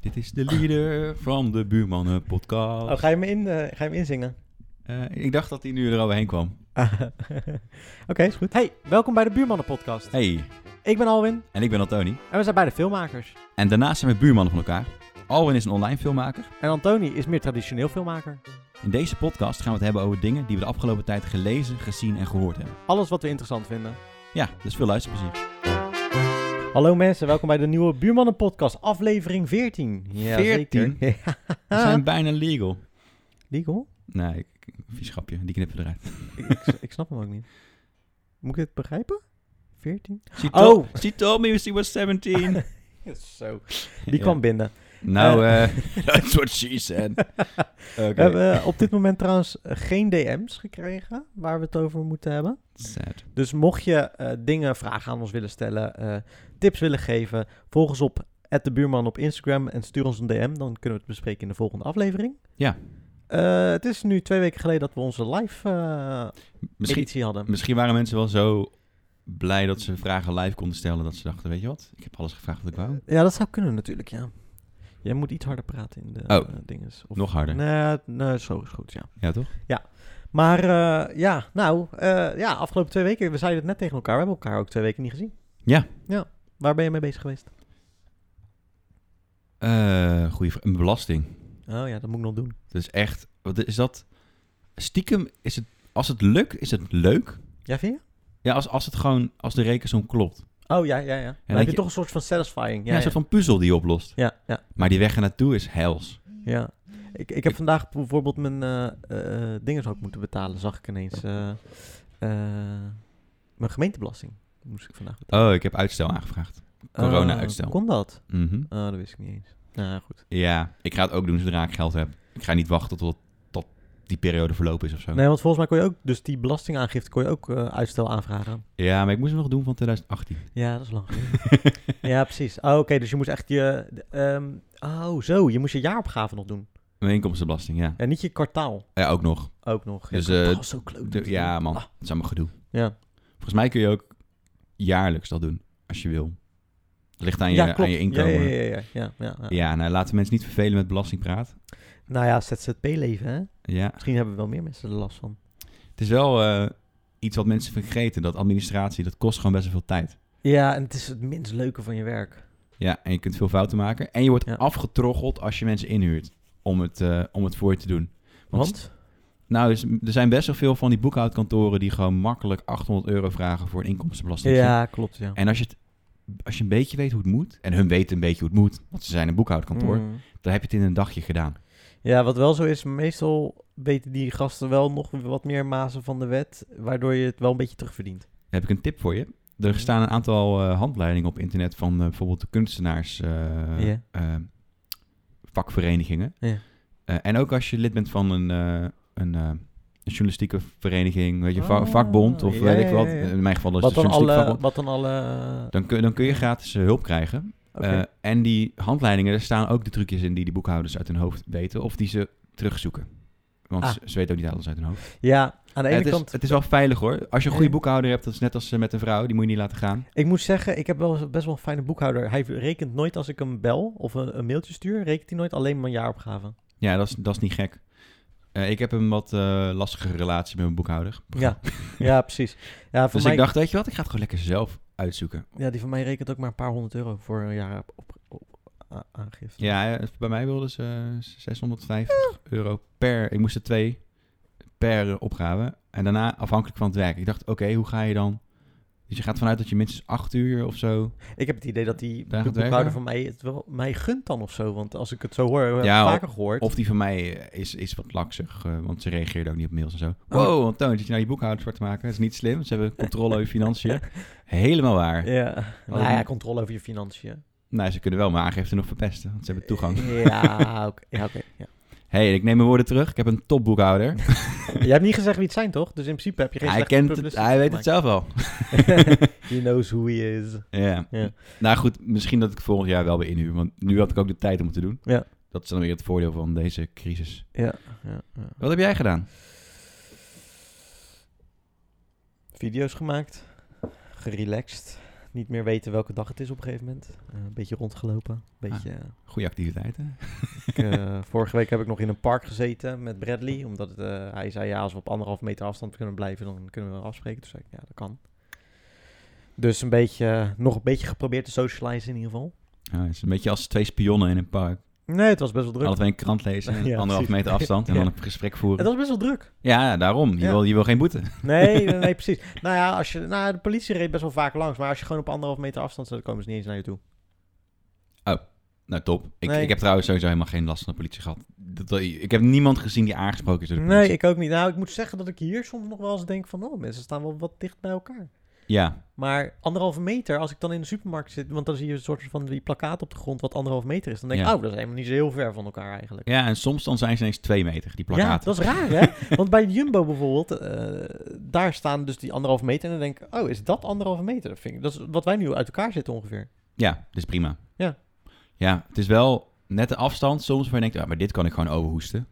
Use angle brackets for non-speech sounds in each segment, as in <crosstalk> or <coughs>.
Dit is de leader from de Buurmannen podcast. Oh, ga, je me in, eh, ga je hem inzingen? Eh, ik dacht dat hij nu eroverheen kwam. Ah, <laughs> Oké, is goed. Hey, welkom bij de Buurmannen Podcast. Hey, Ik ben Alwin en ik ben Antoni. en we zijn beide filmmakers. En daarnaast zijn we buurmannen van elkaar. Alwin is een online filmmaker. En Antoni is meer traditioneel filmmaker. In deze podcast gaan we het hebben over dingen die we de afgelopen tijd gelezen, gezien en gehoord hebben. Alles wat we interessant vinden. Ja, dus veel luisterplezier. Hallo mensen, welkom bij de nieuwe Buurmannen Podcast, aflevering 14. Ja, 14? zeker. <laughs> Ja. We zijn bijna legal. Legal? Nee, ik, ik- vies grapje. Die knippen we eruit. ik, ik, s- ik snap hem ook niet. Moet ik het begrijpen? 14? She Oh. told, she told me she was <laughs> 17. Zo. Die Ja. kwam binnen. Nou, eh <laughs> that's what she <laughs> said. We Oké, hebben eh, op dit moment trouwens eh, geen DM's gekregen waar we het over moeten hebben. sad. Dus mocht je eh, dingen, vragen aan ons willen stellen, eh, tips willen geven, volg ons op de buurman op Instagram en stuur ons een DM. Dan kunnen we het bespreken in de volgende aflevering. Ja. Eh, het is nu twee weken geleden dat we onze live eh, Misschien, editie hadden. misschien waren mensen wel zo blij dat ze vragen live konden stellen dat ze dachten, weet je wat? Ik heb alles gevraagd wat ik wou. Ja, dat zou kunnen natuurlijk, ja. Jij moet iets harder praten in de Oh. eh, dinges. Of... Nog harder. Nee, nee, zo is goed, ja. Ja, toch? Maar eh, ja, nou, eh, ja, afgelopen twee weken, we zeiden het net tegen elkaar, we hebben elkaar ook twee weken niet gezien. Ja. Ja, waar ben je mee bezig geweest? Eh goeie vraag. Een belasting. Oh ja, dat moet ik nog doen. Dus echt, wat is dat? Stiekem is het, als het lukt, is het leuk. Ja, vind je? Ja, als, als het gewoon, als de rekensom klopt. Oh ja, ja, ja. Dan dat heb je, je- toch een soort van satisfying. Ja, Ja, een ja, soort van puzzel die je oplost. ja, ja, Maar die weg naartoe is hels. ja. Ik, ik heb vandaag bijvoorbeeld mijn eh eh dingen ook moeten betalen, zag ik ineens. eh, eh, mijn gemeentebelasting moest ik vandaag betalen. Oh, ik heb uitstel aangevraagd. corona-uitstel. Eh, kon dat? Mhm. Oh, dat wist ik niet eens. Nou, goed. Ja, ik ga het ook doen zodra ik geld heb. Ik ga niet wachten tot, tot die periode verlopen is of zo. Nee, want volgens mij kon je ook, dus die belastingaangifte kon je ook eh, uitstel aanvragen. Ja, maar ik moest hem nog doen van 2018. Ja, dat is lang geleden. <laughs> ja, precies. Oh, Oké, dus je moest echt je... de- ehm, oh, zo. Je moest je jaaropgave nog doen. Mijn inkomstenbelasting, ja. En niet je kwartaal Ja, ook nog. ook nog. Ja, Dus, kwartaal eh, is zo kloot. om De- te ja, doen. man. Ah, Dat is allemaal gedoe. ja. Volgens mij kun je ook jaarlijks dat doen, als je wil. Dat ligt aan je, ja, klopt. aan je inkomen. Ja, Ja, ja, ja, ja, ja, ja, ja. nou, laten mensen niet vervelen met belastingpraat. Nou ja, ZZP-leven, hè? Ja, Misschien hebben we wel meer mensen er last van. het is wel eh, iets wat mensen vergeten. Dat administratie, dat kost gewoon best wel veel tijd. Ja, en het is het minst leuke van je werk. Ja, en je kunt veel fouten maken. En je wordt Ja. afgetroggeld als je mensen inhuurt om het, eh, om het voor je te doen. Want? Nou, is- er zijn best wel veel van die boekhoudkantoren die gewoon makkelijk 800 euro vragen voor een inkomstenbelasting. Ja, klopt, ja. En als je, het, als je een beetje weet hoe het moet, en hun weten een beetje hoe het moet, want ze zijn een boekhoudkantoor, Mm. dan heb je het in een dagje gedaan. Ja, wat wel zo is, meestal weten die gasten wel nog wat meer mazen van de wet, waardoor je het wel een beetje terugverdient. Dan heb ik een tip voor je. Er Mhm. staan een aantal eh, handleidingen op internet van eh, bijvoorbeeld de kunstenaars eh, Ja. eh, vakverenigingen. Ja. Eh, en ook als je lid bent van een, eh, een, eh, een journalistieke vereniging, weet je, va- Ah, vakbond of ja, weet ik ja, wat. ja, ja. In mijn geval is Wat het een dan, journalistiek alle, vakbond. wat dan alle... Dan kun, dan kun je gratis eh, hulp krijgen. Oké. Eh, en die handleidingen, daar staan ook de trucjes in die de boekhouders uit hun hoofd weten. Of die ze terugzoeken. Want Ah. ze, ze weten ook niet alles uit hun hoofd. Ja, aan de Eh, ene het, kant. is, het is wel veilig hoor. Als je een goede Eh. boekhouder hebt, dat is net als eh, met een vrouw. Die moet je niet laten gaan. Ik moet zeggen, ik heb wel eens- best wel een fijne boekhouder. Hij rekent nooit als ik hem bel of een, een mailtje stuur, rekent hij nooit alleen mijn <laughs> jaaropgave. Ja, dat is, dat is niet gek. Eh, ik heb een wat eh, lastige relatie met mijn boekhouder. Ja, ja precies. Ja, voor Dus mij, ik dacht, weet je wat, ik ga het gewoon lekker zelf uitzoeken. ja, die van mij rekent ook maar een paar honderd euro voor een jaar op, op, a- aangifte. Ja, eh, bij mij wilden ze eh, 650 Ah. euro per... Ik moest er twee per eh, opgave. En daarna afhankelijk van het werk. Ik dacht, oké, hoe ga je dan... Dus je gaat vanuit dat je minstens acht uur of zo... Ik heb het idee dat die Daar gaat het boekhouder werken? van mij het wel mij gunt dan of zo. Want als ik het zo hoor, heb ik Ja, vaker gehoord. Of die van mij eh, is, is wat laksig, eh, want ze reageerde ook niet op mails en zo. Oh. Wow, Antoon, zit je nou je boekhouder zwart te maken? Dat is niet slim. Ze hebben controle over je financiën. Helemaal waar. ja. Oh, Nou die- ja, controle over je financiën. Nou, ze kunnen wel mijn aangifte nog verpesten, want ze hebben toegang. Ja, oké. Ja, oké, ja. <laughs> hey, ik neem mijn woorden terug. Ik heb een <laughs> topboekhouder. Jij hebt niet gezegd wie het zijn, toch? Dus in principe heb je geen Hij, slechte kent het, publicity hij weet het gemaakt. zelf wel. <laughs> He knows who he is. Ja. Ja. Nou goed, misschien dat ik volgend jaar wel weer inhuur, want nu had ik ook de tijd om het te doen. Ja. Dat is dan weer het voordeel van deze crisis. Ja, ja, ja. Wat heb jij gedaan? Video's gemaakt. Gerelaxed. niet meer weten welke dag het is op een gegeven moment. Eh, een beetje rondgelopen. Een beetje, eh, Goede activiteiten. ik, eh, vorige week heb ik nog in een park gezeten met Bradley. Omdat het, eh, hij zei, ja, als we op anderhalf meter afstand kunnen blijven, dan kunnen we wel afspreken. Toen zei ik, ja, dat kan. Dus een beetje, eh, nog een beetje geprobeerd te socializen in ieder geval. Ja, het is een beetje als twee spionnen in een park. Nee, het was best wel druk. Alle twee een krant lezen, en <laughs> Ja, anderhalf precies. meter afstand en Ja. dan een gesprek voeren. Het was best wel druk. Ja, daarom. Je, Ja. Wil, je wil geen boete. Nee, nee, nee, precies. Nou ja, als je, nou, ja, de politie reed best wel vaak langs. Maar als je gewoon op anderhalf meter afstand staat, dan komen ze niet eens naar je toe. Nou, top. Ik, Nee. ik heb trouwens sowieso helemaal geen last van de politie gehad. Dat, dat- ik heb niemand gezien die aangesproken is door de politie. Nee, ik ook niet. Nou, ik moet zeggen dat ik hier soms nog wel eens denk van... Oh, mensen staan wel wat dicht bij elkaar. Ja, Maar anderhalve meter, als ik dan in de supermarkt zit... Want dan zie je een soort van die plakkaat op de grond wat anderhalf meter is. Dan denk ik, Ja. oh, dat is helemaal niet zo heel ver van elkaar eigenlijk. ja, en soms dan zijn ze ineens twee meter, die plakkaten. Ja, dat is raar, <laughs> hè? Want bij Jumbo bijvoorbeeld, eh, daar staan dus die anderhalve meter. En dan denk ik, oh, is dat anderhalve meter? Dat, vind ik, dat is wat wij nu uit elkaar zitten ongeveer. Ja, dat is prima. Ja. Ja, het is wel net de afstand soms waar je denkt, ah, maar dit kan ik gewoon overhoesten.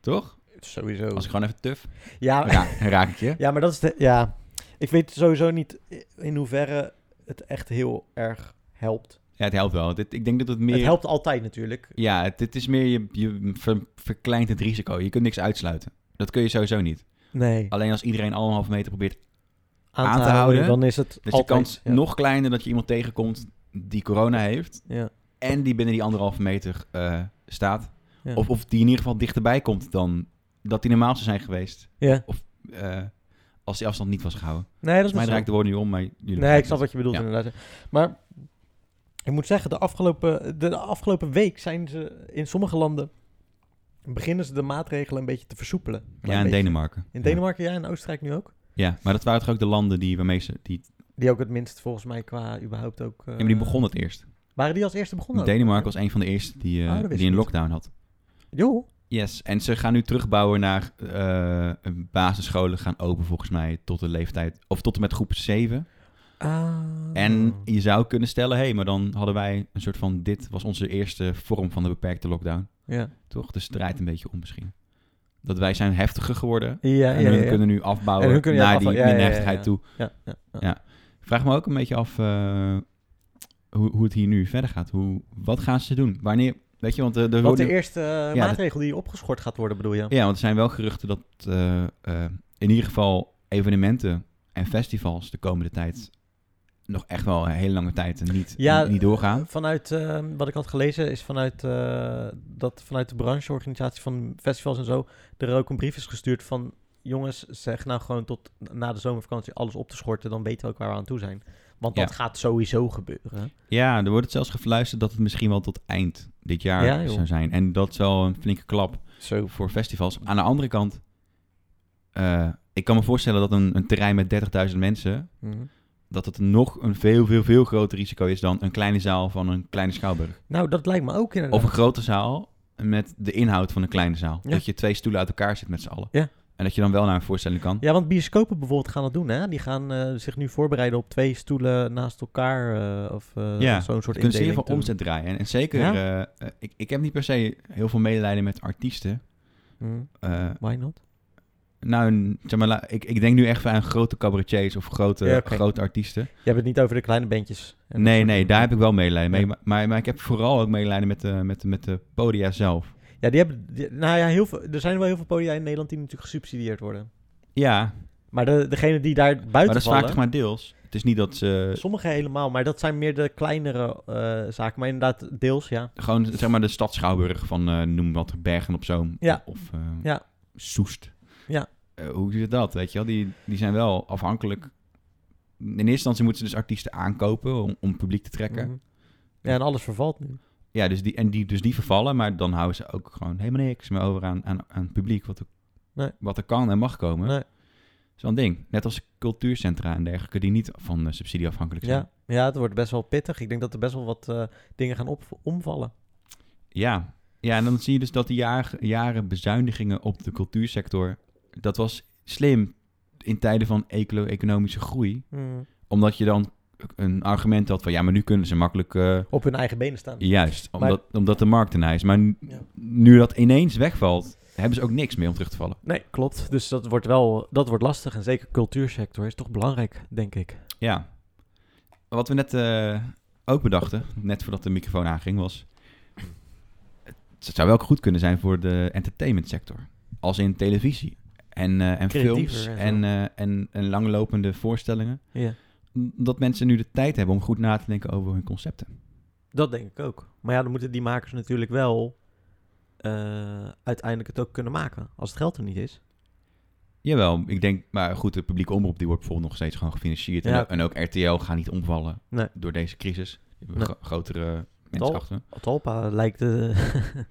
Toch? Sowieso. Als ik gewoon even tuf, Ja, ra raak ik je. <laughs> Ja, maar dat is de, ja. Ik weet sowieso niet in hoeverre het echt heel erg helpt. Ja, het helpt wel. Dit, ik denk dat het meer... Het helpt altijd natuurlijk. Ja, het- dit is meer, je, je ver- verkleint het risico. Je kunt niks uitsluiten. Dat kun je sowieso niet. Nee. Alleen als iedereen anderhalve meter probeert. Aan, te houden, Dan is het Dus altijd, de kans ja. nog kleiner dat je iemand tegenkomt die corona heeft. Ja. En die binnen die anderhalve meter eh, staat. Ja. Of, of die in ieder geval dichterbij komt dan dat die normaal zou zijn geweest. ja. eh, als die afstand niet was gehouden. Nee, dat is Volgens mij zo. draai ik de woorden nu om, maar jullie Nee, begrijpen ik snap wat je bedoelt Ja. inderdaad. Maar ik moet zeggen, de afgelopen, de afgelopen week zijn ze in sommige landen... beginnen ze de maatregelen een beetje te versoepelen. Een Ja, klein in beetje. Denemarken. In Denemarken, ja. En Oostenrijk nu ook. Ja. Ja, maar dat waren toch ook de landen die waarmee ze... Die, Die ook het minst volgens mij qua überhaupt ook... eh, ja, maar die begonnen het eerst. Waren die als eerste begonnen? Denemarken was een van de eerste die, eh, Oh, dat die wist ik een niet. lockdown had. Joh. Yes, en ze gaan nu terugbouwen naar eh, basisscholen gaan open volgens mij tot de leeftijd, of tot en met groep 7. Ah. En je zou kunnen stellen, hé, hey, maar dan hadden wij een soort van, dit was onze eerste vorm van de beperkte lockdown, Ja. toch? Dus het draait een beetje om misschien. Dat wij zijn heftiger geworden Ja, en ja, hun ja. kunnen nu afbouwen En hun kunnen, ja, naar die afbouwen. Ja, ja, ja, heftigheid ja. toe. Ja, ja, ja. Ja. Ik vraag me ook een beetje af eh, hoe, hoe het hier nu verder gaat. Hoe, wat gaan ze doen? Wanneer, weet je, want de, de, Wat de de- eerste eh, dat- maatregel die opgeschort gaat worden, bedoel je? Ja, want er zijn wel geruchten dat eh, eh, in ieder geval evenementen en festivals de komende tijd nog echt wel een hele lange tijd niet, Ja, niet doorgaan. Vanuit eh, wat ik had gelezen is vanuit eh, dat vanuit de brancheorganisatie van festivals en zo er ook een brief is gestuurd van jongens zeg nou gewoon tot na de zomervakantie alles op te schorten, dan weten we ook waar we aan toe zijn. Want dat Ja. gaat sowieso gebeuren. Ja, er wordt het zelfs gefluisterd dat het misschien wel tot eind dit jaar Ja, joh. zou zijn. En dat is wel een flinke klap Zo. voor festivals. Aan de andere kant, eh, ik kan me voorstellen dat een, een terrein met 30.000 mensen, dat het nog een veel, veel, veel groter risico is dan een kleine zaal van een kleine schouwburg. Nou, dat lijkt me ook inderdaad. Of een grote zaal met de inhoud van een kleine zaal. Ja. Dat je twee stoelen uit elkaar zit met z'n allen. Ja. En dat je dan wel naar een voorstelling kan. Ja, want bioscopen bijvoorbeeld gaan dat doen, hè? Die gaan eh, zich nu voorbereiden op twee stoelen naast elkaar eh, of eh, Ja, zo'n soort Je kunt zeer indeling. veel doen. omzet draaien. En, en zeker, Ja. eh, eh, ik, ik heb niet per se heel veel medelijden met artiesten. Mm, Eh, why not? nou, een- zeg maar, la- ik, ik denk nu echt aan grote cabaretiers of grote, Ja, oké. grote artiesten. Je hebt het niet over de kleine bandjes. en dat nee, soort nee, dingen. daar heb ik wel medelijden mee. Ja. Maar, maar, maar ik heb vooral ook medelijden met de, met, de- met de podia zelf. Ja, die hebben... die- nou ja, heel veel, er zijn wel heel veel podia in Nederland die natuurlijk gesubsidieerd worden. Ja, Maar de, degene die daar buiten maar dat is vaak vallen... toch maar deels. Het is niet dat ze Sommige helemaal, maar dat zijn meer de kleinere eh, zaken. Maar inderdaad, deels, ja. Gewoon zeg maar de stadschouwburg van eh, noem wat Bergen op Zoom. Ja. Of eh, Ja. Soest. Ja. Eh, hoe zit dat? Weet je wel, die, die zijn wel afhankelijk. In eerste instantie moeten ze dus artiesten aankopen om, om publiek te trekken. Mhm. Ja, en alles vervalt nu. Ja, dus die, en die, dus die vervallen, maar dan houden ze ook gewoon helemaal niks meer over aan, aan, aan het publiek. Wat er, Nee. wat er kan en mag komen. Nee. Zo'n ding. Net als cultuurcentra en dergelijke, die niet van eh, subsidie afhankelijk zijn. Ja. ja, het wordt best wel pittig. Ik denk dat er best wel wat eh, dingen gaan op, omvallen. Ja. ja, en dan zie je dus dat de jaar- jaren bezuinigingen op de cultuursector... dat was slim in tijden van ecolo- economische groei. Omdat je dan een argument had van... ja, maar nu kunnen ze makkelijk... eh, Op hun eigen benen staan. juist, Maar- omdat, omdat de markt ernaar is. Maar nu, Ja. nu dat ineens wegvalt... hebben ze ook niks meer om terug te vallen. Nee, klopt. Dus dat wordt wel dat wordt lastig. En zeker cultuursector is toch belangrijk, denk ik. Ja. wat we net eh, ook bedachten, net voordat de microfoon aanging, was... Het zou wel goed kunnen zijn voor de entertainment sector. Als in televisie en, eh, en films Creatiever en en, zo. eh, en, en langlopende voorstellingen. Ja. Dat mensen nu de tijd hebben om goed na te denken over hun concepten. Dat denk ik ook. Maar ja, dan moeten die makers natuurlijk wel eh, uiteindelijk het ook kunnen maken. Als het geld er niet is. Jawel, ik denk, maar goed, de publieke omroep die wordt bijvoorbeeld nog steeds gewoon gefinancierd. Ja. En, en ook RTL gaat niet omvallen Nee. door deze crisis. Die hebben Nee. gro- grotere mensen Tal. achter. Atalpa lijkt... eh,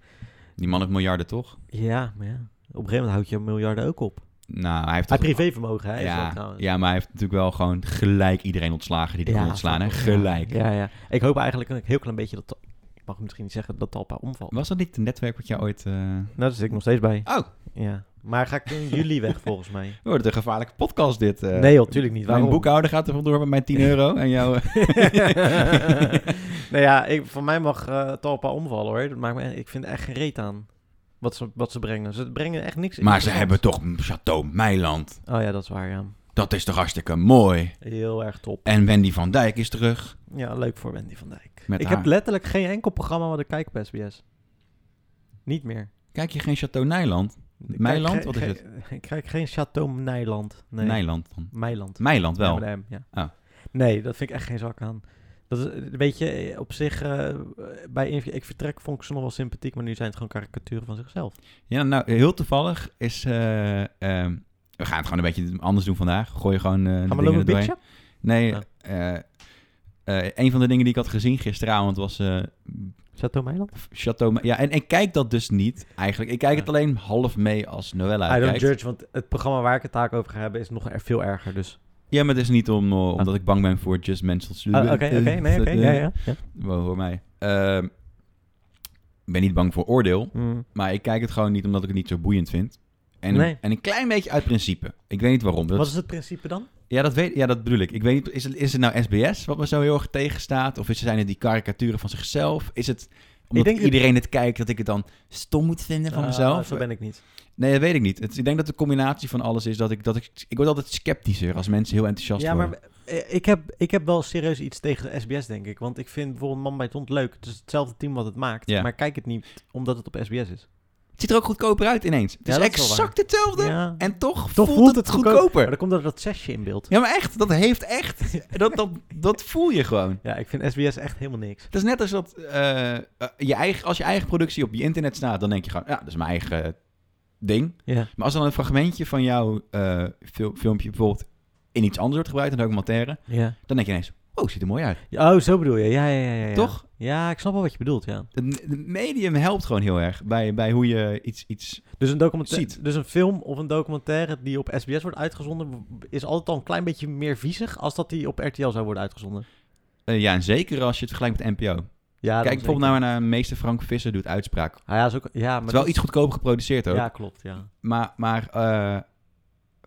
<laughs> Die man heeft miljarden toch? ja, maar ja. Op een gegeven moment houdt je miljarden ook op. Nou, hij heeft Hij toch- privévermogen, hè? is dat nou ja, trouwens. ja, maar hij heeft natuurlijk wel gewoon gelijk iedereen ontslagen die hij kon ontslaan. Hè? snap ik. Gelijk. Ja, ja. Ik hoop eigenlijk een heel klein beetje dat... Tal- Ik mag misschien niet zeggen dat Talpa omvalt. Was dat niet het netwerk wat jij ooit... eh, Nou, daar zit ik nog steeds bij. Oh, Ja. Maar ga ik <laughs> in juli weg, volgens <laughs> mij. we worden een gevaarlijke podcast dit. eh. nee, joh, tuurlijk niet. Waarom? Mijn boekhouder gaat er vandoor met mijn 10 <laughs> euro en eh. jouw... nou ja, ik, voor mij mag eh Talpa omvallen, hoor. Dat maakt me, ik vind er echt geen reet aan wat ze, wat ze brengen. Ze brengen echt niks. maar ze interessants. hebben toch Chateau Meiland. Oh ja, dat is waar, ja. Dat is toch hartstikke mooi. Heel erg top. En Wendy van Dijk is terug. Ja, leuk voor Wendy van Dijk. Met ik haar. heb letterlijk geen enkel programma wat ik kijk op SBS. Niet meer. Kijk je geen Chateau Nijland? Ik Meiland? kijk Wat is geen- <laughs> Ik kijk geen Chateau Nijland. Nee. Nijland dan. Meiland. Meiland wel. Ja, met een M, ja. Ah. Nee, dat vind ik echt geen zak aan. Dat is, eh, weet je, eh, op zich, eh, bij Inf- ik vertrek vond ik ze nog wel sympathiek, maar nu zijn het gewoon karikaturen van zichzelf. Ja, nou, heel toevallig is... eh, ehm, we gaan het gewoon een beetje anders doen vandaag. Gooi gewoon... eh de Gaan dingen we lopen er doorheen. bitchen? Nee, Ja. eh, eh, een van de dingen die ik had gezien gisteravond was eh, Chateau Meiland? Chateau... Ma- Ja, en ik kijk dat dus niet eigenlijk. Ik kijk het Ja. alleen half mee als Noella I don't kijkt. judge, want het programma waar ik het taak over ga hebben is nog er veel erger, dus... Ja, maar het is niet om, eh, omdat ik bang ben voor Just Mental Ah, <laughs> Oké, oké, nee, oké, ja, ja. ja. Wow, voor eh, mij. Ehm, ik ben niet bang voor oordeel, Mm. maar ik kijk het gewoon niet omdat ik het niet zo boeiend vind. En, Nee. en een klein beetje uit principe. Ik weet niet waarom. Dat, Wat is het principe dan? ja, dat weet, ja, dat bedoel ik. Ik weet niet, is het, is het nou SBS wat me zo heel erg tegenstaat? Of is, zijn het die karikaturen van zichzelf? Is het omdat denk dat- iedereen het kijkt dat ik het dan stom moet vinden van Ah, mezelf? Zo ben ik niet. Nee, dat weet ik niet. Het, ik denk dat de combinatie van alles is dat ik... Dat ik, ik word altijd sceptischer als mensen heel enthousiast Ja, worden. maar eh, ik heb, ik heb wel serieus iets tegen de SBS, denk ik. Want ik vind bijvoorbeeld Man bij het Hond leuk. Het is hetzelfde team wat het maakt, Ja. maar ik kijk het niet omdat het op SBS is. Het ziet er ook goedkoper uit ineens. Het Ja, is dat is wel exact hetzelfde. Ja. En toch, Toch voelt, het, goedkoper. Maar dan komt dat dat zesje in beeld. Ja, maar echt, dat heeft <laughs> echt. Dat, dat, dat voel je gewoon. Ja, ik vind SBS echt helemaal niks. Het is net als dat eh, eh, je eigen, als je eigen productie op je internet staat, dan denk je gewoon, ja, dat is mijn eigen eh, ding. Ja. Maar als dan een fragmentje van jouw eh, fil- filmpje bijvoorbeeld in iets anders wordt gebruikt, een documentaire, ja. dan denk je ineens, oh, ziet er mooi uit. Oh, zo bedoel je. Ja, ja, ja, ja, ja. Toch? Ja, ik snap wel wat je bedoelt, ja. Het het medium helpt gewoon heel erg bij, bij hoe je iets, iets... Dus een, documentaire, Ziet. dus een film of een documentaire die op SBS wordt uitgezonden... is altijd al een klein beetje meer viezig... als dat die op RTL zou worden uitgezonden. eh, ja, en zeker als je het vergelijkt met NPO. Ja, Kijk bijvoorbeeld nou naar meester Frank Visser doet uitspraak. Ah, ja, is ook, ja, maar Het is wel dat- iets goedkoper geproduceerd ook. Ja, klopt, ja. Maar, maar eh,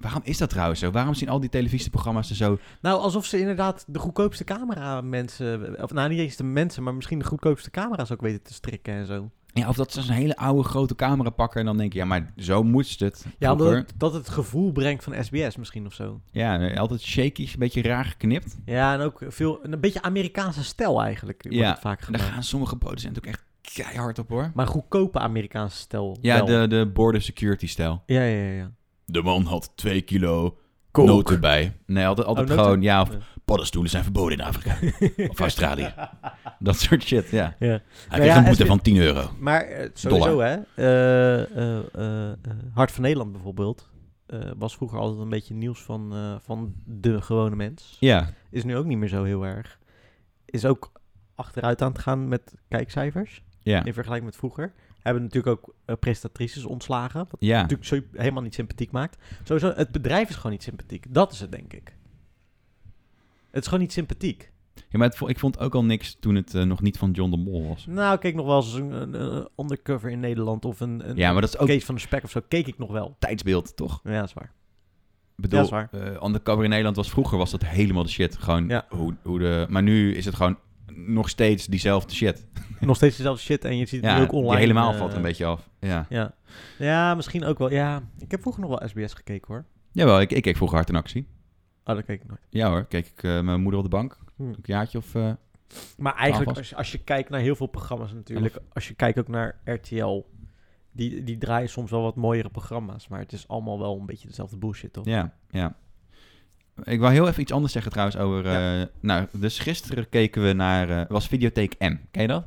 waarom is dat trouwens zo? Waarom zien al die televisieprogramma's er zo... Nou, alsof ze inderdaad de goedkoopste camera mensen... of nou, niet eens de mensen, maar misschien de goedkoopste camera's ook weten te strikken en zo. Ja, of dat ze een hele oude grote camera pakken en dan denk je... Ja, maar zo moest het. Ja, omdat vroeger. het, dat het gevoel brengt van SBS misschien of zo. Ja, eh, altijd shaky, een beetje raar geknipt. Ja, en ook veel, een beetje Amerikaanse stijl eigenlijk wordt Ja, het vaak En daar gemaakt. gaan sommige producenten ook echt keihard op, hoor. Maar goedkope Amerikaanse stijl Ja, wel. de, de border security stijl. Ja, ja, ja, ja. De man had twee kilo Coke. noten bij. Nee, altijd, altijd Oh, noten? gewoon... Ja, of Ja. paddenstoelen zijn verboden in Afrika. of Australië. <laughs> Dat soort shit, ja. Hij Nou kreeg ja, een boete SB van 10 euro. Maar eh, sowieso, hè. eh, eh, eh, eh, Hart van Nederland bijvoorbeeld. eh, was vroeger altijd een beetje nieuws van, eh, van de gewone mens. Ja, Is nu ook niet meer zo heel erg. Is ook achteruit aan het gaan met kijkcijfers. ja, In vergelijking met vroeger. Hebben natuurlijk ook eh, presentatrices ontslagen. Wat ja. natuurlijk zo helemaal niet sympathiek maakt. Sowieso, het bedrijf is gewoon niet sympathiek. Dat is het, denk ik. Het is gewoon niet sympathiek. Ja, maar het vo- ik vond ook al niks toen het eh, nog niet van John de Mol was. Nou, keek nog wel eens een, een, een undercover in Nederland of een, een Ja, maar dat is ook Kees van de Spek of zo. Keek ik nog wel. tijdsbeeld, toch? Ja, dat is waar. Ik bedoel, Ja, is waar. eh, undercover in Nederland was vroeger was dat helemaal de shit. Gewoon Ja. hoe, hoe de... Maar nu is het gewoon nog steeds diezelfde shit. <laughs> Nog steeds dezelfde shit en je ziet het Ja, nu ook online. die helemaal eh, valt een beetje af. Ja. Ja. ja, misschien ook wel. Ja, ik heb vroeger nog wel SBS gekeken hoor. Jawel, ik, ik keek vroeger hard in actie. Oh, dat keek ik nooit. Ja hoor, keek ik eh, mijn moeder op de bank. Hm. Een jaartje of... eh, Maar eigenlijk, was. als je, als je kijkt naar heel veel programma's natuurlijk, als je kijkt ook naar RTL, die, die draaien soms wel wat mooiere programma's, maar het is allemaal wel een beetje dezelfde bullshit, toch? Ja, ja. Ik wil heel even iets anders zeggen trouwens over... eh, nou, dus gisteren keken we naar... eh, was Videotheek M. Ken je dat?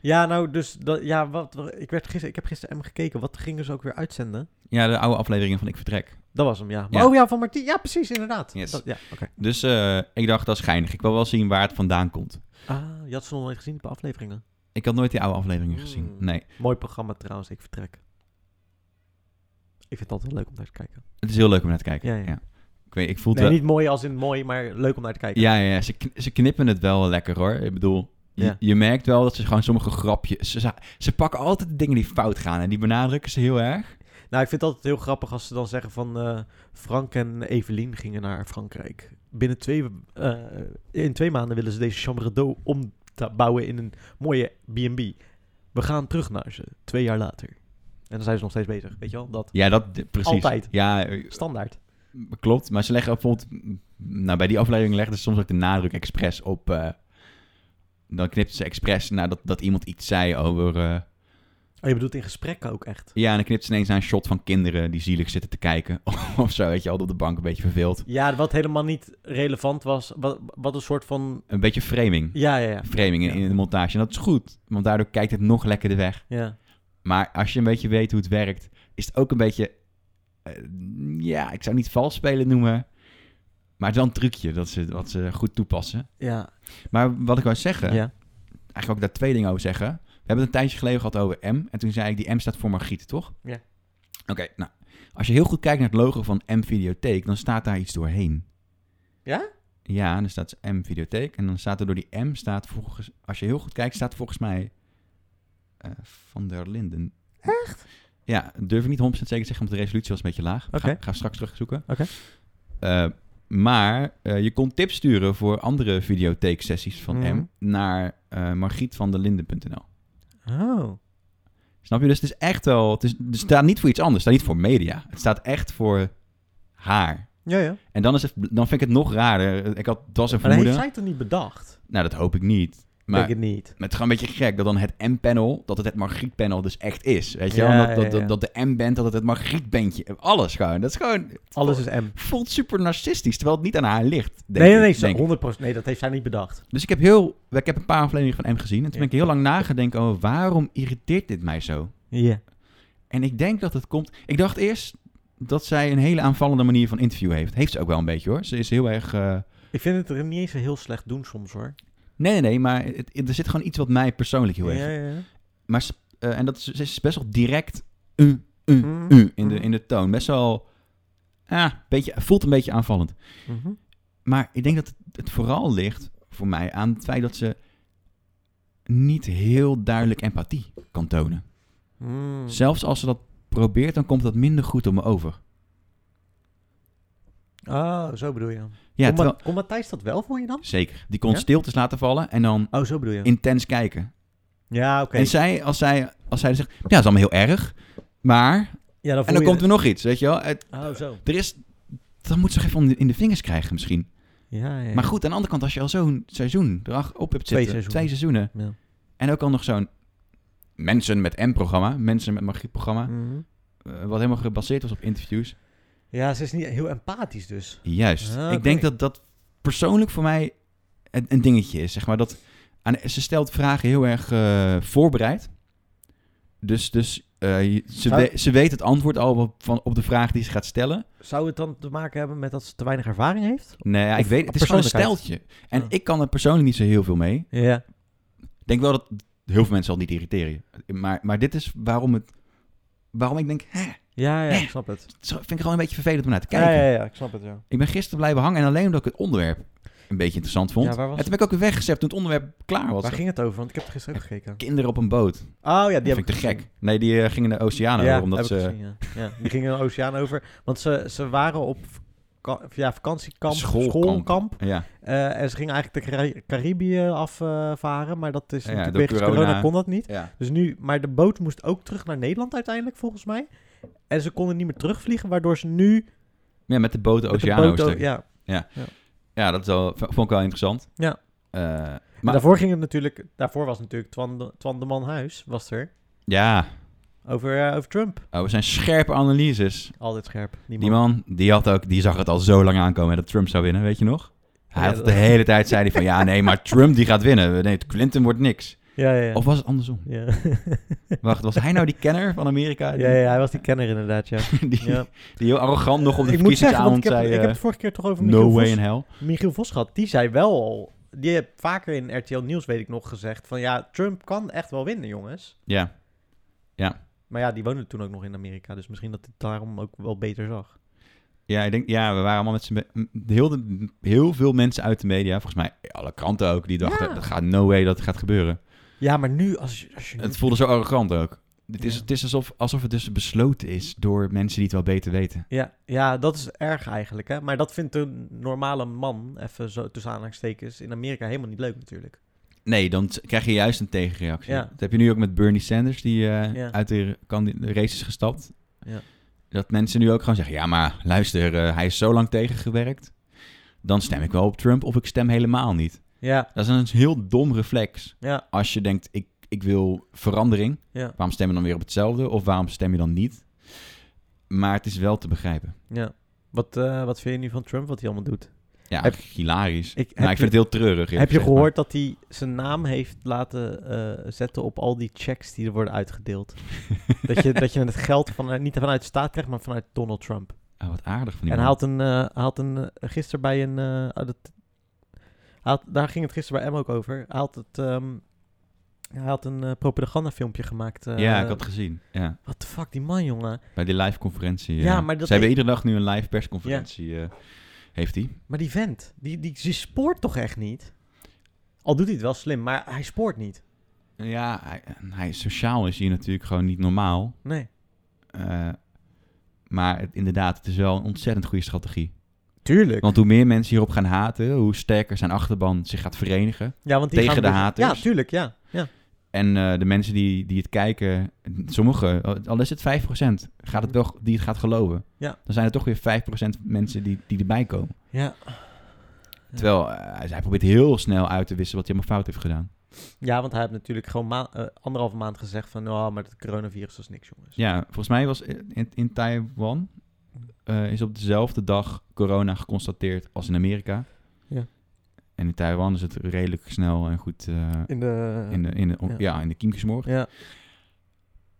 Ja, nou, dus dat, ja, wat, wat- ik, werd gister, ik heb gisteren M gekeken. Wat gingen ze ook weer uitzenden? Ja, de oude afleveringen van Ik Vertrek. Dat was hem, ja. Maar, Ja. Oh ja, van Martien. Ja, precies, inderdaad. Yes. Dat, ja, oké. Dus eh, ik dacht, dat is geinig. Ik wil wel zien waar het vandaan komt. Ah, je had ze nog nooit gezien, die paar afleveringen. Ik had nooit die oude afleveringen gezien. Hmm. Nee. Mooi programma trouwens, ik vertrek. Ik vind het altijd wel leuk om naar te kijken. Het is heel leuk om naar te kijken. Ja, Ja, ja. Ik weet, ik voel het Nee, wel. niet mooi als in mooi, maar leuk om naar te kijken. Ja, ja, ja. Ze, kn- ze knippen het wel lekker hoor. Ik bedoel, je, Ja. je merkt wel dat ze gewoon sommige grapjes. Ze, za- ze pakken altijd de dingen die fout gaan en die benadrukken ze heel erg. Nou, ik vind het altijd heel grappig als ze dan zeggen van... eh, Frank en Evelien gingen naar Frankrijk. Binnen twee... eh, in twee maanden willen ze deze chambre d'eau ombouwen in een mooie B&B. We gaan terug naar ze, twee jaar later. En dan zijn ze nog steeds bezig, weet je wel? Dat Ja, dat de- precies. Altijd. Ja, eh, standaard. klopt. Maar ze leggen ook bijvoorbeeld. m, Nou, bij die aflevering legden ze soms ook de nadruk expres op. eh, dan knipten ze expres nadat dat iemand iets zei over. eh, Oh, je bedoelt in gesprekken ook echt? ja, en dan knipt ze ineens naar een shot van kinderen die zielig zitten te kijken. <laughs> of zo, weet je, al op de bank een beetje verveeld. Ja, wat helemaal niet relevant was. Wat, wat een soort van... Een beetje framing. Ja, ja, ja. Framing in, Ja. in de montage. En dat is goed, want daardoor kijkt het nog lekkerder weg. ja. Maar als je een beetje weet hoe het werkt, is het ook een beetje. eh, ja, ik zou het niet vals spelen noemen. Maar het is wel een trucje dat ze, wat ze goed toepassen. Ja, Maar wat ik wou zeggen, ja. eigenlijk ook daar twee dingen over zeggen. We hebben het een tijdje geleden gehad over M. En toen zei ik, die M staat voor Margriet, toch? Ja. Oké, nou. Als je heel goed kijkt naar het logo van M Videotheek, dan staat daar iets doorheen. Ja? Ja, dan staat M Videotheek. En dan staat er door die M staat volgens... Als je heel goed kijkt, staat volgens mij... eh, van der Linden. Echt? Ja, durf ik niet 100% zeker te zeggen, want de resolutie was een beetje laag. Oké. Ga, ga straks terugzoeken. Oké. Eh, maar eh, je kon tips sturen voor andere videotheeksessies van Mhm. M naar eh margrietvanderlinden.nl. Oh. Snap je? Dus het is echt wel... Het, is, het staat niet voor iets anders. Het staat niet voor media. Het staat echt voor haar. Ja, ja. En dan, is het, dan vind ik het nog raarder. Ik had, het was een Maar heeft vermoeden. zij het toch niet bedacht? Nou, dat hoop ik niet. Maar Denk het niet. maar het is gewoon een beetje gek dat dan het M-panel, dat het het Margriet-panel dus echt is. Weet je Ja, wel? En Dat, dat, ja, ja. dat, dat de M-band, dat het het Margriet-bandje... Alles gewoon. Dat is gewoon... Alles is M. Voelt super narcistisch, terwijl het niet aan haar ligt. Denk Nee, nee, nee, ik, denk ik. 100%. Nee, dat heeft zij niet bedacht. Dus ik heb heel... Ik heb een paar afleveringen van M gezien. En toen ben Ja. ik heel lang nagedenken over... Waarom irriteert dit mij zo? Ja. En ik denk dat het komt. Ik dacht eerst dat zij een hele aanvallende manier van interview heeft. Heeft ze ook wel een beetje hoor. Ze is heel erg. eh, Ik vind het er niet eens heel slecht doen soms hoor. Nee, nee, nee, maar het- het- er zit gewoon iets wat mij persoonlijk heel erg. Maar ze- eh, en dat is, ze is best wel direct. Uh, uh, Mm. Mm-hmm. uh, in, de, in de toon. Best wel. Ah, beetje, voelt een beetje aanvallend. Mm-hmm. Maar ik denk dat het, het vooral ligt voor mij aan het feit dat ze niet heel duidelijk empathie kan tonen. Mm. Hmm. Zelfs als ze dat probeert, dan komt dat minder goed op me over. Oh, zo bedoel je. Ja, Ja, kon, Ma- terwijl- kon Matthijs dat wel voor je dan? Zeker. Die kon Ja? stiltes laten vallen en dan Oh, zo bedoel je. intens kijken. Ja, oké. En zij, als zij, als zij dus zegt, ja, dat is allemaal heel erg, maar... Ja, En dan komt er nog iets, weet je wel. Het- Oh, zo. er is... Dan moet ze toch even om de- in de vingers krijgen misschien. Ja, ja. Maar goed, aan de andere kant, als je al zo'n seizoen erop hebt zitten... Twee seizoenen. twee seizoenen, Ja. En ook al nog zo'n mensen met M-programma, mensen met magie-programma... Mhm. eh, wat helemaal gebaseerd was op interviews. Ja, ze is niet heel empathisch dus. Juist. Ah, Ik denk oké. dat dat persoonlijk voor mij een, een dingetje is. Zeg maar dat aan, ze stelt vragen heel erg eh, voorbereid. Dus, dus eh, je- ze, Zou- we- ze weet het antwoord al op, van, op de vraag die ze gaat stellen. Zou het dan te maken hebben met dat ze te weinig ervaring heeft? Nee, ja, ik Of weet, het is gewoon een persoonlijkheid. steltje. En Ah. ik kan er persoonlijk niet zo heel veel mee. Ja. Ik denk wel dat heel veel mensen al niet irriteren. Maar, maar dit is waarom, het, waarom ik denk, hè, Ja, ja, ik snap het. het is- vind ik gewoon een beetje vervelend om naar te kijken. Ja, ja, ja, ik snap het, ja. Ik ben gisteren blijven hangen en alleen omdat ik het onderwerp een beetje interessant vond. Ja, waar was en toen ben ik ook weer weggezept toen het onderwerp klaar was. Waar ging het over? Want ik heb er gisteren ook gekeken. Kinderen op een boot. Oh ja, Die die vind heb ik te gek. Nee, die eh, gingen de oceaan over, omdat heb ik ze gezien, ja. ja. <laughs> Die gingen een oceaan over. Want ze, ze waren op vaka- ja, vakantiekamp, Schoolkamp. schoolkamp. ja, eh, en ze gingen eigenlijk de Cari- Caribië afvaren. Maar dat is Ja, natuurlijk door wegens corona. corona. kon dat niet. ja. Dus nu, maar de boot moest ook terug naar Nederland uiteindelijk, volgens mij. En ze konden niet meer terugvliegen, waardoor ze nu ja, met de boot de met de oceaan boot... over. ook- Ja. Ja, ja, dat is wel, v- vond ik wel interessant. Ja. Eh, Maar maar daarvoor ging het natuurlijk, daarvoor was natuurlijk Twan de, Twan de Man Huis, was er, ja, over, eh, over Trump. oh, we zijn scherpe analyses. Altijd scherp. Die man, die, had ook, die zag het al zo lang aankomen hè, dat Trump zou winnen, weet je nog? Hij Ja, had dat- de hele tijd zei hij van ja, nee, maar Trump die gaat winnen. Nee, Clinton wordt niks. Ja, ja, ja. Of was het andersom? ja. <laughs> Wacht, was hij nou die kenner van Amerika? Die, ja, ja, hij was die kenner inderdaad, <laughs> ja. die, ja. die heel arrogant nog op de ik moet zeggen, want verkiezingsavond ik heb, zei ik heb eh, het vorige keer toch over Michiel, no way Vos, in hell. Michiel Vos gehad. Die zei wel al, die heb vaker in RTL Nieuws, weet ik nog, gezegd van ja, Trump kan echt wel winnen, jongens. Ja, Maar ja, die woonde toen ook nog in Amerika, dus misschien dat hij het daarom ook wel beter zag. ja, ik denk, ja, we waren allemaal met z'n... be- m- Heel, de- heel veel mensen uit de media, volgens mij alle kranten ook, die dachten, Ja. dat gaat no way dat het gaat gebeuren. Ja, maar nu, als, je- als je nu- Het voelde zo arrogant ook. Het is, Ja. het is alsof, alsof het dus besloten is door mensen die het wel beter weten. Ja, ja, dat is erg eigenlijk, hè. Maar dat vindt een normale man, even zo tussen aanhalingstekens, in Amerika helemaal niet leuk natuurlijk. Nee, dan t- krijg je juist een tegenreactie. Ja. Dat heb je nu ook met Bernie Sanders, die eh, Ja. uit de, kan, de race is gestapt. Ja. Dat mensen nu ook gewoon zeggen, ja maar luister, eh, hij is zo lang tegengewerkt. Dan stem ik wel op Trump of ik stem helemaal niet. Ja, Dat is een heel dom reflex. ja, Als je denkt, ik, ik wil verandering. ja, Waarom stem je dan weer op hetzelfde? Of waarom stem je dan niet? Maar het is wel te begrijpen. ja. Wat, eh, wat vind je nu van Trump, wat hij allemaal doet? Ja, Heb- hilarisch. Nou, Ik- maar heb ik vind het heel treurig. eerlijk Heb je gezegd, gehoord dat hij zijn naam heeft laten eh, zetten op al die checks die er worden <laughs> uitgedeeld? dat, je, dat je het geld van, eh, niet vanuit de staat krijgt, maar vanuit Donald Trump. maar- Oh, wat aardig van die en hij man. had een, eh, hij had een eh, gisteren bij een, eh, ah, dat, hij had- daar ging het gisteren bij Em ook over. Hij had, het, ehm, hij had een eh, propagandafilmpje gemaakt. eh, ja, ik had het gezien. Ja. What the fuck, die man, jongen. Bij die live conferentie. Ja, Ja, maar dat Ze hebben ik- iedere dag nu een live persconferentie. eh, heeft hij? Maar die vent, die, die, die spoort toch echt niet? Al doet hij het wel slim, maar hij spoort niet. Ja, hij, hij, sociaal is hier natuurlijk gewoon niet normaal. Nee. Eh, maar het, inderdaad, het is wel een ontzettend goede strategie. Tuurlijk. Want hoe meer mensen hierop gaan haten, hoe sterker zijn achterban zich gaat verenigen. Ja, want die Tegen gaan de dus- haters. Ja, tuurlijk, ja. ja. En eh, de mensen die, die het kijken, sommigen, al is het 5%, gaat het wel, die het gaat geloven. Ja. Dan zijn er toch weer 5% mensen die, die erbij komen. ja. Terwijl eh, hij probeert heel snel uit te wissen wat hij allemaal fout heeft gedaan. Ja, want hij heeft natuurlijk gewoon ma- eh, anderhalve maand gezegd van... nou, maar het coronavirus is niks, jongens. Ja, volgens mij was in, in Taiwan eh, is op dezelfde dag corona geconstateerd als in Amerika. Ja. En in Taiwan is het redelijk snel en goed eh, In de... in, de, in, de, ja. ja. in de kiem gesmoord. Ja,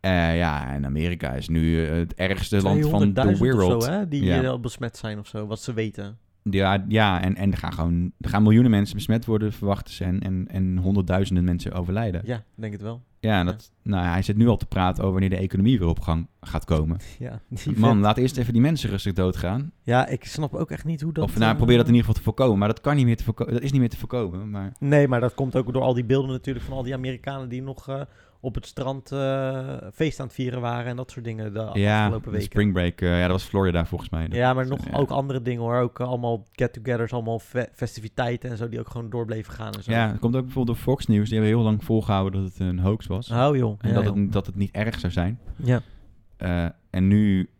Eh, ja, en Amerika is nu eh, het ergste land van de 200.000 wereld. of zo, hè? Die Ja. eh, al besmet zijn of zo, wat ze weten. ja, ja, en, en er, gaan gewoon, er gaan miljoenen mensen besmet worden, verwachten ze, en, en, en honderdduizenden mensen overlijden. Ja, Ja, ik denk het wel. <laughs> en dat, Nou, hij zit nu al te praten over wanneer de economie weer op gang gaat komen. Ja, die Man, vent- laat eerst even die mensen rustig doodgaan. Ja, ik snap ook echt niet hoe dat... of nou, eh, probeer dat in ieder geval te voorkomen. Maar dat kan niet meer te voorkomen. Dat is niet meer te voorkomen. Maar Nee, maar dat komt ook door al die beelden natuurlijk van al die Amerikanen... die nog eh, op het strand eh, feest aan het vieren waren en dat soort dingen de ja, afgelopen de weken. springbreak. eh, ja, dat was Florida volgens mij. Dat- Ja, maar nog ja. ook andere dingen hoor. Ook eh, allemaal get-togethers, allemaal fe- festiviteiten en zo, die ook gewoon door bleven gaan en zo. Ja, dat komt ook bijvoorbeeld door Fox News. Die hebben heel lang volgehouden dat het een hoax was. Oh joh. en ja, dat, joh. het, dat het niet erg zou zijn. ja. Eh, en nu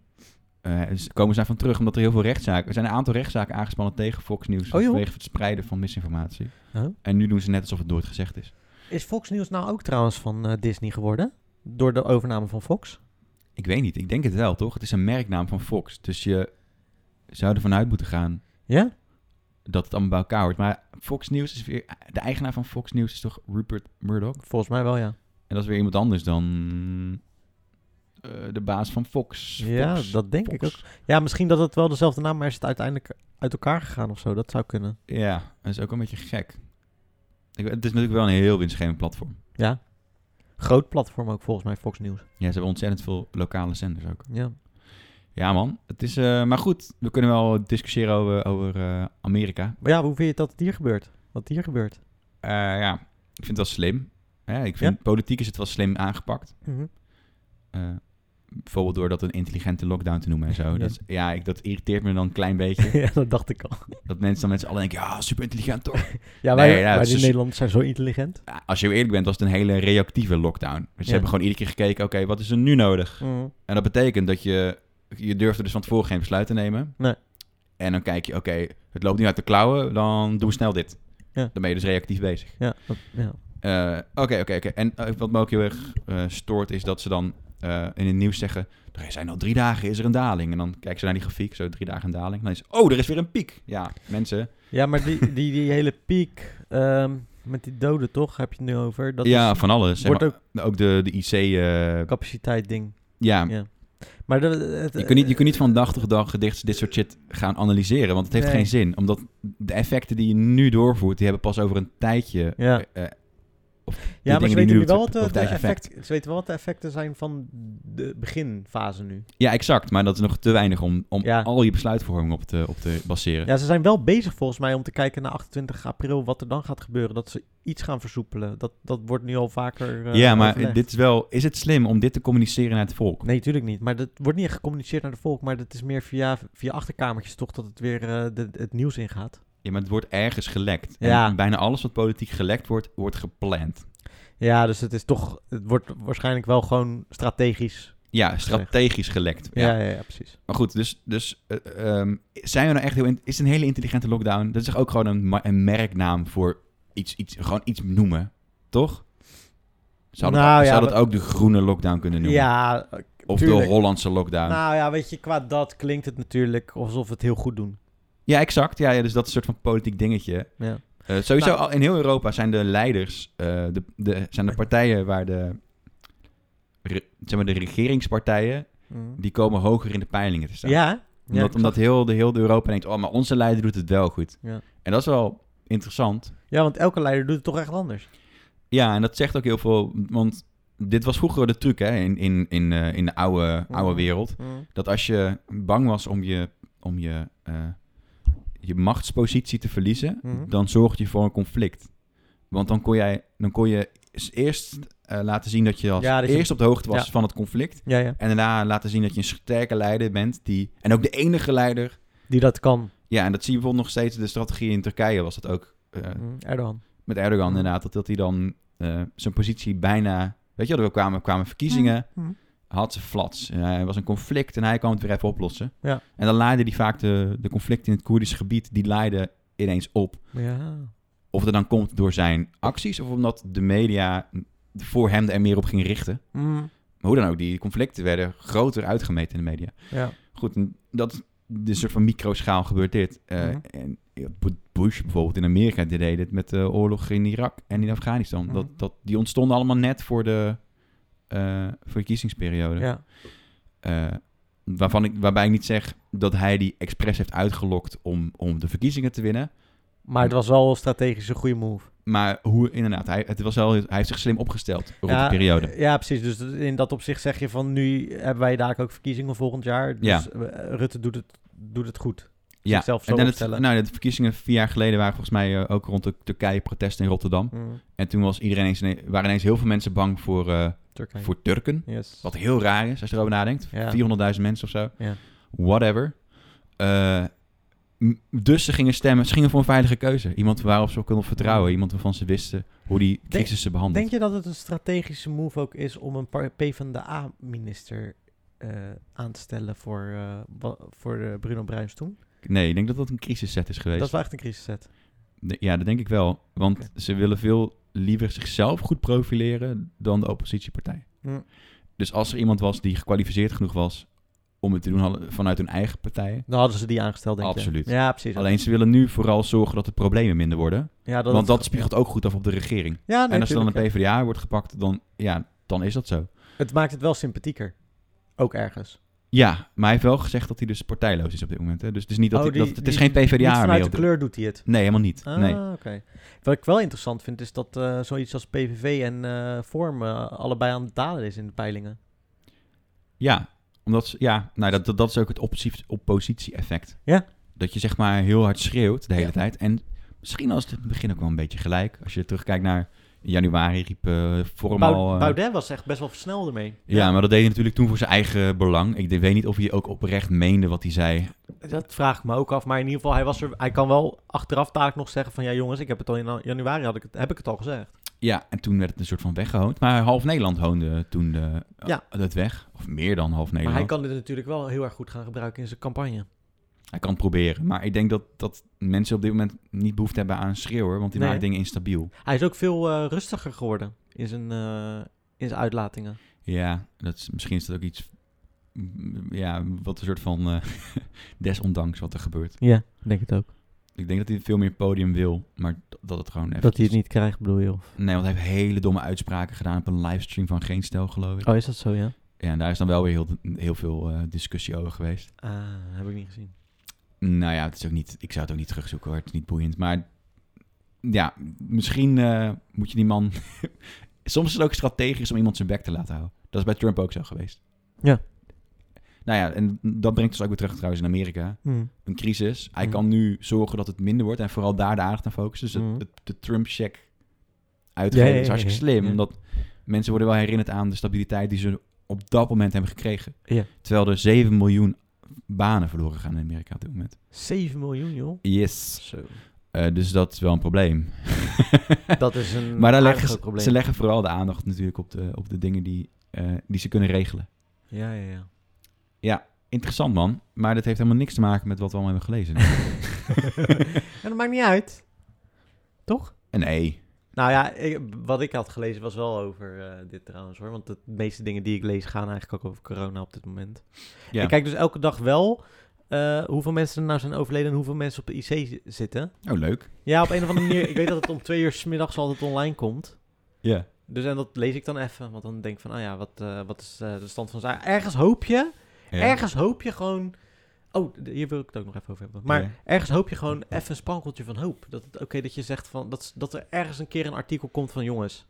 eh, is- komen ze daarvan terug omdat er heel veel rechtszaken... Er zijn een aantal rechtszaken aangespannen tegen Fox News... Oh, joh. vanwege het spreiden van misinformatie. Oh. En nu doen ze net alsof het nooit gezegd is. Is Fox News nou ook trouwens van eh, Disney geworden? Door de overname van Fox? Ik weet niet. Ik denk het wel, toch? Het is een merknaam van Fox. Dus je zou ervan uit moeten gaan Ja? dat het allemaal bij elkaar hoort. Maar Fox News is weer... De eigenaar van Fox News is toch Rupert Murdoch? Volgens mij wel, ja. En dat is weer iemand anders dan eh, de baas van Fox. Ja, Fox. dat denk ik Fox. ook. Ja, misschien dat het wel dezelfde naam, maar is het uiteindelijk uit elkaar gegaan of zo. Dat zou kunnen. Ja, dat is ook een beetje gek. Ik, weet- het is natuurlijk wel een heel winstgevend platform. Ja. Groot platform ook volgens mij, Fox News. Ja, ze hebben ontzettend veel lokale zenders ook. Ja. Ja man, het is... eh, maar goed, we kunnen wel discussiëren over, over eh, Amerika. Maar ja, hoe vind je het dat het hier gebeurt? Wat hier gebeurt? Eh, ja, ik vind het wel slim. Hè, ik vind, Politiek is het wel slim aangepakt. Mhm. Eh, bijvoorbeeld door dat een intelligente lockdown te <laughs> noemen en zo. Ja. Ja, dat, is- ja ik, dat irriteert me dan een klein <laughs> beetje. <laughs> ja, dat dacht ik al. dat mensen dan met z'n allen denken, ja, super intelligent toch? Ja, wij, Nee, ja, wij het in is- Nederland zijn zo intelligent. Ja, Als je heel eerlijk bent, was het een hele reactieve lockdown. Dus ze Ja. hebben gewoon iedere keer gekeken, oké, wat is er nu nodig? En dat betekent dat je, je durfde dus van tevoren geen besluit te nemen. Nee. En dan kijk je, oké, het loopt nu uit de klauwen, dan doen we snel dit. Ja. Dan ben je dus reactief bezig. Ja, dat- ja. Eh, Oké, oké, oké. En eh, wat me ook heel erg eh, stoort is dat ze dan eh, in het nieuws zeggen... Er zijn al drie dagen, is er een daling. En dan kijken ze naar die grafiek, zo drie dagen een daling. En dan is oh, er is weer een piek. Ja, mensen. ja maar die, die, die hele piek ehm, met die doden toch, heb je het nu over. Dat ja, is van alles. Zeg wordt maar, ook de, de IC... eh, een capaciteit ding. ja, Ja. Maar de, het, je kunt, niet, je kunt niet van dag tot dag dit, dit soort shit gaan analyseren. Want het heeft Nee. geen zin. Omdat de effecten die je nu doorvoert, die hebben pas over een tijdje... Ja. eh, eh, of de Ja, dingen maar ze die weten, nu doet, wel wat of de, het de eigen effect. effect, ze weten wel wat de effecten zijn van de beginfase nu. Ja, exact. Maar dat is nog te weinig om, om Ja. al je besluitvorming op te, op te baseren. Ja, ze zijn wel bezig volgens mij om te kijken naar 28 april wat er dan gaat gebeuren. Dat ze iets gaan versoepelen. Dat, dat wordt nu al vaker. eh, ja, maar overlegd. dit is wel. Is het slim om dit te communiceren naar het volk? Nee, natuurlijk niet. Maar dat wordt niet echt gecommuniceerd naar de volk. Maar dat is meer via, via achterkamertjes toch dat het weer eh, de, het nieuws ingaat. Ja, maar het wordt ergens gelekt. Ja. En bijna alles wat politiek gelekt wordt, wordt gepland. Ja, dus het is toch. Het wordt waarschijnlijk wel gewoon strategisch. Ja, strategisch gelekt. Ja. Ja, ja, ja, precies. Maar goed, dus, dus eh, ehm, zijn we nou echt heel. in- Is een hele intelligente lockdown? Dat is toch ook gewoon een, ma- een merknaam voor iets, iets. Gewoon iets noemen, toch? Zou dat, Nou ook- ja, zou dat maar- ook de groene lockdown kunnen noemen? Ja, eh, of tuurlijk. de Hollandse lockdown? nou ja, weet je, qua dat klinkt het natuurlijk alsof we het heel goed doen. Ja, exact. Ja, ja, dus dat is een soort van politiek dingetje. Ja. Eh, sowieso Nou- al in heel Europa zijn de leiders, eh, de, de, zijn de partijen waar de, re- zeg maar de regeringspartijen, die komen hoger in de peilingen te staan. Ja, hè? ja, omdat ik omdat zag- heel, de, heel de Europa denkt, oh, maar onze leider doet het wel goed. Ja. En dat is wel interessant. ja, want elke leider doet het toch echt anders. Ja, en dat zegt ook heel veel, want dit was vroeger de truc hè, in, in, in, eh, in de oude, oude Mhm. wereld. Dat als je bang was om je, om je, eh, je machtspositie te verliezen, Mhm. dan zorgde je voor een conflict. Want dan kon, jij, dan kon je s- eerst eh, laten zien dat je als Ja, dat je- eerst op de hoogte was Ja. van het conflict. Ja, ja. En daarna laten zien dat je een sterke leider bent. Die, en ook de enige leider. Die dat kan. Ja, en dat zie je bijvoorbeeld nog steeds in de strategie in Turkije. Was dat ook eh, Mm, Erdogan. met Erdogan Hm. inderdaad. Dat, dat hij dan eh, zijn positie bijna... Weet je wel, er kwamen, kwamen verkiezingen. Mhm. Had ze flats. En hij- Er was een conflict en hij kwam het weer even oplossen. Ja. En dan leidde hij vaak de, de conflicten in het Koerdische gebied... die leidden ineens op Ja. Of dat dan komt door zijn acties of omdat de media voor hem er meer op ging richten. Mm. Maar hoe dan ook, die conflicten werden groter uitgemeten in de media. ja. Goed, en dat is dus een soort van microschaal gebeurt dit. Eh, Mhm. En Bush bijvoorbeeld in Amerika die deed het met de oorlog in Irak en in Afghanistan. Mhm. dat, dat, die ontstonden allemaal net voor de, eh, voor de kiezingsperiode. ja. Eh, waarvan ik, waarbij ik niet zeg dat hij die expres heeft uitgelokt om, om de verkiezingen te winnen. Maar het was wel strategisch een goede move. Maar hoe, inderdaad, hij, het was wel, hij heeft zich slim opgesteld rond ja, die periode. eh, Ja, precies. Dus dat- in dat opzicht zeg je van nu hebben wij daar ook verkiezingen volgend jaar. Dus Ja. eh, Rutte doet het, doet het goed. Ja, zichzelf zo en dan het, opstellen. nou, de verkiezingen vier jaar geleden waren volgens mij eh, ook rond de Turkije-protesten in Rotterdam. Mm. En toen was iedereen ineens, waren ineens heel veel mensen bang voor, eh, Turkije. voor Turken. Yes. Wat heel raar is als je erover nadenkt. Ja. 400.000 mensen of zo. Ja. Whatever. Eh, m- dus ze gingen stemmen. Ze gingen voor een veilige keuze. Iemand waarop ze konden vertrouwen. Iemand waarvan ze wisten hoe die crisis ze behandelt. Denk je dat het een strategische move ook is om een par- PvdA-minister eh aan te stellen voor, eh, wa- voor eh, Bruno Bruins toen? Nee, ik denk dat dat een crisisset is geweest. Dat is wel echt een crisiszet. De- Ja, dat denk ik wel. Want Oké. ze willen veel liever zichzelf goed profileren dan de oppositiepartij. Hm. Dus als er iemand was die gekwalificeerd genoeg was om het te doen hadden- vanuit hun eigen partijen. Dan hadden ze die aangesteld, denk Absoluut. je. Ja, precies. Alleen ze willen nu vooral zorgen dat de problemen minder worden. ja, dat want dat spiegelt ook goed af op de regering. Ja, nee, en als er dan een tuurlijk, PvdA wordt gepakt, dan, ja, dan is dat zo. ja. Het maakt het wel sympathieker. Ook ergens. Ja, maar hij heeft wel gezegd dat hij dus partijloos is op dit moment. Hè? Dus het is, niet dat Oh, hij- die- dat, het is die- geen Niet PvdA meer. vanuit op de dit- kleur doet hij het. Nee, helemaal niet. Ah, nee. oké. Wat ik wel interessant vind, is dat eh, zoiets als PVV en eh Vorm eh, allebei aan het dalen is in de peilingen. Ja, omdat ze- ja, nou, dat, dat, dat is ook het opposi- oppositie-effect. Ja. Dat je zeg maar heel hard schreeuwt de hele Ja. tijd. En misschien als het in het begin ook wel een beetje gelijk. Als je terugkijkt naar januari riep eh Forum Bau- al, eh, Baudet was echt best wel snel ermee. ja, maar dat deed hij natuurlijk toen voor zijn eigen belang. Ik de- weet niet of hij ook oprecht meende wat hij zei. Dat vraag ik me ook af. Maar in ieder geval, hij, was er, hij kan wel achteraf taak nog zeggen van... Ja jongens, ik heb het al in januari had ik het, heb ik het al gezegd. Ja, en toen werd het een soort van weggehoond. Maar half Nederland hoonde toen de, Ja. dat weg. Of meer dan half Maar hij Nederland. kan dit natuurlijk wel heel erg goed gaan gebruiken in zijn campagne. Hij kan het proberen. Maar ik denk dat, dat mensen op dit moment niet behoefte hebben aan een schreeuwer, want die Nee. maakt dingen instabiel. Hij is ook veel eh, rustiger geworden in zijn, eh, in zijn uitlatingen. Ja, dat is, misschien is dat ook iets, mm, ja, wat een soort van eh, <laughs> desondanks wat er gebeurt. Ja, denk het ook. Ik denk dat hij veel meer podium wil, maar d- dat het gewoon even... Dat hij het niet krijgt, bedoel je? Of... Nee, want hij heeft hele domme uitspraken gedaan op een livestream van Geen Stijl, geloof ik. Oh, is dat zo, ja? Ja, en daar is dan wel weer heel, heel veel eh, discussie over geweest. Ah, heb ik niet gezien. Nou ja, het is ook niet, ik zou het ook niet terugzoeken hoor. Het is niet boeiend. Maar ja, misschien eh, moet je die man. <laughs> Soms is het ook strategisch om iemand zijn bek te laten houden. Dat is bij Trump ook zo geweest. Ja. Nou ja, en dat brengt ons ook weer terug trouwens in Amerika. Hmm. Een crisis. Hij Mhm. kan nu zorgen dat het minder wordt en vooral daar de aandacht aan focussen. Dus het- Mhm. het, de Trump-check uitgeven Ja, ja, is ja, hartstikke ja, slim. ja. Omdat mensen worden wel herinnerd aan de stabiliteit die ze op dat moment hebben gekregen. Ja. Terwijl er 7 miljoen banen verloren gaan in Amerika op dit moment. 7 miljoen, joh. Yes. Zo. Eh, dus dat is wel een probleem. <laughs> Dat is een maar daar aardig leggen groot ze, probleem. ze leggen vooral de aandacht natuurlijk op de, op de dingen die, eh, die ze kunnen regelen. Ja, ja, <laughs> ja. Interessant man, maar dat heeft helemaal niks te maken met wat we allemaal hebben <laughs> gelezen. En dat maakt niet uit. nee, Nou ja, ik- wat ik had gelezen was wel over eh, dit trouwens hoor. Want de meeste dingen die ik lees gaan eigenlijk ook over corona op dit moment. ja. Ik kijk dus elke dag wel eh, hoeveel mensen er nou zijn overleden en hoeveel mensen op de IC zi- zitten. oh leuk. Ja, op een of andere manier. Ik weet dat het om twee uur 's middags altijd online komt. Ja. Dus en dat lees ik dan even. Want dan denk ik van, ah ja, wat, eh, wat is eh, de stand van zaken? Ergens hoop je Ergens hoop je gewoon. Oh, d- hier wil ik het ook nog even over hebben. Maar Ja. ergens hoop je gewoon even een sprankeltje van hoop. Dat het oké dat je zegt van dat, s- dat er ergens een keer een artikel komt van jongens.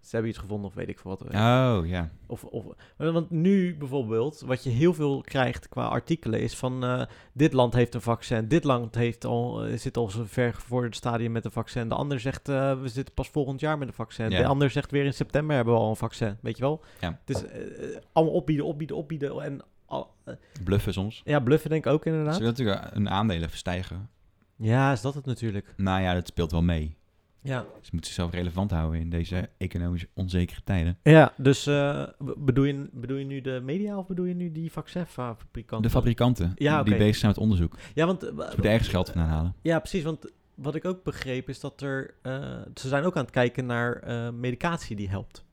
Ze hebben iets gevonden of weet ik veel wat. Oh ja. Of, of, want nu bijvoorbeeld, wat je heel veel krijgt qua artikelen, is van eh, dit land heeft een vaccin, dit land heeft al, eh, zit al zo ver voor het stadium met een vaccin. De ander zegt eh, we zitten pas volgend jaar met een vaccin. Ja. De ander zegt weer in september hebben we al een vaccin. Weet je wel? Ja. Het is eh, eh, allemaal opbieden, opbieden, opbieden. En al- eh, Bluffen soms. ja, bluffen denk ik ook Ze inderdaad. willen natuurlijk een aandelen verstijgen. Ja, is dat het natuurlijk. Nou ja, dat speelt wel mee. Ja, Ze moeten zichzelf relevant houden in deze economisch onzekere tijden. ja dus eh, b- bedoel, je, bedoel je nu de media of bedoel je nu die vaccinfabrikanten? De fabrikanten Ja, die oké. bezig zijn met onderzoek. Ze Ja, want... eh, w- moeten ergens geld vandaan halen. Ja, precies. Want wat ik ook begreep is dat er. eh, ze zijn ook aan het kijken naar eh, medicatie die helpt.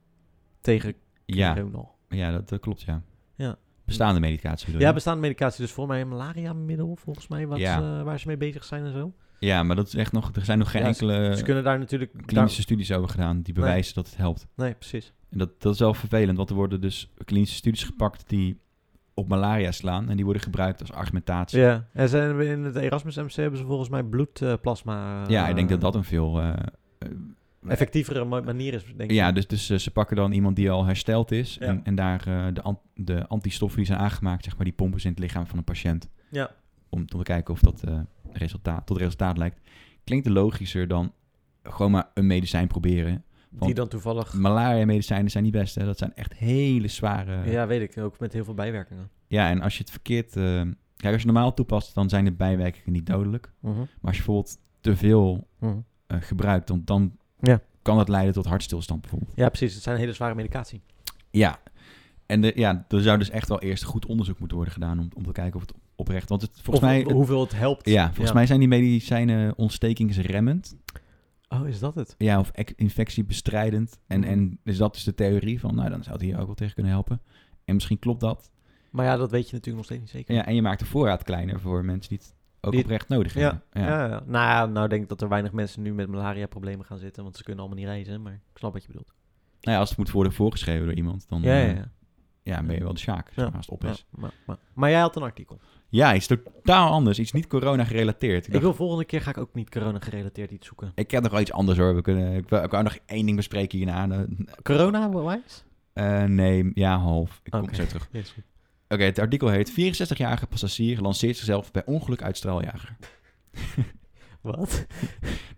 Tegen Ja, corona. ja dat, dat klopt ja. Ja. Bestaande medicatie bedoel je? Ja, bestaande medicatie. Dus volgens mij een malaria-middel, volgens mij. Wat Ja. ze- waar ze mee bezig zijn en zo. Ja, maar dat is echt nog, er zijn nog geen Ja, ze- enkele ze kunnen daar natuurlijk. klinische studies over gedaan die bewijzen dat het helpt. daar- nee, precies. En dat, dat is wel vervelend, want er worden dus klinische studies gepakt die op malaria slaan en die worden gebruikt als argumentatie. Ja, Ja. En zijn we in het Erasmus MC hebben ze volgens mij bloedplasma. ik denk dat dat een veel. eh, eh, Effectievere ma- manier is, denk ik. ja, dus, dus eh, ze pakken dan iemand die al hersteld is Ja. en, en daar eh, de, an- de antistoffen die zijn aangemaakt, zeg maar, die pompen ze in het lichaam van een patiënt. Ja. Om te kijken of dat eh, resultaat, tot resultaat lijkt. Klinkt logischer dan gewoon maar een medicijn proberen die want- dan toevallig. Malaria-medicijnen zijn niet best, hè. Dat zijn echt hele zware... Ja, Ja, weet ik. Ook met heel veel bijwerkingen. en als je het verkeerd... eh, Kijk, als je normaal toepast, dan zijn de bijwerkingen niet dodelijk. Maar als je bijvoorbeeld te veel eh, gebruikt, dan, dan Ja. kan dat leiden tot hartstilstand bijvoorbeeld. Ja, precies. Het zijn hele zware medicatie. Ja. En de, ja, er zou dus echt wel eerst goed onderzoek moeten worden gedaan om, om te kijken of het oprecht... Want het, volgens Of mij... het- hoeveel het helpt. ja, volgens Ja. mij zijn die medicijnen ontstekingsremmend. Oh, is dat het? Ja, of ec- infectiebestrijdend. En, Mhm. en dus dat is de theorie van, nou, dan zou het hier ook wel tegen kunnen helpen. En misschien klopt dat. Maar ja, dat weet je natuurlijk nog steeds niet zeker. Ja, en je maakt de voorraad kleiner voor mensen die het ook Die- oprecht nodig hebben. Ja. Ja, ja. Nou, ja, nou denk ik dat er weinig mensen nu met malaria-problemen gaan zitten, want ze kunnen allemaal niet reizen. Maar ik snap wat je bedoelt. Nou ja, als het moet worden voorgeschreven door iemand, dan Ja, ja, eh, ja. ja, ben je wel de sjaak zeg Ja. maar, als het op Ja, is. maar, maar, maar jij had een artikel. Ja. iets totaal anders. Iets niet corona gerelateerd. Ik, Ik dacht, wil volgende keer ga ik ook niet corona-gerelateerd iets zoeken. ik heb nog wel iets anders hoor. We kunnen, ik, wil, ik wou nog één ding bespreken hierna. Eh, Corona-wijs? eh, nee, ja, half. Ik kom Oké. zo terug. Yes. Oké, het artikel heet 64-jarige passagier lanceert zichzelf bij ongeluk uit straaljager. Wat?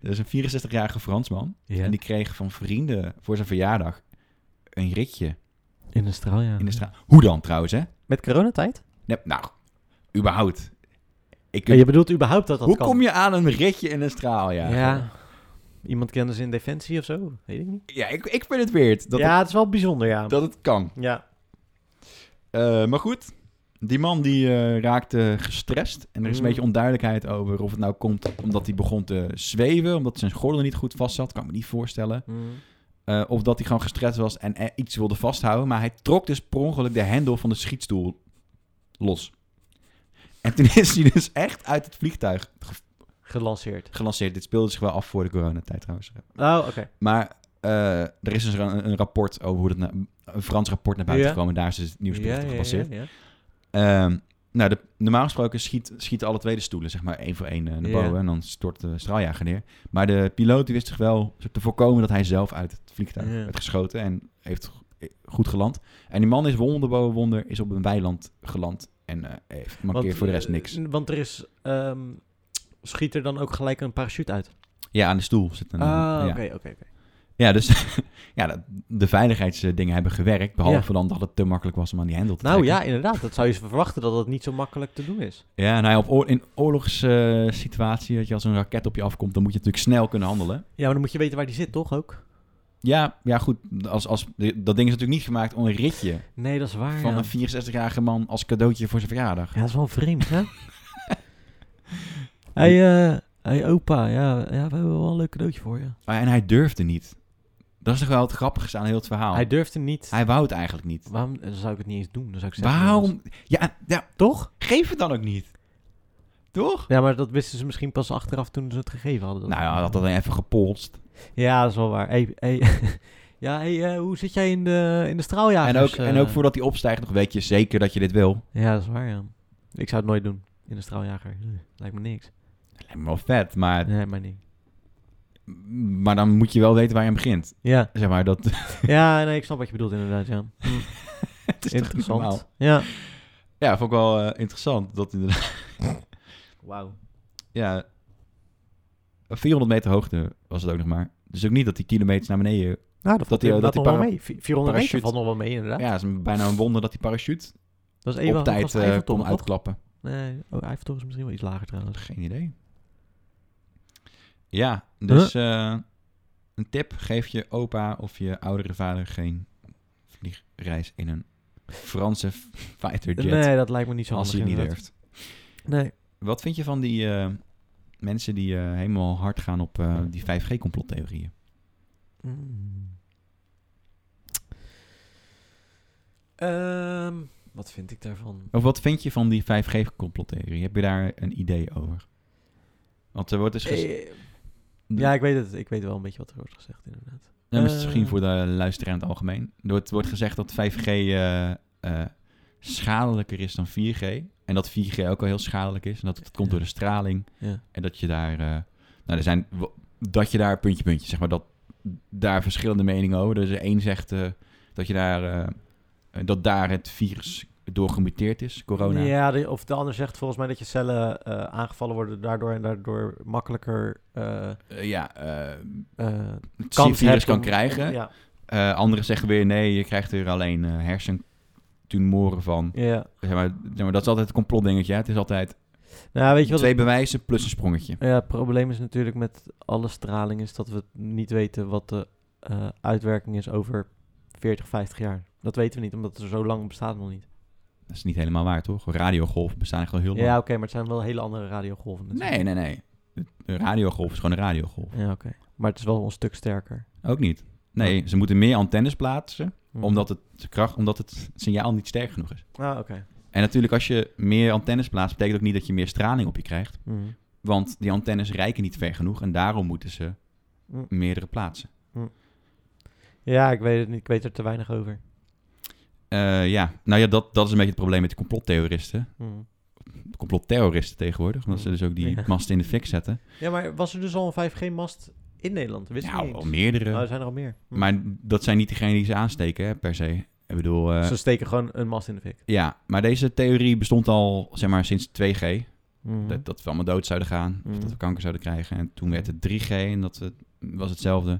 Dat is een 64-jarige Fransman. Ja. En die kreeg van vrienden voor zijn verjaardag een ritje In de straal, ja. in de straat. Hoe dan trouwens, hè? Met coronatijd? Nee, nou, überhaupt. Ik, Ja, Oh, je bedoelt überhaupt dat dat hoe kan? kom je aan een ritje in een straal? Ja, Ja. Iemand kende ze in defensie of zo? Weet ik niet. ja ik, ik vind het weird dat, ja, het is wel bijzonder, ja. het, dat het kan. Ja. Eh, maar goed, Die man die eh, raakte gestrest. En er is een Mm. beetje onduidelijkheid over of het nou komt omdat hij begon te zweven. Omdat zijn gordel niet goed vast zat. Kan ik me niet voorstellen. Mm. Eh, of dat hij gewoon gestrest was en eh, iets wilde vasthouden. Maar hij trok dus per ongeluk de hendel van de schietstoel los. En toen is hij dus echt uit het vliegtuig ge- Gelanceerd. gelanceerd. Dit speelde zich wel af voor de coronatijd trouwens. Oh, oké. Maar eh, er is dus een, een rapport over hoe dat... na- een Frans rapport naar buiten Ja. gekomen. Daar is dus het nieuwsbericht op gebaseerd. ja, ja. Ehm, nou, de, normaal gesproken schiet, schieten alle twee de stoelen, zeg maar, één voor één eh, naar Ja. boven. En dan stort de straaljager neer. Maar de piloot die wist zich wel soort te voorkomen dat hij zelf uit het vliegtuig Ja. werd geschoten. En heeft go- eh, goed geland. En die man is wonder boven wonder, is op een weiland geland. En eh, heeft Want, mankeert voor de rest eh, niks. want er is... ehm, schiet er dan ook gelijk een parachute uit? Ja, aan de stoel zit een... Ah, ja. oké, oké, oké. ja, dus <laughs> ja, dat- de veiligheidsdingen hebben gewerkt. Behalve dan dat het te makkelijk was om aan die hendel te Nou trekken. ja, inderdaad. Dat zou je verwachten dat dat niet zo makkelijk te doen is. Ja, nou ja, op oor- in oorlogssituatie, eh, dat je als een raket op je afkomt, dan moet je natuurlijk snel kunnen handelen. Ja, maar dan moet je weten waar die zit, toch ook? Ja, ja goed. Als, als, dat ding is natuurlijk niet gemaakt om een ritje Nee, dat is waar. van ja. een 64-jarige man als cadeautje voor zijn verjaardag. Ja, dat is wel vreemd, <laughs> hè? hey, eh hey, opa, ja, ja, we hebben wel een leuk cadeautje voor je. Maar- En hij durfde niet. Dat is toch wel het grappigste aan heel het verhaal. Hij Hij, durfde niet. wou het eigenlijk niet. Waarom dan zou ik het niet eens doen? Dan zou ik zeggen, jongens, Waarom? Ja, ja, Toch? geef het dan ook niet. Toch? Ja, maar dat wisten ze misschien pas achteraf toen ze het gegeven hadden. Nou ja, hij had dat dan even gepolst. Ja, dat is wel waar. Hey, <laughs> hey, ja, hey, eh, hoe zit jij in de, in de straaljagers? en, ook, en eh? ook voordat hij opstijgt, nog weet je zeker dat je dit wil. Ja, dat is waar, ja. Ik zou het nooit doen. In de straaljager. Ugh, Lijkt me niks. Lijkt me wel vet, maar, Nee, maar niet. maar dan moet je wel weten waar je aan begint. Ja, Zeg maar, dat <laughs> ja nee, ik snap wat je bedoelt inderdaad, ja. Hm, het is toch niet normaal? Interessant. Ja. Ja, vond ik wel eh, interessant. Dat inderdaad Wauw. ja, 400 meter hoogte was het ook nog maar. Dus ook niet dat die kilometers naar beneden... Nou, dat, Dat valt die- inderdaad dat die nog wel para- mee. Vi- 400 meter parachute- valt nog wel mee, inderdaad. Ja, het is een- bijna een wonder dat die parachute Dat is even op tijd eh, kon uitklappen. Nee, oh, Eiffeltoren is misschien wel iets lager trouwens. Geen idee. Ja, dus eh, een tip. Geef je opa of je oudere vader geen vliegreis in een Franse fighter jet. Nee, dat lijkt me niet zo als handig. hij het niet inderdaad. durft. Nee. Wat vind je van die eh, mensen die eh, helemaal hard gaan op eh, die 5G-complottheorieën? Mm. Ehm, wat vind ik daarvan? Of wat vind je van die 5G-complottheorie? Heb je daar een idee over? Want er wordt dus gezegd... Eh, ja, ik weet het. Ik weet wel een beetje wat er wordt gezegd, inderdaad. Ja, maar het is misschien eh. voor de luisteraar in het algemeen. Er wordt, wordt gezegd dat 5G eh, eh, schadelijker is dan 4G. En dat 4G ook al heel schadelijk is. En dat het komt door de straling. Ja. En dat je daar... eh, nou, er zijn... w- Dat je daar puntje, puntje, zeg maar. Dat daar verschillende meningen over. Dus één zegt eh, dat je daar... eh, dat daar het virus door gemuteerd is, corona. Ja, de- of de ander zegt volgens mij dat je cellen eh, aangevallen worden daardoor en daardoor makkelijker eh, Eh, ja eh, eh, het kans virus hebt kan om- krijgen. Ja, Eh, anderen zeggen weer nee, je krijgt er alleen eh, hersentumoren van. ja. Zeg maar, zeg maar, dat is altijd een complotdingetje. hè. Het is altijd Nou, weet je wat twee bewijzen plus een sprongetje. Ja, het probleem is natuurlijk met alle straling is dat we niet weten wat de eh, uitwerking is over 40, 50 jaar. Dat weten we niet, omdat het er zo lang bestaat nog niet. Dat is niet helemaal waar, toch? Radiogolven bestaan echt al heel lang. Ja, oké, maar het zijn wel hele andere radiogolven. natuurlijk. nee, nee, nee. Een radiogolf is gewoon een radiogolf. Ja, oké. Maar het is wel een stuk sterker. Ook niet. Nee, ze moeten meer antennes plaatsen, Hm. omdat het, de kracht, omdat het signaal niet sterk genoeg is. Ah, oké. En natuurlijk, als je meer antennes plaatst, betekent ook niet dat je meer straling op je krijgt. Hm. Want die antennes reiken niet ver genoeg en daarom moeten ze Hm. meerdere plaatsen. Ja, ik weet het niet. Ik weet er te weinig over. Eh, ja, nou ja, dat, dat is een beetje het probleem met de complottheoristen. Hm. De complotterroristen tegenwoordig, omdat ze dus ook die Ja. <laughs> masten in de fik zetten. Ja, maar was er dus al een 5G-mast in Nederland? Wist ik Nou, niet. al eens. meerdere. Nou, er zijn er al meer. Hm. Maar dat zijn niet degenen die ze aansteken, hè, per se. Ik bedoel, eh, Ze steken gewoon een mast in de fik. ja, maar deze theorie bestond al, zeg maar, sinds 2G. Hm. Dat, dat we allemaal dood zouden gaan, of Mhm. dat we kanker zouden krijgen. En toen werd het 3G en dat het- was hetzelfde.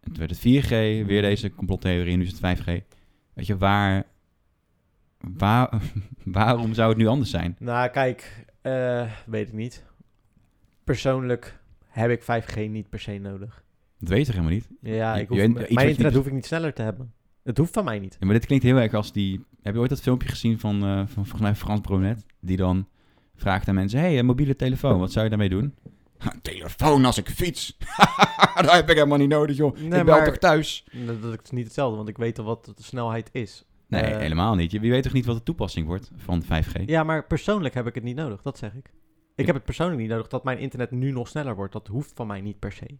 En toen werd het Mhm. 4G, weer deze complottheorie, en nu is het 5G. Weet je, waar, waar, <laughs> waarom zou het nu anders zijn? Nou, kijk, eh, weet ik niet. Persoonlijk heb ik 5G niet per se nodig. Dat weten we helemaal niet. Ja, Je- ik hoef, je weet- mijn iets wat je internet niet- hoef ik niet sneller te hebben. Het hoeft van mij niet. Ja, maar dit klinkt heel erg als die Heb je ooit dat filmpje gezien van, eh, van volgens mij Frans Bronet? Die dan vraagt aan mensen, hey, een mobiele telefoon, wat zou je daarmee doen? <laughs> Een telefoon als ik fiets? <laughs> dat heb ik helemaal niet nodig, joh. Nee, ik bel maar- toch thuis? Dat, dat is niet hetzelfde, want ik weet al wat de snelheid is. Nee, Eh, helemaal niet. Je, je weet toch niet wat de toepassing wordt van 5G? Ja, maar persoonlijk heb ik het niet nodig, dat zeg ik. Ik heb het persoonlijk niet nodig dat mijn internet nu nog sneller wordt. Dat hoeft van mij niet per se.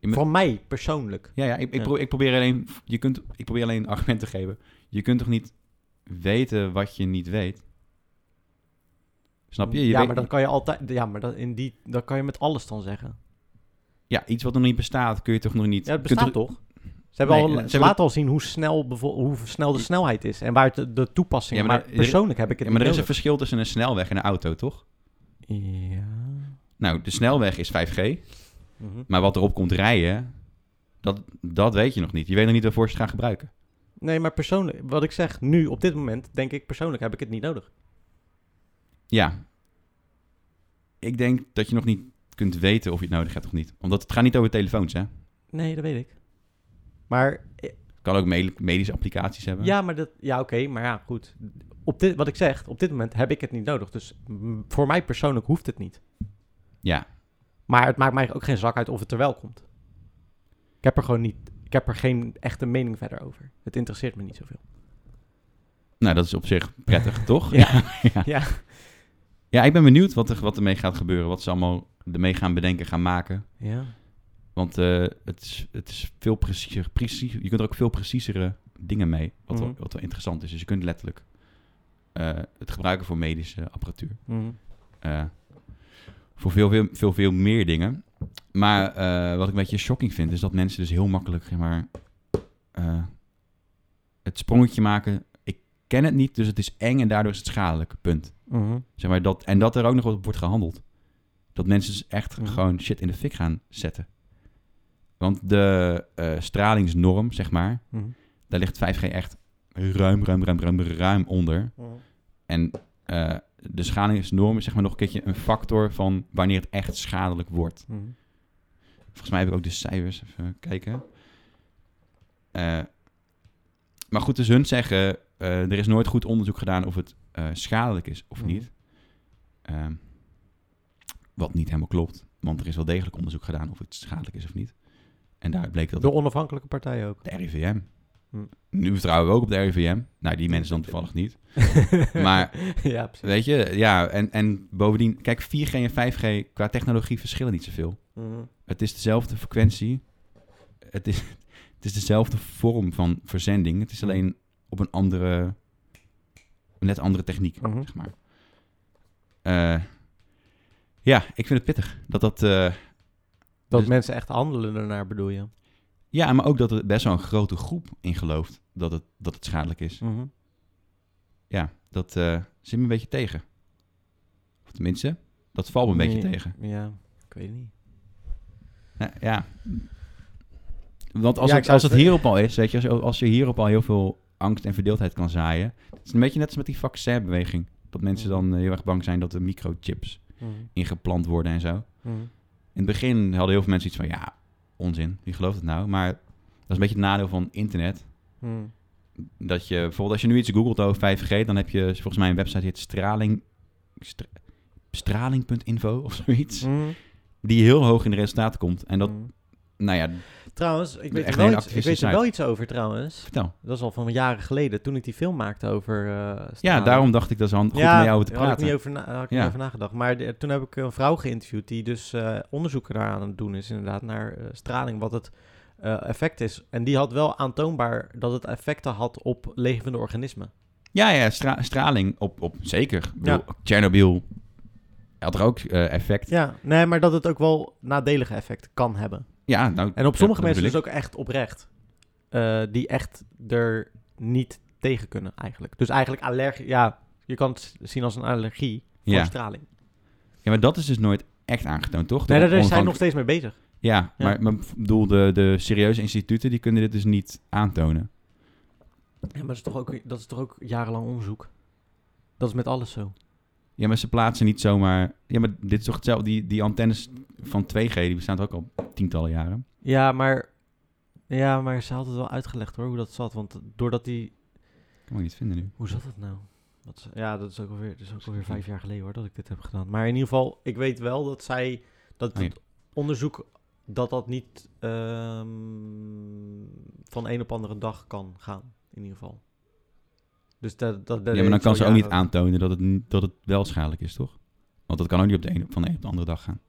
moet- Van mij persoonlijk. Ja, ja, ik, ik, Ja. pro- ik probeer alleen, je kunt, ik probeer alleen argumenten te geven. Je kunt toch niet weten wat je niet weet? Snap je? je ja, weet- maar dan kan je altijd. Ja, maar dan, in die, dan kan je met alles dan zeggen. ja, iets wat nog niet bestaat, kun je toch nog niet... Ja, kunt het bestaat er- toch? Ze, hebben Nee, al, eh, ze ze hebben laten al zien hoe snel, bevo- hoe snel de snelheid is en waar het de, de toepassing Ja, maar, maar maar er- persoonlijk heb ik het Ja, maar er niet is een verschil tussen een snelweg en een auto, toch? nodig. Ja. Nou, de snelweg is 5G, Mhm. maar wat erop komt rijden, dat, dat weet je nog niet. Je weet nog niet waarvoor ze het gaan gebruiken. Nee, maar persoonlijk, wat ik zeg nu op dit moment, denk ik persoonlijk heb ik het niet nodig. Ja. Ik denk dat je nog niet kunt weten of je het nodig hebt of niet. Omdat het gaat niet over telefoons, hè? Nee, dat weet ik. Maar eh, Het kan ook me- medische applicaties hebben. ja, maar dat, ja, oké, maar ja, goed. Op dit, wat ik zeg, op dit moment heb ik het niet nodig. Dus mm, voor mij persoonlijk hoeft het niet. Ja. Maar het maakt mij ook geen zak uit of het er wel komt. Ik heb er gewoon niet, ik heb er geen echte mening verder over. Het interesseert me niet zoveel. Nou, dat is op zich <laughs> prettig, toch? Ja. ja. Ja. Ja, ik ben benieuwd wat, er, wat ermee gaat gebeuren. Wat ze allemaal ermee gaan bedenken, gaan maken. Ja. Want eh, het, is, het is veel preciezer. precies- je kunt er ook veel preciezere dingen mee. Wat, wel, Mhm. wat wel interessant is. Dus je kunt letterlijk eh, het gebruiken voor medische apparatuur. Mhm. Eh, voor veel, veel, veel, veel meer dingen. Maar eh, wat ik een beetje shocking vind, is dat mensen dus heel makkelijk zeg maar, eh, het sprongetje maken. Ik ken het niet, dus het is eng en daardoor is het schadelijk. Punt. Mhm. Zeg maar dat, en dat er ook nog op wordt gehandeld. Dat mensen dus echt Mhm. gewoon shit in de fik gaan zetten. Want de eh, stralingsnorm, zeg maar, Mhm. daar ligt 5G echt ruim, ruim, ruim, ruim, ruim onder. En eh, de schadingsnorm is zeg maar nog een keertje een factor van wanneer het echt schadelijk wordt. Mhm. Volgens mij heb ik ook de cijfers, even kijken. Eh, maar goed, dus hun zeggen, eh, er is nooit goed onderzoek gedaan of het eh, schadelijk is of Mhm. niet. Ehm, wat niet helemaal klopt, want er is wel degelijk onderzoek gedaan of het schadelijk is of niet. En daaruit bleek dat Door onafhankelijke partijen ook. de RIVM. Hm. Nu vertrouwen we ook op de RIVM. Nou, die mensen dan toevallig <laughs> niet. Maar- <laughs> ja, precies. Weet je, ja, en, en bovendien, kijk, 4G en 5G qua technologie verschillen niet zoveel. Mhm. Het is dezelfde frequentie, het is, <laughs> het is dezelfde vorm van verzending, het is Mhm. alleen op een andere, een net andere techniek, Mhm. zeg maar. Eh, ja, ik vind het pittig dat dat, eh, Dat Dus- mensen echt handelen ernaar bedoel je. ja, maar ook dat er best wel een grote groep in gelooft dat het, dat het schadelijk is. Ja, dat eh, zit me een beetje tegen. Of tenminste, dat valt me een beetje Nee. tegen. Ja, ik weet het niet. Nou, ja. Want als, Ja, ik het, zou als het- het hierop al is, weet je, als, je- als je hierop al heel veel angst en verdeeldheid kan zaaien. Het is een beetje net als met die vaccinbeweging. Dat mensen dan eh, heel erg bang zijn dat er microchips Mhm. ingeplant worden en zo. In het begin hadden heel veel mensen iets van, ja, onzin, wie gelooft het nou? Maar dat is een beetje het nadeel van internet. Mhm. Dat je, bijvoorbeeld als je nu iets googelt over 5G, dan heb je volgens mij een website die heet straling, stra- straling.info of Mm. zoiets. Mhm. Die heel hoog in de resultaten komt. En dat, nou ja, Trouwens, ik weet, Echt er een wel hele iets, ik weet activistische er wel iets over trouwens. vertel. Dat is al van jaren geleden, toen ik die film maakte over... eh, Ja, straling. daarom dacht ik dat is hand- goed ja, om met jou over te daar had ik praten. niet over, na- had ik niet Ja. over nagedacht. Maar de- toen heb ik een vrouw geïnterviewd die dus eh onderzoeken daar aan het doen is, inderdaad, naar eh, straling, wat het eh, effect is. En die had wel aantoonbaar dat het effecten had op levende organismen. Ja, ja, stra- straling op, op zeker. Ik bedoel, Tsjernobyl eh, had er ook eh, effect. Ja, Ja, nee, maar dat het ook wel nadelige effecten kan hebben. nou, En op sommige dat mensen dus bedoel ook echt oprecht. eh, die echt er niet tegen kunnen eigenlijk. Dus eigenlijk allergie, ja, je kan het zien als een allergie voor Ja. straling. ik. ja, maar dat is dus nooit echt aangetoond, toch? Nee, Door daar zijn we nog onafhankelijk- steeds mee bezig. Ja, Ja. maar, maar ik bedoel, de, de serieuze instituten, die kunnen dit dus niet aantonen. Ja, maar dat is toch ook, dat is toch ook jarenlang onderzoek? Dat is met alles zo. Ja, maar ze plaatsen niet zomaar... Ja, maar dit is toch hetzelfde? Die, die antennes van 2G, die bestaan toch ook al tientallen jaren? Ja, maar, ja, maar ze had het wel uitgelegd hoor, hoe dat zat. Want doordat die... kan ik niet vinden nu. Hoe zat dat nou? Dat is- ja, dat is ook alweer, dat is ook alweer vijf jaar geleden hoor, dat ik dit heb gedaan. Maar in ieder geval, ik weet wel dat zij, dat Oh, ja. het onderzoek, dat dat niet ehm, van een op andere dag kan gaan, in ieder geval. Dus dat, dat, dat ja, maar dan heeft al kan ze ook niet jaren- aantonen dat het, n- dat het wel schadelijk is, toch? Want dat kan ook niet op de een, van de een op de andere dag gaan.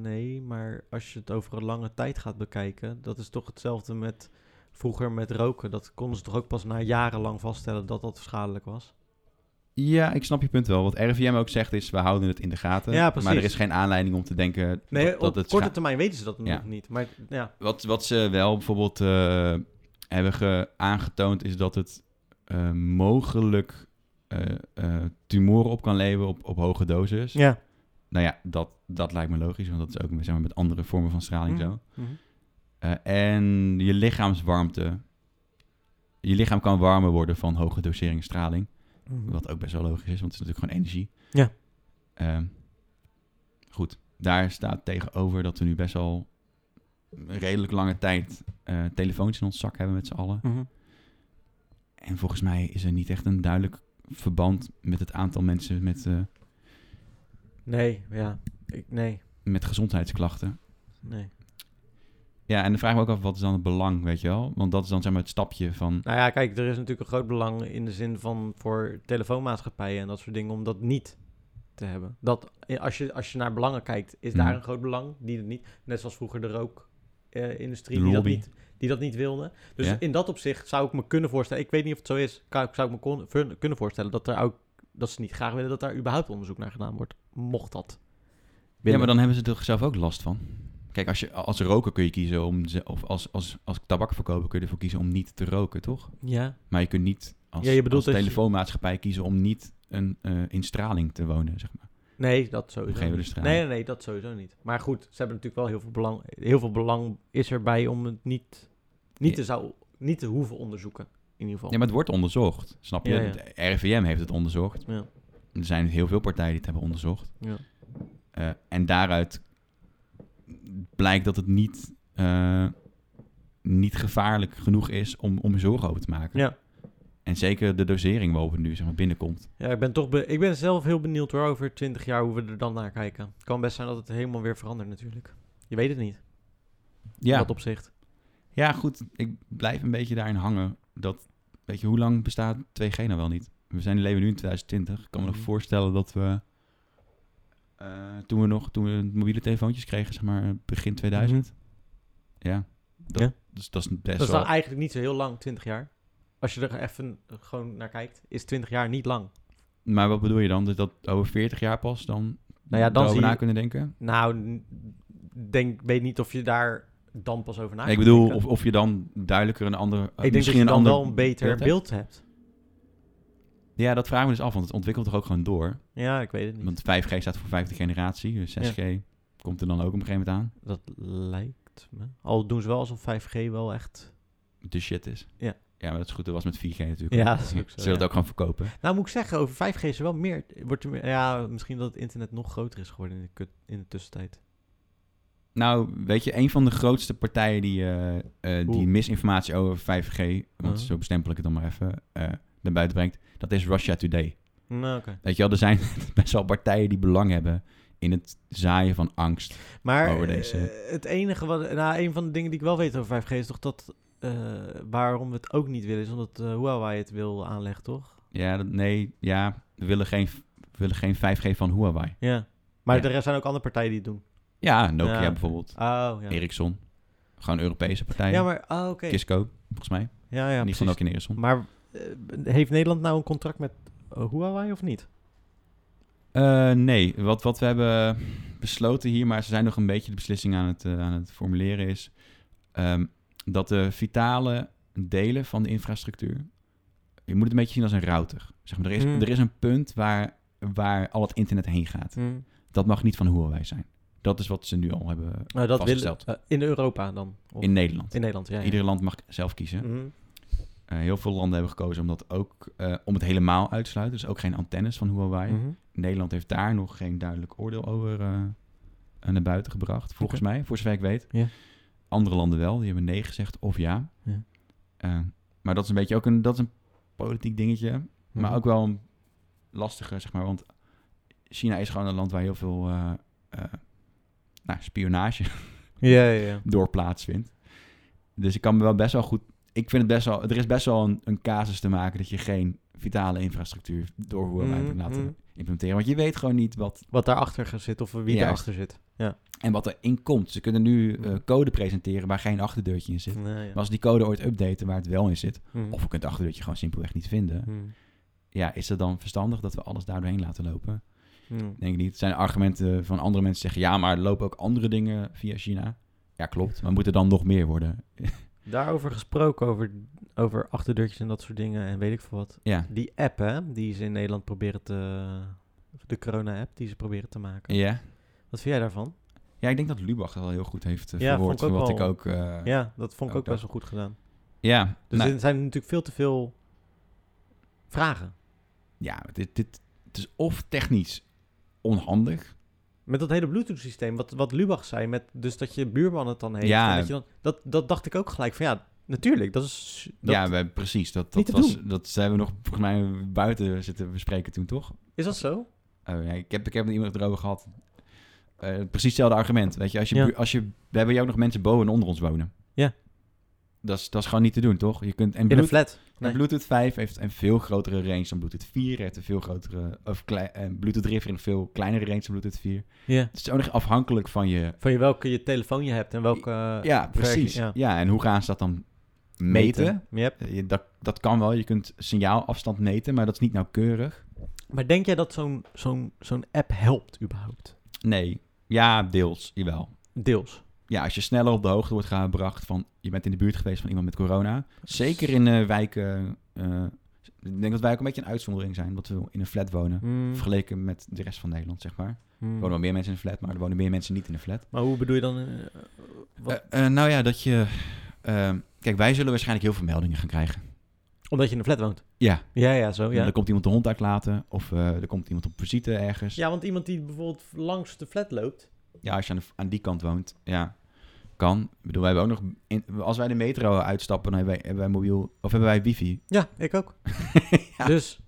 Nee, maar als je het over een lange tijd gaat bekijken, dat is toch hetzelfde met vroeger met roken. Dat konden ze toch ook pas na jarenlang vaststellen dat dat schadelijk was. Ja, ik snap je punt wel. Wat RIVM ook zegt is, we houden het in de gaten. Ja, Maar precies. er is geen aanleiding om te denken Nee, dat, dat op het korte scha- termijn weten ze dat Ja. nog niet. Maar ja, Wat, wat ze wel bijvoorbeeld eh, hebben ge- aangetoond is dat het eh, mogelijk eh, eh, tumoren op kan leveren op, op hoge doses. ja. Nou ja, dat, dat lijkt me logisch, want dat is ook zeg maar, met andere vormen van straling Mhm. zo. Eh, en je lichaamswarmte. Je lichaam kan warmer worden van hoge dosering straling. Mhm. Wat ook best wel logisch is, want het is natuurlijk gewoon energie. Ja. Ehm, goed, daar staat tegenover dat we nu best wel een redelijk lange tijd eh, telefoons in ons zak hebben met z'n allen. Mhm. En volgens mij is er niet echt een duidelijk verband met het aantal mensen met, eh, Nee, ja. Ik, nee, met gezondheidsklachten. nee. Ja, en dan vraag ik me ook af, wat is dan het belang, weet je wel? Want dat is dan zeg maar het stapje van... Nou ja, kijk, er is natuurlijk een groot belang in de zin van voor telefoonmaatschappijen en dat soort dingen om dat niet te hebben. Dat eh, als je, als je naar belangen kijkt, is daar Mhm. een groot belang die dat niet. Net zoals vroeger de rookindustrie De die, dat lobby. niet, die dat niet wilde. Dus Ja. in dat opzicht zou ik me kunnen voorstellen. Ik weet niet of het zo is. Kan, zou ik me kon- ver- kunnen voorstellen dat er ook dat ze niet graag willen dat daar überhaupt onderzoek naar gedaan wordt. Mocht dat. Ja, willen. maar dan hebben ze er zelf ook last van. Kijk, als, je, als roker kun je kiezen om... ze- Of als, als, als tabakverkoper kun je ervoor kiezen om niet te roken, toch? Ja. Maar je kunt niet als, Ja, je bedoelt als dat je- telefoonmaatschappij kiezen om niet een, eh, in straling te wonen, zeg maar. Nee, dat sowieso Begrepen niet. we de straat. nee, nee, nee, dat sowieso niet. Maar goed, ze hebben natuurlijk wel heel veel belang. Heel veel belang is erbij om het niet, niet, Ja. te, zou, niet te hoeven onderzoeken. In ieder geval. Ja, maar het wordt onderzocht, snap je? Ja, ja. Het RIVM heeft het onderzocht. Ja. Er zijn heel veel partijen die het hebben onderzocht. Ja. Eh, en daaruit blijkt dat het niet, eh, niet gevaarlijk genoeg is om, om zorgen over te maken. Ja. En zeker de dosering waarop het nu zeg maar, binnenkomt. Ja, ik ben toch be- ik ben zelf heel benieuwd hoor, over 20 jaar hoe we er dan naar kijken. Het kan best zijn dat het helemaal weer verandert natuurlijk. Je weet het niet. In Ja, dat opzicht. ja, goed. Ik blijf een beetje daarin hangen. Dat, weet je, hoe lang bestaat 2G nou wel niet? We zijn leven nu in 2020. Ik kan me nog Mhm. voorstellen dat we... eh, toen we nog toen we mobiele telefoontjes kregen, zeg maar begin 2000. Ja. Dat, Mhm. Ja. Dus dat is best Dat is wel... dan eigenlijk niet zo heel lang, 20 jaar. Als je er even gewoon naar kijkt, is 20 jaar niet lang. Maar wat bedoel je dan? Dus dat over 40 jaar pas dan... Nou ja, dan daarover zie je- na kunnen denken? Nou, n- denk, weet niet of je daar dan pas over na Nee, ik kan bedoel, denken. of, of je dan duidelijker een ander... eh, Ik denk dat misschien je dan een wel ander een beter beeld beeld, hebt. hebt. Ja, dat vragen we dus af, want het ontwikkelt toch ook gewoon door. Ja, ik weet het niet. Want 5G staat voor vijfde generatie, dus 6G komt er dan ook op een gegeven moment aan. Dat lijkt me. Al doen ze wel alsof 5G wel echt... de shit is. Ja. Ja, maar dat is goed. Dat was met 4G natuurlijk. <laughs> Ja, dat is ook zo, Zullen ja. dat ook gaan verkopen? Nou, moet ik zeggen, over 5G is er wel meer... Wordt er meer ja, misschien dat het internet nog groter is geworden in de, kut- in de tussentijd. Nou, weet je, een van de grootste partijen die, eh, eh, Oeh. die misinformatie over 5G, want Mhm. zo bestempel ik het dan maar even, eh naar buiten brengt, dat is Russia Today. Nou, oké. Weet je wel, er zijn <laughs> best wel partijen die belang hebben in het zaaien van angst. Maar Over deze. eh, het enige wat... Nou, een van de dingen die ik wel weet over 5G is toch dat... eh, waarom we het ook niet willen, is omdat eh, Huawei het wil aanleggen, toch? Ja, dat- nee, ja, we willen geen, we willen geen 5G van Huawei. Ja. Maar Ja. er zijn ook andere partijen die het doen. Ja, Nokia Ja. bijvoorbeeld, Oh, ja. Ericsson. Gewoon Europese partijen. Ja, maar... Oh, oké. Kisco, volgens mij. Ja, ja, Niet van precies. Nokia en Ericsson. Maar eh, heeft Nederland nou een contract met eh, Huawei of niet? Eh, nee, wat, wat we hebben besloten hier, maar ze zijn nog een beetje de beslissing aan het, eh, aan het formuleren, is ehm, dat de vitale delen van de infrastructuur, je moet het een beetje zien als een router. Zeg maar, er, is, Mm. er is een punt waar, waar al het internet heen gaat. Dat mag niet van Huawei zijn. Dat is wat ze nu al hebben Nou, dat willen vastgesteld. eh, in Europa dan? Of in Nederland. in Nederland, ja. ja. Ieder land mag zelf kiezen. Mhm. Eh, heel veel landen hebben gekozen om, dat ook, eh, om het helemaal uit te sluiten. Dus ook geen antennes van Huawei. Mhm. Nederland heeft daar nog geen duidelijk oordeel over eh, eh, naar buiten gebracht, volgens mij, voor zover ik weet. Ja. Andere landen wel, die hebben nee gezegd of ja. Ja. Eh, maar dat is een beetje ook een, dat is een politiek dingetje. Mhm. Maar ook wel een lastiger, zeg maar. Want China is gewoon een land waar heel veel eh, eh, nou, spionage Ja, ja, ja. door plaatsvindt. Dus ik kan me wel best wel goed. Ik vind het best wel. Er is best wel een, een casus te maken dat je geen vitale infrastructuur door Huawei moet Mhm, laten mhm. implementeren. Want je weet gewoon niet wat. Wat daarachter gaat zitten of wie Juist. daarachter zit. En wat erin komt. Ze kunnen nu eh, Mhm. code presenteren waar geen achterdeurtje in zit. Nee, eh, ja. Maar als die code ooit updaten waar het wel in zit. Mhm. Of we kunnen het achterdeurtje gewoon simpelweg niet vinden. Mhm. Ja, is het dan verstandig dat we alles daar doorheen laten lopen? Mhm. Denk ik niet. Het zijn argumenten van andere mensen die zeggen... ja, maar er lopen ook andere dingen via China. Ja, klopt. Maar moet er dan nog meer worden? <laughs> Daarover gesproken, over, over achterdeurtjes en dat soort dingen en weet ik veel wat. ja. Die app, hè, die ze in Nederland proberen te... De corona-app die ze proberen te maken. ja. Wat vind jij daarvan? Ja, ik denk dat Lubach dat wel heel goed heeft eh, Ja, verwoord. vond ik ook wat ik wel. ook... eh, ja, Ja, dat vond ik ook ook best wel goed gedaan. Dus nou, er zijn natuurlijk veel te veel vragen. ja dit, dit, het is of technisch onhandig. Met dat hele Bluetooth-systeem, wat, wat Lubach zei, met dus dat je buurman het dan heeft. Ja. en dat, je dan, dat, dat dacht ik ook gelijk van ja, natuurlijk, dat is... Dat, ja, we- precies. Dat, Niet dat, te was, dat zijn we nog volgens mij buiten zitten bespreken toen, toch? Is dat zo? Oh, ja, ik, heb, ik heb met iemand het erover gehad. Eh, precies hetzelfde argument. Weet je, als je, Ja. bu- als je, we hebben hier ook nog mensen boven en onder ons wonen. Ja. Dat is, dat is gewoon niet te doen, toch? Je kunt, en, In een Bluetooth, flat. en Nee. Bluetooth 5 heeft een veel grotere range dan Bluetooth 4. Heeft een veel grotere, of klei- en Bluetooth Rift heeft een veel kleinere range dan Bluetooth 4. Ja. Het is ook nog afhankelijk van je... Van je welke je telefoon je hebt en welke... ja, precies. ja. Ja. en hoe gaan ze dat dan meten? Yep. Eh, je- dat, dat kan wel. Je kunt signaalafstand meten, maar dat is niet nauwkeurig. Maar denk jij dat zo'n zo'n zo'n app helpt überhaupt? Nee. Ja, deels. Jawel. Deels. ja, als je sneller op de hoogte wordt gebracht van je bent in de buurt geweest van iemand met corona. Zeker in eh, wijken. eh, ik denk dat wij ook een beetje een uitzondering zijn, omdat we in een flat wonen. Mm. Hmm. Vergeleken met de rest van Nederland, zeg maar. Er wonen wel meer mensen in een flat, maar er wonen meer mensen niet in een flat. Maar hoe bedoel je dan? eh, wat- Eh, eh, nou ja, dat je. eh, kijk, wij zullen waarschijnlijk heel veel meldingen gaan krijgen. omdat je in een flat woont. Ja, Ja, ja, zo. Oh, Ja. er komt iemand de hond uitlaten. Of eh, er komt iemand op visite ergens. Ja, ja, want iemand die bijvoorbeeld langs de flat loopt. als je aan, de- aan die kant woont, ja, kan. Ik bedoel, wij hebben ook nog. in- als wij de metro uitstappen, dan hebben wij, hebben wij mobiel. Of hebben wij wifi. Ja, ik ook. <laughs> Ja. Dus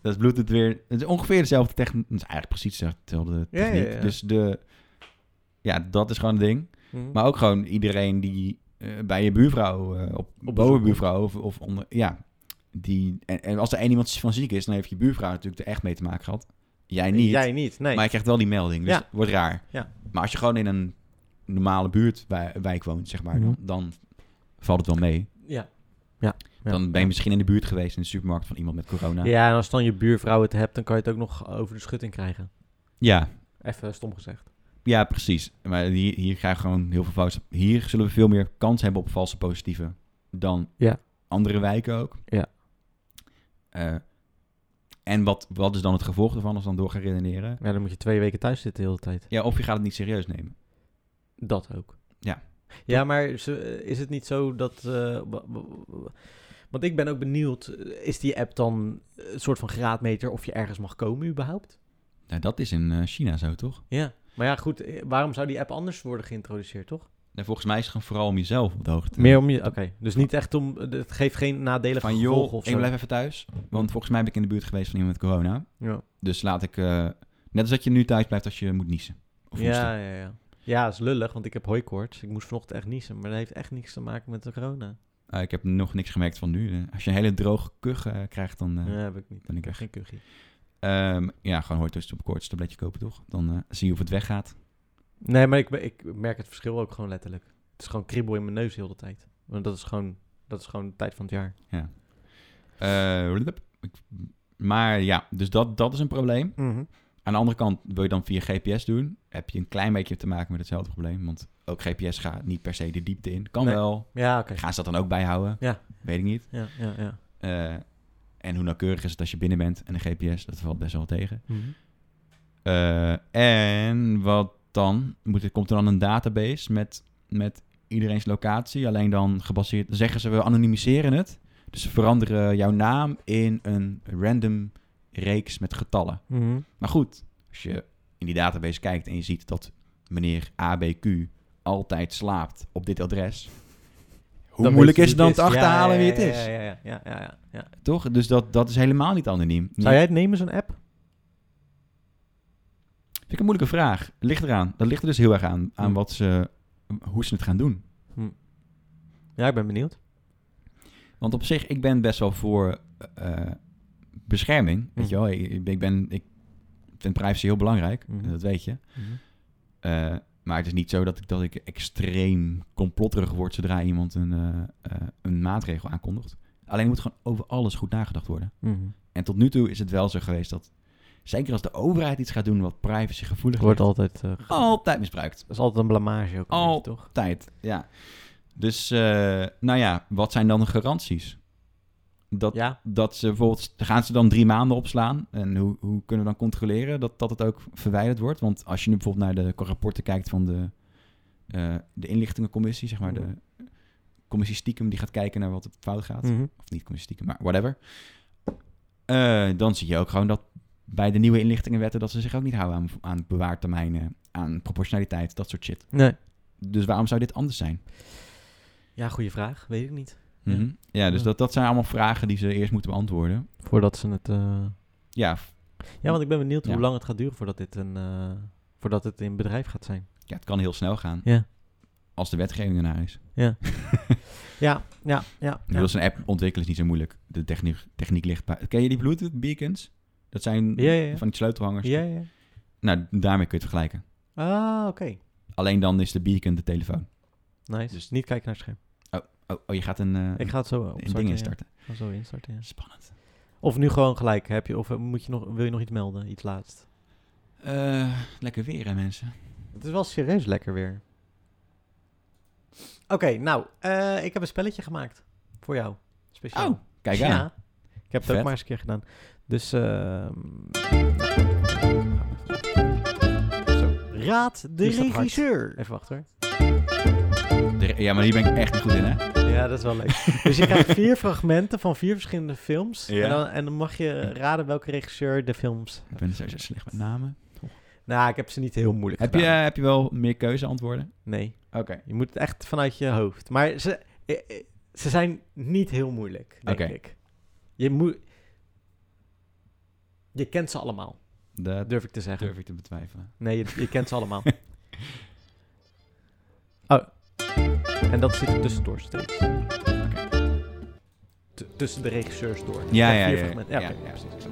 Dat is Bluetooth weer. Het is ongeveer dezelfde techniek. Het is eigenlijk precies dezelfde Ja, ja, techniek. ja. Dus de, ja, dat is gewoon een ding. Maar ook gewoon iedereen die eh, bij je buurvrouw, eh, op, Op bovenbuurvrouw of, of onder. Ja, die. En, en als er één iemand van ziek is, dan heeft je buurvrouw natuurlijk er echt mee te maken gehad. Jij niet. Eh, Jij niet, nee. Maar je krijgt wel die melding. Dus Ja. het wordt raar. Ja. Maar als je gewoon in een normale buurt wij- wijk woont, zeg maar, dan, Mhm. dan valt het wel mee. Ja. Ja. ja. Dan ben je misschien in de buurt geweest in de supermarkt van iemand met corona. Ja, en als dan je buurvrouw het hebt, dan kan je het ook nog over de schutting krijgen. ja. Even stom gezegd. Ja, precies. Maar hier, hier krijgen we gewoon heel veel fouten. Hier zullen we veel meer kans hebben op valse positieven dan Ja. andere wijken ook. Ja. Eh, en wat, wat is dan het gevolg ervan als we dan door gaan redeneren? Ja, dan moet je twee weken thuis zitten de hele tijd. Ja, of je gaat het niet serieus nemen. Dat ook. Ja. Ja, maar ze- eh, is het niet zo dat... eh, wa- wa- wa- want ik ben ook benieuwd, eh, is die app dan een soort van graadmeter of je ergens mag komen überhaupt? Nou, dat is in eh, China zo, toch? Ja. Maar ja, goed, eh, waarom zou die app anders worden geïntroduceerd, toch? En Nou, volgens mij is het gewoon vooral om jezelf op de hoogte te Meer om je... Oké, dus niet echt om... Het geeft geen nadelige Van gevolgen joh, of ik zo. blijf even thuis. Want volgens mij ben ik in de buurt geweest van iemand met corona. Ja. Dus laat ik... eh, net als dat je nu thuis blijft als je moet niezen. Of hoesten. Ja, ja, ja. Ja, is lullig, want ik heb hooikoorts. Ik moest vanochtend echt niezen, maar dat heeft echt niks te maken met de corona. Eh, ik heb nog niks gemerkt van nu. Eh, Als je een hele droge kuch eh, krijgt, dan... eh, Nee, heb ik niet. ben ik Ik heb weg. geen kuchie. Ehm, ja, gewoon hoort tussen op koorts een tabletje kopen, toch? Dan eh, zie je of het weggaat. Nee, maar ik, be- ik merk het verschil ook gewoon letterlijk. Het is gewoon kriebel in mijn neus heel de tijd. Want dat is gewoon, dat is gewoon de tijd van het jaar. Eh, blub. Ik- maar ja, dus dat, dat is een probleem. Aan de andere kant, wil je dan via GPS doen, heb je een klein beetje te maken met hetzelfde probleem. Want ook GPS gaat niet per se de diepte in. Kan Nee. wel. Ja, oké. Gaan ze dat dan ook bijhouden? Ja. Weet ik niet. Ja, ja, ja. Eh, en hoe nauwkeurig is het als je binnen bent en een GPS? Dat valt best wel tegen. Eh, en wat dan? Moet, er- komt er dan een database met, met iedereen's locatie? Alleen dan gebaseerd... dan Zeggen ze, we anonimiseren het. Dus ze veranderen jouw naam in een random reeks met getallen. Maar goed, als je in die database kijkt en je ziet dat meneer ABQ altijd slaapt op dit adres... Hoe moeilijk is het dan te achterhalen wie het is? Ja, ja, ja, ja, ja, ja, ja. Toch? Dus dat, dat is helemaal niet anoniem. Zou jij het nemen, zo'n app? Vind ik een moeilijke vraag. Ligt eraan. Dat ligt er dus heel erg aan, aan Hm. wat ze, hoe ze het gaan doen. Ja, ik ben benieuwd. Want op zich, ik ben best wel voor eh, bescherming. Weet Hm. je wel, ik, ik- ik ben, ik vind privacy heel belangrijk. Mhm. Dat weet je. Eh, maar het is niet zo dat ik, dat ik extreem complotterig word zodra iemand een, eh, eh, een maatregel aankondigt. Alleen er moet gewoon over alles goed nagedacht worden. En tot nu toe is het wel zo geweest dat, zeker als de overheid iets gaat doen wat privacy gevoelig Wordt ligt, altijd... eh, ge- altijd misbruikt. Dat is altijd een blamage ook, een Al- beetje, toch? Tijd, ja. Dus, eh, nou ja, wat zijn dan de garanties? Dat, Ja. dat ze bijvoorbeeld, gaan ze dan drie maanden opslaan? En hoe, hoe kunnen we dan controleren dat, dat het ook verwijderd wordt? Want als je nu bijvoorbeeld naar de rapporten kijkt van de, eh, de inlichtingencommissie, zeg maar, de commissie stiekem die gaat kijken naar wat er fout gaat. Mm. Of niet commissie stiekem, maar whatever. Eh, dan zie je ook gewoon dat bij de nieuwe inlichtingenwetten dat ze zich ook niet houden aan, aan bewaartermijnen, aan proportionaliteit, dat soort shit. Nee. Dus waarom zou dit anders zijn? Ja, goede vraag. Weet ik niet. Ja. Mhm. Ja, dus Ja. Dat, dat zijn allemaal vragen die ze eerst moeten beantwoorden. Voordat ze het... eh, Ja, Ja, want ik ben benieuwd hoe Ja. lang het gaat duren voordat dit een... eh, Voordat het in bedrijf gaat zijn. Ja, het kan heel snel gaan. Ja. Als de wetgeving ernaar is. Ja, ja, ja. Ik bedoel, zo'n app ontwikkelen is niet zo moeilijk. De techniek, techniek ligt bij... Ken je die Bluetooth beacons? Dat zijn Ja, ja, ja. van die sleutelhangers. Ja, ja. Nou, daarmee kun je het vergelijken. Ah, oké. Alleen dan is de beacon de telefoon. Nice. Dus niet kijken naar het scherm. Oh, oh je gaat een, eh Ik ga het zo een opstarten. ding ja. instarten. Ik ga zo instarten, ja. Spannend. Of nu gewoon gelijk. Heb je, of eh, moet je nog, wil je nog iets melden? Iets laatst? Eh, lekker weer, hè, mensen. Het is wel serieus lekker weer. Oké, nou. eh, ik heb een spelletje gemaakt. Voor jou. Speciaal. Oh, kijk aan. Ja. Ik heb het ook Vet. maar eens een keer gedaan. Dus... ehm, Raad de Die gaat hard. regisseur. Even wachten hoor. De- Ja, maar hier ben ik echt niet goed in, hè? Ja, dat is wel leuk. <laughs> Dus je krijgt vier fragmenten van vier verschillende films. Ja. En, dan, en dan mag je raden welke regisseur de films... Ik ben sowieso slecht met namen. Nou, ik heb ze niet heel moeilijk Heb je, gedaan. eh, heb je wel meer keuzeantwoorden? Nee, Oké. je moet het echt vanuit je hoofd. Maar ze, eh, eh, ze zijn niet heel moeilijk, denk Oké. ik. Je moet... Je kent ze allemaal, Dat durf ik te zeggen. durf ik te betwijfelen. Nee, je, je kent <laughs> ze allemaal. oh. En dat zit er tussendoor steeds. T- Tussen de regisseurs door. Ja, Met ja, ja, vier fragmenten. ja, oké, ja. precies.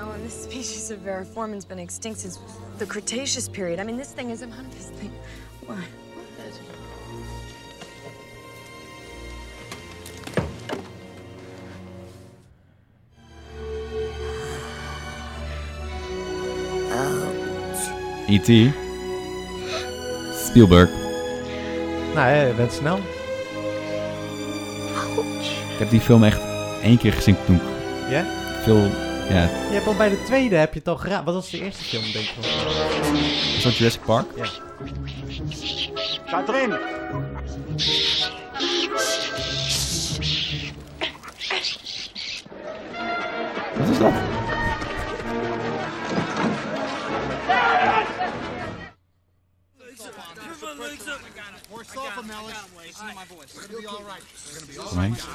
Alan, this species of variformin's been extinct since the Cretaceous period. I mean, this thing is a of this thing. What? What is it? E.T. E Spielberg. Nou, hè, je bent snel. Ik heb die film echt één keer gezien toen. ik Ja? Veel, ja, Je hebt al bij de tweede heb je het al geraden. Wat was de eerste film, denk ik? was dat Jurassic Park? Wat is dat? Tom Hanks.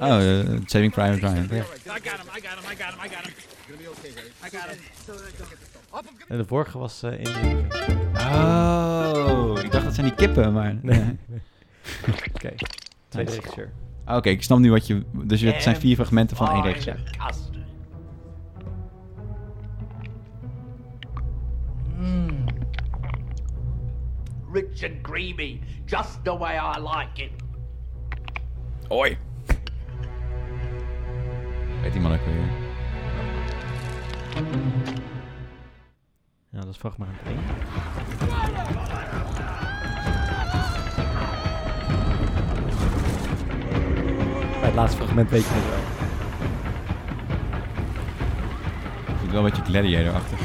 Oh, eh, Saving Private Ryan. En de vorige was eh Indian. Jones. Oh, ik dacht dat zijn die kippen, maar... Nee. Oké, tweede Nice. regisseur. <laughs> Oké, ik snap nu wat je... Dus het zijn vier fragmenten van één regisseur. Rich and creamy, just the way I like it. Hoi. Weet die man ook weer. Ja, dat is fragment 1. Bij het laatste fragment weet je het wel. Ik vind het wel een beetje gladiator-achtig.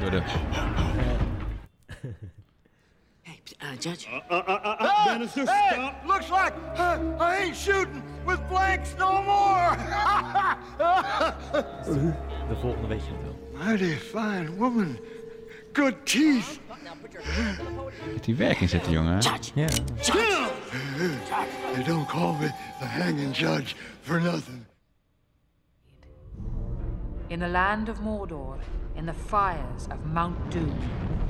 Door de... Hey, uh, Judge. Hey, looks like uh, I ain't shooting with blanks no more. de volgende weet je het wel. Mighty fine woman. Good teeth. Met die werk in zitten, jongen. Ja. They don't call me the hanging judge for nothing. In the land of Mordor, in the fires of Mount Doom,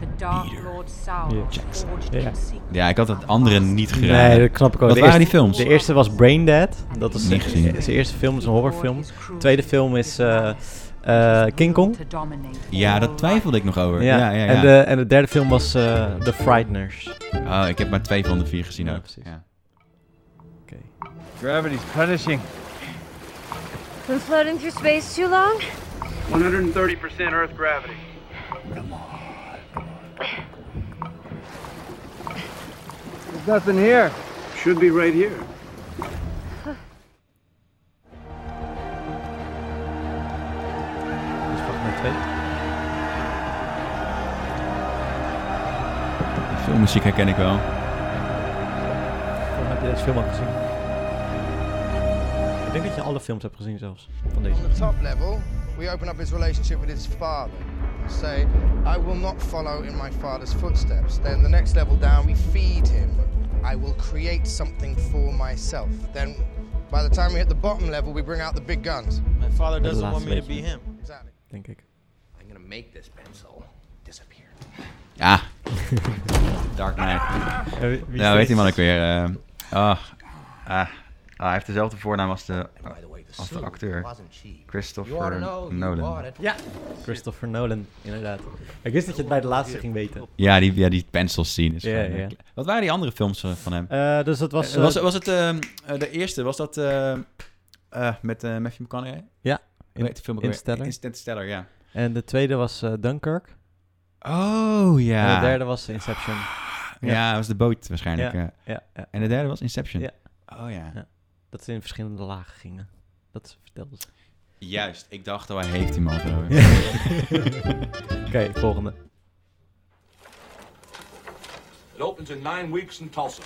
the Dark Lord Sauron forged in secret. Ja, ik had het andere niet geraden. Nee, dat knap ik ook. Wat De waren die eerste- films? De eerste was Brain Dead. Dat is Niet gezien. zijn eerste film, is een horrorfilm. De tweede film is eh, eh, King Kong. To dominate Ja, all dat twijfelde ik nog over. Ja, Ja. ja, ja. En, de, en de derde film was eh, The Frighteners. Oh, ik heb maar twee van de vier gezien Ja, ook. precies. Ja. Oké. Gravity's punishing. Been floating through space too long? 130% Earth gravity. There's nothing here. Should be right here. Dat is volgens mij twee. De filmmuziek herken ik wel. Volgens mij heb je deze film al gezien. Ik denk dat je alle films hebt gezien zelfs. Van deze. the top level, we open up his relationship with his father. Say, I will not follow in my father's footsteps. Then the next level down, we feed him. I will create something for myself. Then by the time we hit the bottom level, we bring out the big guns. My father The doesn't last want me to lady. be him. Exactly. Denk ik. I'm gonna make this pencil disappear. <laughs> Ja. Dark Knight. Nou, weet die man ook weer. eh, ah, ah, ah, hij heeft dezelfde voornaam als de, By the way, the als de suit acteur. wasn't cheap. You ought to Oh, Christopher know. You bought Nolan. it. Ja, Christopher Nolan, inderdaad. Ik wist dat je het bij de laatste ging weten. Ja, die, ja, die pencil scene is Ja, gewoon, eh, ja. kle- Wat waren die andere films eh, van hem? Eh, dus dat was... Eh, was, eh, was het ehm, eh, de eerste? Was dat eh, eh, met eh, Matthew McConaughey? Ja. Hoe heet die film ook weer? Interstellar. Interstellar, ja. en de tweede was eh, Dunkirk. Oh, ja. En de derde was Inception. Ja, dat was de boot waarschijnlijk. eh. Ja, ja, En de derde was Inception. Ja. Oh ja. Ja. dat ze in verschillende lagen gingen. Dat vertelde ze. Juist, ik dacht, oh, hij heeft die man zo. Oké, volgende. It opens in nine weeks in Tulsa.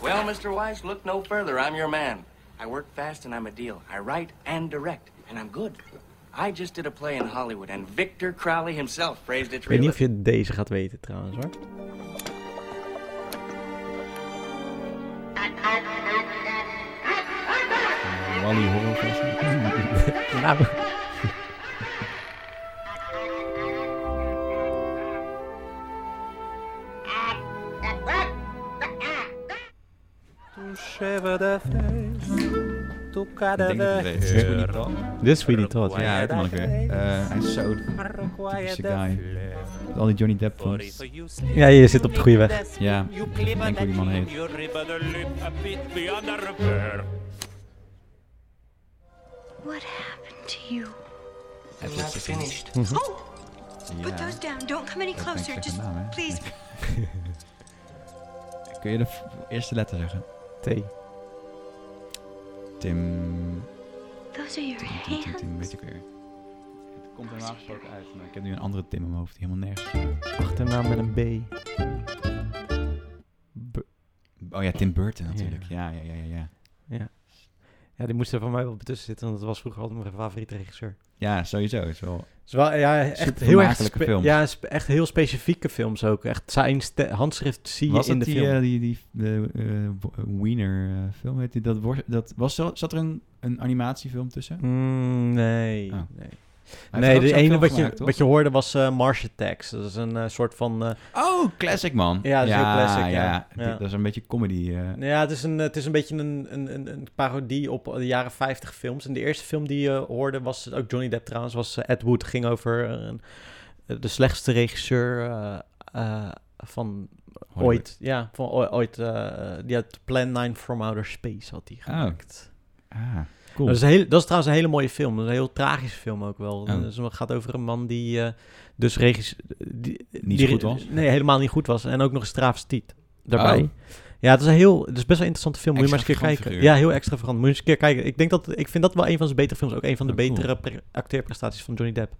Well, Mr. Weiss, look no further. I'm your man. I work fast and I'm a deal. I write and direct, and I'm good. I just did a play in Hollywood, and Victor Crowley himself praised its Ik weet niet of realism. je deze gaat weten trouwens hoor. <laughs> Wally horrorfilm. Nou. Ik denk eh, dat het is. Dit is Sweeney Todd. Ja, hij man ik weer. Eh, hij is zo typische guy. Met Al die Johnny Depp films. Ja, je zit op de goede weg. Ja, ik denk hoe die man heet. What happened to you? I'm not finished. Oh, put Ja, those down. Don't come any dat ben ik closer. zijn Just naam, hè? please. <laughs> Kun je de v- eerste letter zeggen? T. Tim... Those are your Tim, Tim, Tim, hands. weet ik weer. Het komt er gesproken uit, maar ik heb nu een andere Tim in mijn hoofd die helemaal nergens... Achternaam met een B. Oh ja, Tim Burton natuurlijk. Ja, ja, ja, ja. Ja, Ja, die moest er van mij wel tussen zitten, want dat was vroeger altijd mijn favoriete regisseur. ja sowieso. Het is wel... Het is wel, ja, echt Super heel erg vermakelijke spe- films. Ja, spe- echt heel specifieke films ook. Echt zijn ste- handschrift zie je Was in dat de die, film. eh, die, die de, eh, wo- Wiener eh, film? Heet die, dat, worst- dat, was, zat er een, een animatiefilm tussen? Mm, nee, Oh. nee. Hij Nee, heeft ook de zo'n ene film wat je, gemaakt, toch? wat je hoorde was eh Mars Attacks. Dat is een eh, soort van... eh, Oh, classic man. Ja, dat is heel classic, ja. Die- Ja. Dat is een beetje comedy. eh. nou ja, het is een, het is een beetje een, een, een, een parodie op eh, de jaren 50 films. En de eerste film die je hoorde was, ook Johnny Depp trouwens, was eh, Ed Wood. Ging over een- de slechtste regisseur eh, eh, van Hollywood. ooit. Ja, van ooi- ooit. eh, die had Plan 9 from Outer Space had hij gemaakt. Ah, cool. Dat is, een heel, dat is trouwens een hele mooie film. Dat is een heel tragische film ook wel. Oh. Dus het gaat over een man die eh, dus regis... Die, Niet die- goed was? Oh. Nee, helemaal niet goed was. En ook nog eens travestiet daarbij. Ja, het is, een heel, het is best wel een interessante film. Moet je maar eens een keer kijken. Extravagant Ja, heel extravagant. Moet je eens een keer kijken. Ik, denk dat, ik vind dat wel een van zijn betere films. Ook een van de Oh, cool. betere pre- acteerprestaties van Johnny Depp.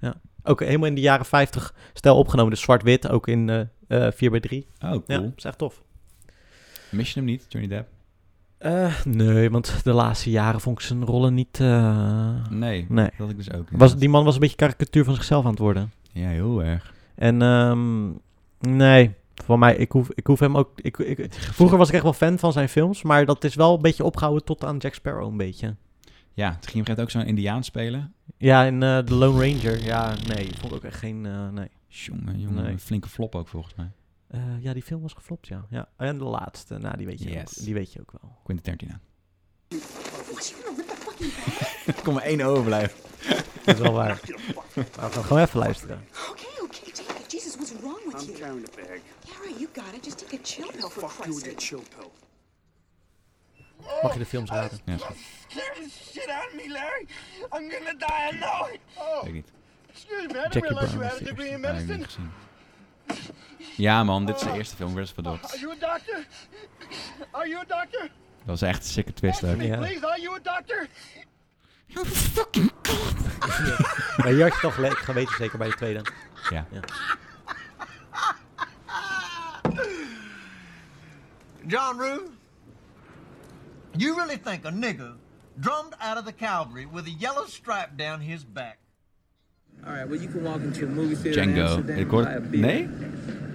Ja. Ook helemaal in de jaren 50 stijl opgenomen. Dus zwart-wit, ook in eh eh 4x3. Oh, Ja, cool. is echt tof. Mis je hem niet, Johnny Depp? Eh, nee, want de laatste jaren vond ik zijn rollen niet... eh, Nee, Nee. dat had ik dus ook. Was, die man was een beetje karikatuur van zichzelf aan het worden. Ja, heel erg. En ehm, nee, voor mij, ik hoef, ik hoef hem ook... Ik, ik, vroeger was ik echt wel fan van zijn films, maar dat is wel een beetje opgehouden tot aan Jack Sparrow een beetje. Ja, toen ging hij ook zo'n indiaan spelen. Ja, en eh The Lone Ranger, ja, nee, vond ik ook echt geen... eh, nee. Jongen, jongen, Nee. een flinke flop ook volgens mij. Eh, ja, die film was geflopt, ja. ja. En de laatste, nou, die weet je, Yes. ook, die weet je ook wel. Quentin Tarantino. <laughs> Er kon maar één overblijven. Dat is wel <laughs> waar. Maar we gaan gewoon even luisteren. Okay, okay, take it. Jesus, what's wrong with you? carrying a bag. Yeah, right, you got it. Just take a chill pill for Fuck you Christ's with that sake. chill pill. Mag je de films raden? Ja, is goed. Scared the shit out of me, Larry. I'm gonna die. I know it. Oh, Weet ik niet. excuse me. I didn't Jackie realize you Brown had a is degree in Ja, heb ik medicine. niet gezien. Ja man, dit is de eerste film, werd eens verdopt. Are you a doctor? Are you a doctor? Dat was echt een sikke twist Answer ook. me, Yeah. please. Are you a doctor? Maar hier had je toch gelijk geweten, zeker bij de tweede. Ja. John Rue, you really think a nigger drummed out of the cavalry with a yellow stripe down his back? All right, well, you can walk into a movie theater in Django. Amsterdam Ik and hoor... buy a beer. Nee?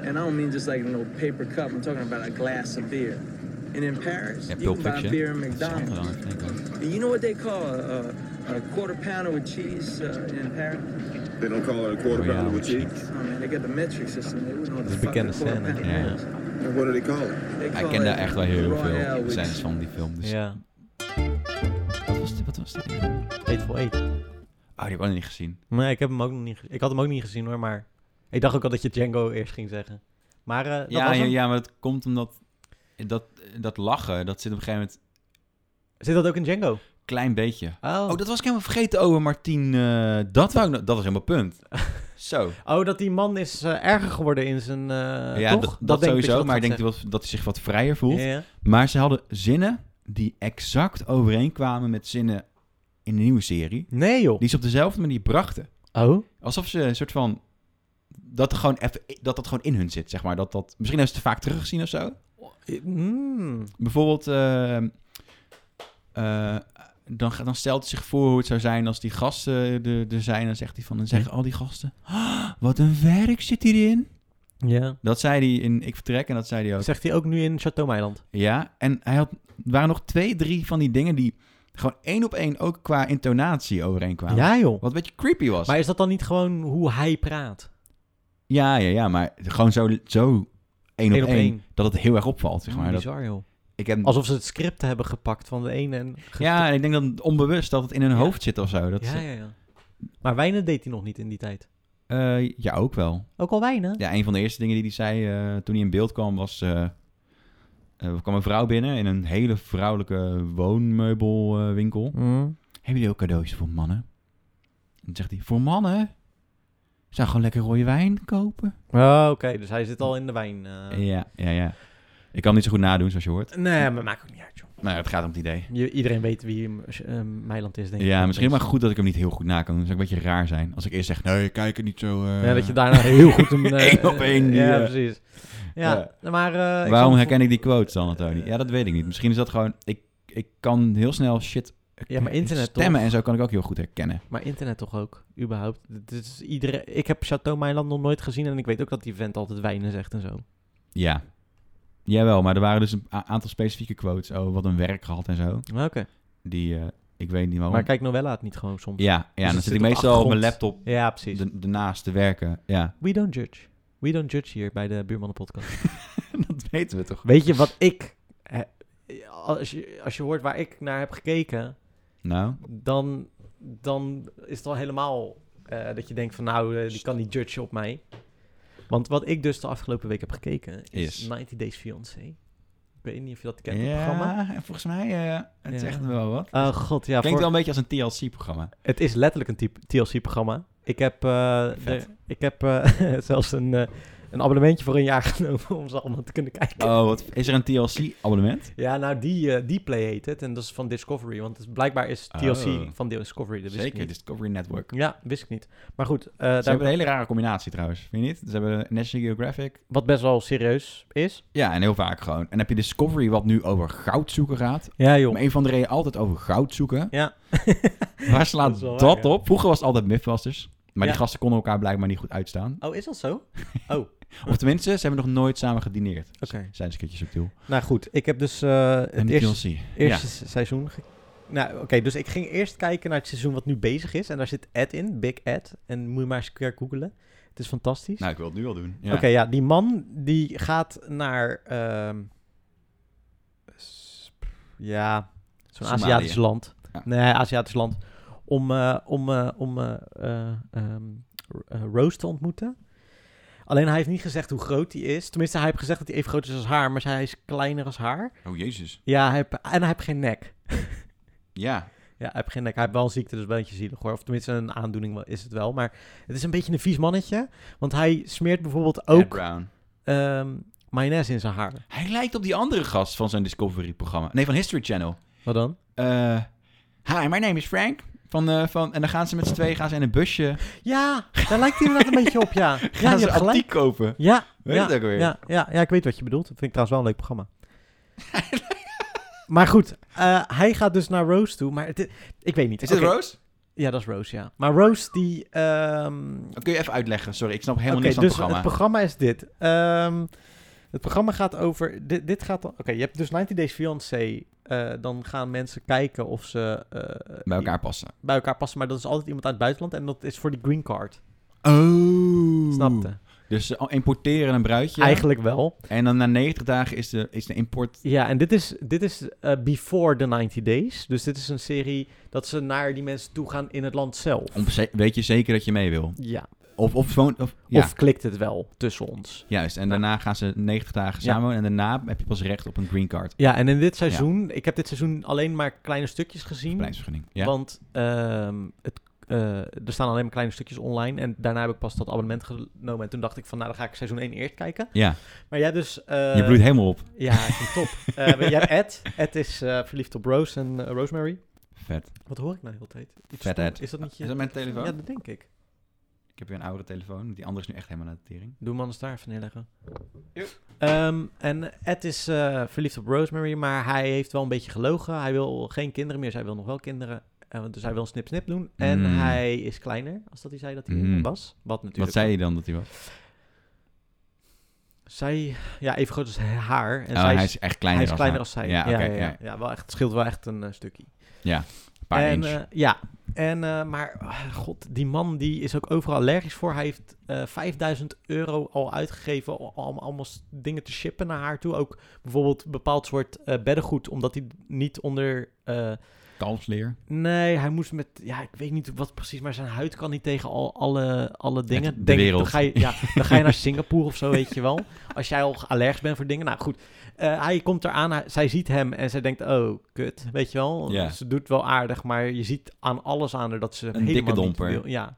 And I don't mean just like an old paper cup. I'm talking about a glass of beer. And in Paris, Ja, you Pulp can buy Fiction. beer in Dat is McDonald's. anders dan ik denk ik. And you know what they call a, a, a quarter pounder with cheese uh, in Paris? They don't call it a quarter Oh, yeah, pounder with with cheese. Oh man, they got the metric system. They wouldn't know Dat is what the een fuck a bekende quarter scène. Ja. pounder is. What do they call it? They Hij call kende it echt wel heel Royale veel with- scènes van die film. Dus Ja. Wat was dit? Wat was dit? Hateful Eight. Oh, die heb ik ook nog niet gezien. Nee, ik, heb hem ook nog niet, ge- ik had hem ook niet gezien hoor, maar ik dacht ook al dat je Django eerst ging zeggen. Maar eh, dat Ja, was ja, hem. ja, maar dat komt omdat dat, dat lachen, dat zit op een gegeven moment Zit dat ook in Django? klein beetje. Oh. Oh, dat was ik helemaal vergeten, Owen Martien. eh, dat, wou ik, nog- dat was helemaal <laughs> punt. Zo. Oh, dat die man is eh, erger geworden in zijn... eh, ja, toch? dat, dat, denk dat je sowieso, dat maar ik gaat denk dat, dat hij zich wat vrijer voelt. zeggen. Ja, ja. Maar ze hadden zinnen die exact overeenkwamen met zinnen in de nieuwe serie. Nee joh. Die ze op dezelfde manier brachten. Oh? Alsof ze een soort van... Dat, er gewoon even, dat dat gewoon in hun zit, zeg maar. Dat, dat, misschien hebben ze het te vaak teruggezien of zo. Mm. Bijvoorbeeld, eh, eh, dan, ga- dan stelt hij zich voor hoe het zou zijn als die gasten eh, er, er zijn. Dan zegt hij van, dan zeggen al die gasten, "Ah, wat een werk zit hierin. Ja. Dat zei hij in Ik Vertrek en dat zei hij ook. Zegt hij ook nu in Chateau Meiland? Ja, en hij had, er waren nog twee, drie van die dingen die gewoon één op één ook qua intonatie overeenkwamen. Ja joh. Wat een beetje creepy was. Maar is dat dan niet gewoon hoe hij praat? Ja, ja, ja, maar gewoon zo, zo één op, Eén op één, één. dat het heel erg opvalt, zeg Oh, maar. Dat, bizar joh. ik heb, Alsof ze het script hebben gepakt van de ene en... ge- ja, en ik denk dan onbewust dat het in hun hoofd zit of zo. Dat, ja, ze- ja, ja. Maar Wijnen deed hij nog niet in die tijd. Eh, ja, ook wel. Ook al Wijnen? Ja, een van de eerste dingen die hij zei eh, toen hij in beeld kwam was... eh, eh, er kwam een vrouw binnen in een hele vrouwelijke woonmeubelwinkel. Mm. Hebben jullie ook cadeautjes voor mannen? En dan zegt hij, voor mannen? Zou gewoon lekker rode wijn kopen? Oh, oké. Dus hij zit al in de wijn. eh. Ja, ja, ja. Ik kan hem niet zo goed nadoen, zoals je hoort. Nee, maar maakt ook niet uit, joh. Maar Nou, het gaat om het idee. Je, iedereen weet wie eh, Meiland is, denk ik. Ja, misschien maar goed dat ik hem niet heel goed na kan doen. Dat zou een beetje raar zijn. Als ik eerst zeg, nee, kijk het niet zo... eh. Ja, dat je daarna heel goed <laughs> hem... eh, Eén op één, die, Ja, eh, precies. Ja, maar... eh, ik Waarom zal- herken ik die quotes dan, Eh. Antonie? Ja, dat weet ik niet. Misschien is dat gewoon... Ik, ik kan heel snel shit... eh, Ja, maar internet Stemmen toch? en zo kan ik ook heel goed herkennen. Maar internet toch ook, überhaupt. Het is iedere... Ik heb Chateau Meiland nog nooit gezien en ik weet ook dat die vent altijd wijnen zegt en zo. Ja. Jawel, maar er waren dus een a- aantal specifieke quotes. Oh, wat een werk gehad en zo. Maar Oké. Oh. Die, eh, ik weet niet waarom. Maar kijk Novella het niet gewoon soms. ja, ja het dan zit Dus zit ik op de meestal op mijn achtergrond. laptop Ja, precies. de- ernaast te werken. Ja, We don't judge. We don't judge hier bij de Buurmannen Podcast. <laughs> dat weten we toch. <laughs> weet je wat ik... eh, Als je, als je hoort waar ik naar heb gekeken... Nou, dan, dan is het al helemaal eh, dat je denkt van nou, eh, die kan niet judgen op mij. Want wat ik dus de afgelopen week heb gekeken is, Is. 90 Days Fiancé. Ik weet niet of je dat kent, het programma. ja, en volgens mij, eh, het is Ja. echt wel wat. Oh god, ja. Klinkt voor- wel een beetje als een TLC-programma. Het is letterlijk een TLC-programma. Ik heb, eh, Vet. de- ik heb eh, <laughs> zelfs een, eh, een abonnementje voor een jaar <laughs> genomen om ze allemaal te kunnen kijken. Oh, wat, is er een TLC-abonnement? Ja, nou, die, eh, die Play heet het. En dat is van Discovery. Want het, blijkbaar is TLC Oh. van Discovery. Dat wist ik Zeker, dus- niet. Discovery Network. Ja, wist ik niet. Maar goed. eh, Ze hebben een hele rare combinatie trouwens, vind je niet? Ze hebben National Geographic. Wat best wel serieus is. Ja, en heel vaak gewoon. En dan heb je Discovery, wat nu over goud zoeken gaat. Ja, joh. Om een van de reden altijd over goud zoeken. Ja. Waar Dat slaat is wel dat, waar, ja. op? Vroeger was het altijd Mythbusters. Maar Ja. die gasten konden elkaar blijkbaar niet goed uitstaan. Oh, is dat zo? Oh. Of tenminste, ze hebben nog nooit samen gedineerd. Oké. Zijn ze een keertje subtiel. Nou goed, ik heb dus eh, het En eerste, TLC, eerste se- seizoen. ge- nou, oké, dus ik ging eerst kijken naar het seizoen wat nu bezig is. En daar zit Ed in, Big Ed. En moet je maar eens een keer googelen. Het is fantastisch. Nou, ik wil het nu al doen. Ja. Oké, ja, die man die gaat naar. ehm, s- ja, zo'n Somalië. Aziatisch land. Ja. Nee, Aziatisch land. Om, eh, om, eh, om eh, eh, ehm, Ro- eh, Rose te ontmoeten. Alleen hij heeft niet gezegd hoe groot hij is. Tenminste, hij heeft gezegd dat hij even groot is als haar, maar hij is kleiner als haar. Oh, jezus. Ja, hij heeft, en hij heeft geen nek. Ja. Ja, hij heeft geen nek. Hij heeft wel een ziekte, dus een beetje zielig hoor. Of tenminste, een aandoening wel- is het wel. Maar het is een beetje een vies mannetje. Want hij smeert bijvoorbeeld ook... Brown. ehm, mayonaise in zijn haar. Hij lijkt op die andere gast van zijn Discovery-programma. Nee, van History Channel. Eh, Wat dan? hi, my name is Frank. Van, eh, van, en dan gaan ze met z'n tweeën gaan ze in een busje. Ja, daar lijkt hij inderdaad een beetje op, <laughs> ja. Ja, Gaan je ze hebt gelijk. antiek kopen. Ja, Weet ja, je het ook weer? Ja, ja, ja, ik weet wat je bedoelt. Dat vind ik trouwens wel een leuk <laughs> programma. maar goed, eh, hij gaat dus naar Rose toe. Maar het, ik weet niet. Is dit Oké. Rose? Ja, dat is Rose, ja. Maar Rose die... ehm, Dat kun je even uitleggen. Sorry, ik snap helemaal Oké, niks van dus het programma. is dit. Ehm, het programma gaat over... Dit, dit gaat dan... Oké, je hebt dus 90 Days Fiancé. eh, dan gaan mensen kijken of ze... eh, Bij elkaar passen. Bij elkaar passen, maar dat is altijd iemand uit het buitenland. En dat is voor die green card. Oh. Snapte. Dus ze importeren een bruidje. Eigenlijk wel. En dan na 90 dagen is de, is de import... Ja, en dit is, dit is eh, Before the 90 Days. Dus dit is een serie dat ze naar die mensen toe gaan in het land zelf. Om ze- weet je zeker dat je mee wil? Ja. Of, of gewoon... Of, ja. Of klikt het wel tussen ons? Juist, en daarna gaan ze 90 dagen Ja. samen en daarna heb je pas recht op een green card. Ja, en in dit Ja. seizoen, ik heb dit seizoen alleen maar kleine stukjes gezien. Verblijfsvergunning, ja. Want ehm, het, eh, er staan alleen maar kleine stukjes online. En daarna heb ik pas dat abonnement genomen. En toen dacht ik van, nou dan ga ik seizoen 1 eerst kijken. Ja. Maar jij dus... eh, Je bloeit helemaal op. Ja, ik vind het <laughs> top. Eh, maar jij hebt Ed. Ed is eh, verliefd op Rose en eh, Rosemary. Vet. Wat hoor ik nou heel de hele tijd? Iets Vet, stom- Ed. Is dat niet je... Is dat mijn telefoon? Ja, dat denk ik. Ik heb weer een oude telefoon, want die andere is nu echt helemaal naar de tering. Doe hem anders daar even neerleggen. Ehm, en Ed is eh, verliefd op Rosemary, maar hij heeft wel een beetje gelogen. Hij wil geen kinderen meer, zij wil nog wel kinderen. Eh, dus hij wil snip-snip doen. En Mm. hij is kleiner, als dat hij zei dat hij Mm. was. Wat natuurlijk. Wat zei je dan dat hij was? Zij, ja, even groot als haar. En Oh, zij hij is echt kleiner hij als is kleiner haar. als zij. Ja, ja, oké, ja, ja. ja. Ja, wel echt, het scheelt wel echt een eh, stukje. Ja, een paar en, inch. eh, ja, en, eh, maar ah, god, die man die is ook overal allergisch voor. Hij heeft eh 5000 euro al uitgegeven om om allemaal s- dingen te shippen naar haar toe. Ook bijvoorbeeld een bepaald soort eh, beddengoed, omdat hij niet onder... eh, Kalfsleer. Nee, hij moest met, ja, ik weet niet wat precies, maar zijn huid kan niet tegen al, alle, alle dingen. de ik, wereld. Dan ga, je, ja, <laughs> dan ga je naar Singapore of zo, weet je wel. Als jij al allergisch bent voor dingen. Nou goed, Eh, hij komt eraan, hij- zij ziet hem en zij denkt, oh, kut, weet je wel. Ja. Ze doet wel aardig, maar je ziet aan alles aan haar dat ze helemaal dikke niet domper. wil. Ja.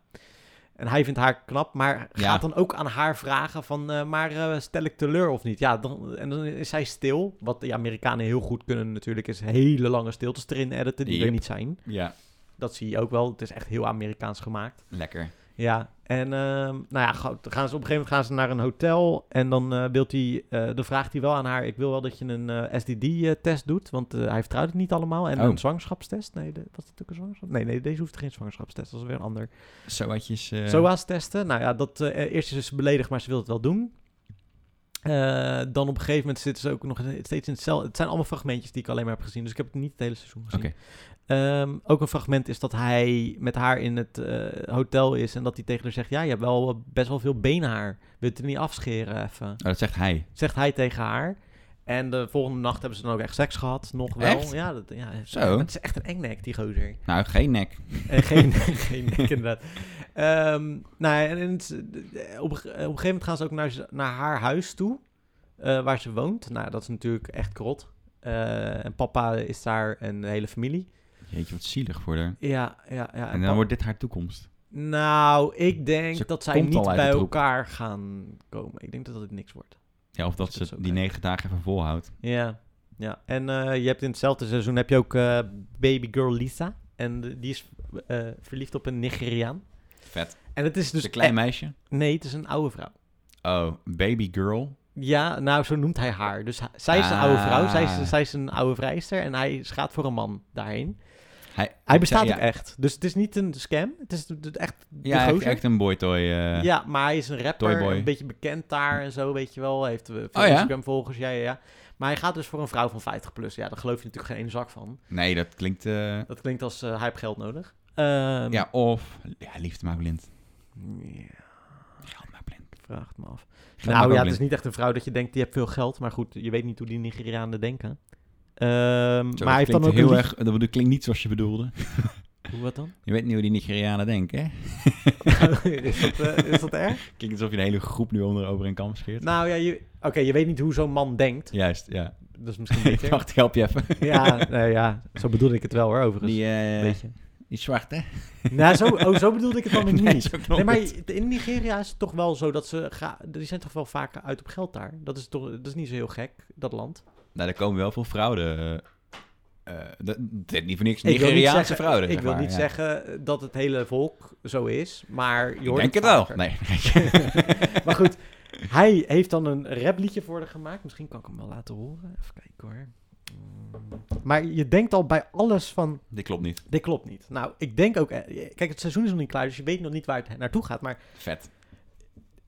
En hij vindt haar knap, maar Ja. gaat dan ook aan haar vragen van, eh, maar eh, stel ik teleur of niet? Ja, dan, en dan is zij stil, wat de Amerikanen heel goed kunnen natuurlijk, is hele lange stiltes erin editen die er Yep. niet zijn. Ja. Dat zie je ook wel. Het is echt heel Amerikaans gemaakt. Lekker. Ja, en ehm, nou ja, goed, dan gaan ze op een gegeven moment gaan ze naar een hotel. En dan eh wilt hij, eh dan vraagt hij wel aan haar: Ik wil wel dat je een eh, SDD-test doet. Want eh, hij vertrouwt het niet allemaal. En Oh. een zwangerschapstest. Nee, de, was dat ook een zwangerschap? Nee, nee, deze hoeft geen zwangerschapstest. Dat is weer een ander. Zoatjes... eh, SOA's testen. Nou ja, dat, eh, eerst is ze beledigd, maar ze wil het wel doen. Eh, dan op een gegeven moment zitten ze ook nog steeds in hetzelfde. Het zijn allemaal fragmentjes die ik alleen maar heb gezien. Dus ik heb het niet het hele seizoen gezien. Oké. Oh, Ehm, ook een fragment is dat hij met haar in het eh, hotel is. En dat hij tegen haar zegt: Ja, je hebt wel eh, best wel veel beenhaar. Wil je het er niet afscheren even? Oh, dat zegt hij. Zegt hij tegen haar. En de volgende nacht hebben ze dan ook echt seks gehad. Nog wel. Echt? Ja, dat, ja, Zo. Het is echt een engnek, die gozer. Nou, geen nek. Eh, geen, <laughs> geen nek, inderdaad. Ehm, nou, ja, en, en het- eh, op, een ge- op een gegeven moment gaan ze ook naar, ze- naar haar huis toe, eh, waar ze woont. Nou, dat is natuurlijk echt krot. Eh, en papa is daar en de hele familie. Jeetje, wat zielig voor haar. Ja, ja, ja. en dan pa- wordt dit haar toekomst. Nou, ik denk Ze dat zij komt niet al uit de bij troep. elkaar gaan komen. Ik denk dat het niks wordt. Ja, of dat ze die negen dagen even volhoudt. Ja, ja. En eh, je hebt in hetzelfde seizoen heb je ook eh baby girl Lisa. En de- die is eh, verliefd op een Nigeriaan. Vet. En het is dus... Een klein eh, meisje? Nee, het is een oude vrouw. Oh, baby girl. Ja, nou, zo noemt hij haar. Dus hij- zij is een oude vrouw, zij Ah. is, zij is een oude vrijster en hij is- gaat voor een man daarheen. Hij, Hij bestaat ja, ook echt. Dus het is niet een scam, het is de- de- echt de Ja, hij heeft gozer. echt een boytoy. eh ja, maar hij is een rapper, Toyboy. een beetje bekend daar en zo, weet je wel. Hij heeft eh, veel Oh ja? Instagram-volgers, ja, ja, ja. Maar hij gaat dus voor een vrouw van 50 plus. Ja, daar geloof je natuurlijk geen ene zak van. Nee, dat klinkt... eh, Dat klinkt als eh, hij heeft geld nodig. Ehm, ja, of... Ja, liefde maakt blind. Vraag het me af. Geld maakt nou ja, ook het is blind. niet echt een vrouw dat je denkt, die heeft veel geld. Maar goed, je weet niet hoe die Nigerianen denken. Zo, Ehm, maar hij dat heeft dan ook klinkt een heel lief- erg... Dat bedoel- klinkt niet zoals je bedoelde. Hoe wat dan? <laughs> Je weet niet hoe die Nigerianen denken, hè? Is dat, eh, is dat <laughs> erg? Klinkt alsof je de hele groep nu onder over een kam scheert. Nou ja, je- oké, je weet niet hoe zo'n man denkt. Juist, ja. Dat is misschien <laughs> beter. Ik dacht, help je <laughs> even. ja, nee, ja, zo bedoelde ik het wel hoor, overigens. Die, eh, Weet je. die zwart, hè? Nou, zo, oh, zo bedoelde ik het dan <laughs> weer Nee, niet. zo klopt Nee, maar het. je- in Nigeria is het toch wel zo dat ze... Ga, die zijn toch wel vaak uit op geld daar. Dat is, toch, dat is niet zo heel gek, dat land. Nou, daar komen wel veel fraude. eh, eh, dat, dit niet voor niks. Ik wil niet Nigeriaanse zeggen- fraude. Ik zeg wil maar, niet ja. zeggen dat het hele volk zo is, maar je Ik hoort denk het wel. vaker. Nee. <laughs> maar goed, hij heeft dan een rapliedje voor haar gemaakt. Misschien kan ik hem wel laten horen. Even kijken hoor. Mm. Maar je denkt al bij alles van... Dit klopt niet. Dit klopt niet. Nou, ik denk ook... eh, Kijk, het seizoen is nog niet klaar, dus je weet nog niet waar het naartoe gaat. Maar Vet.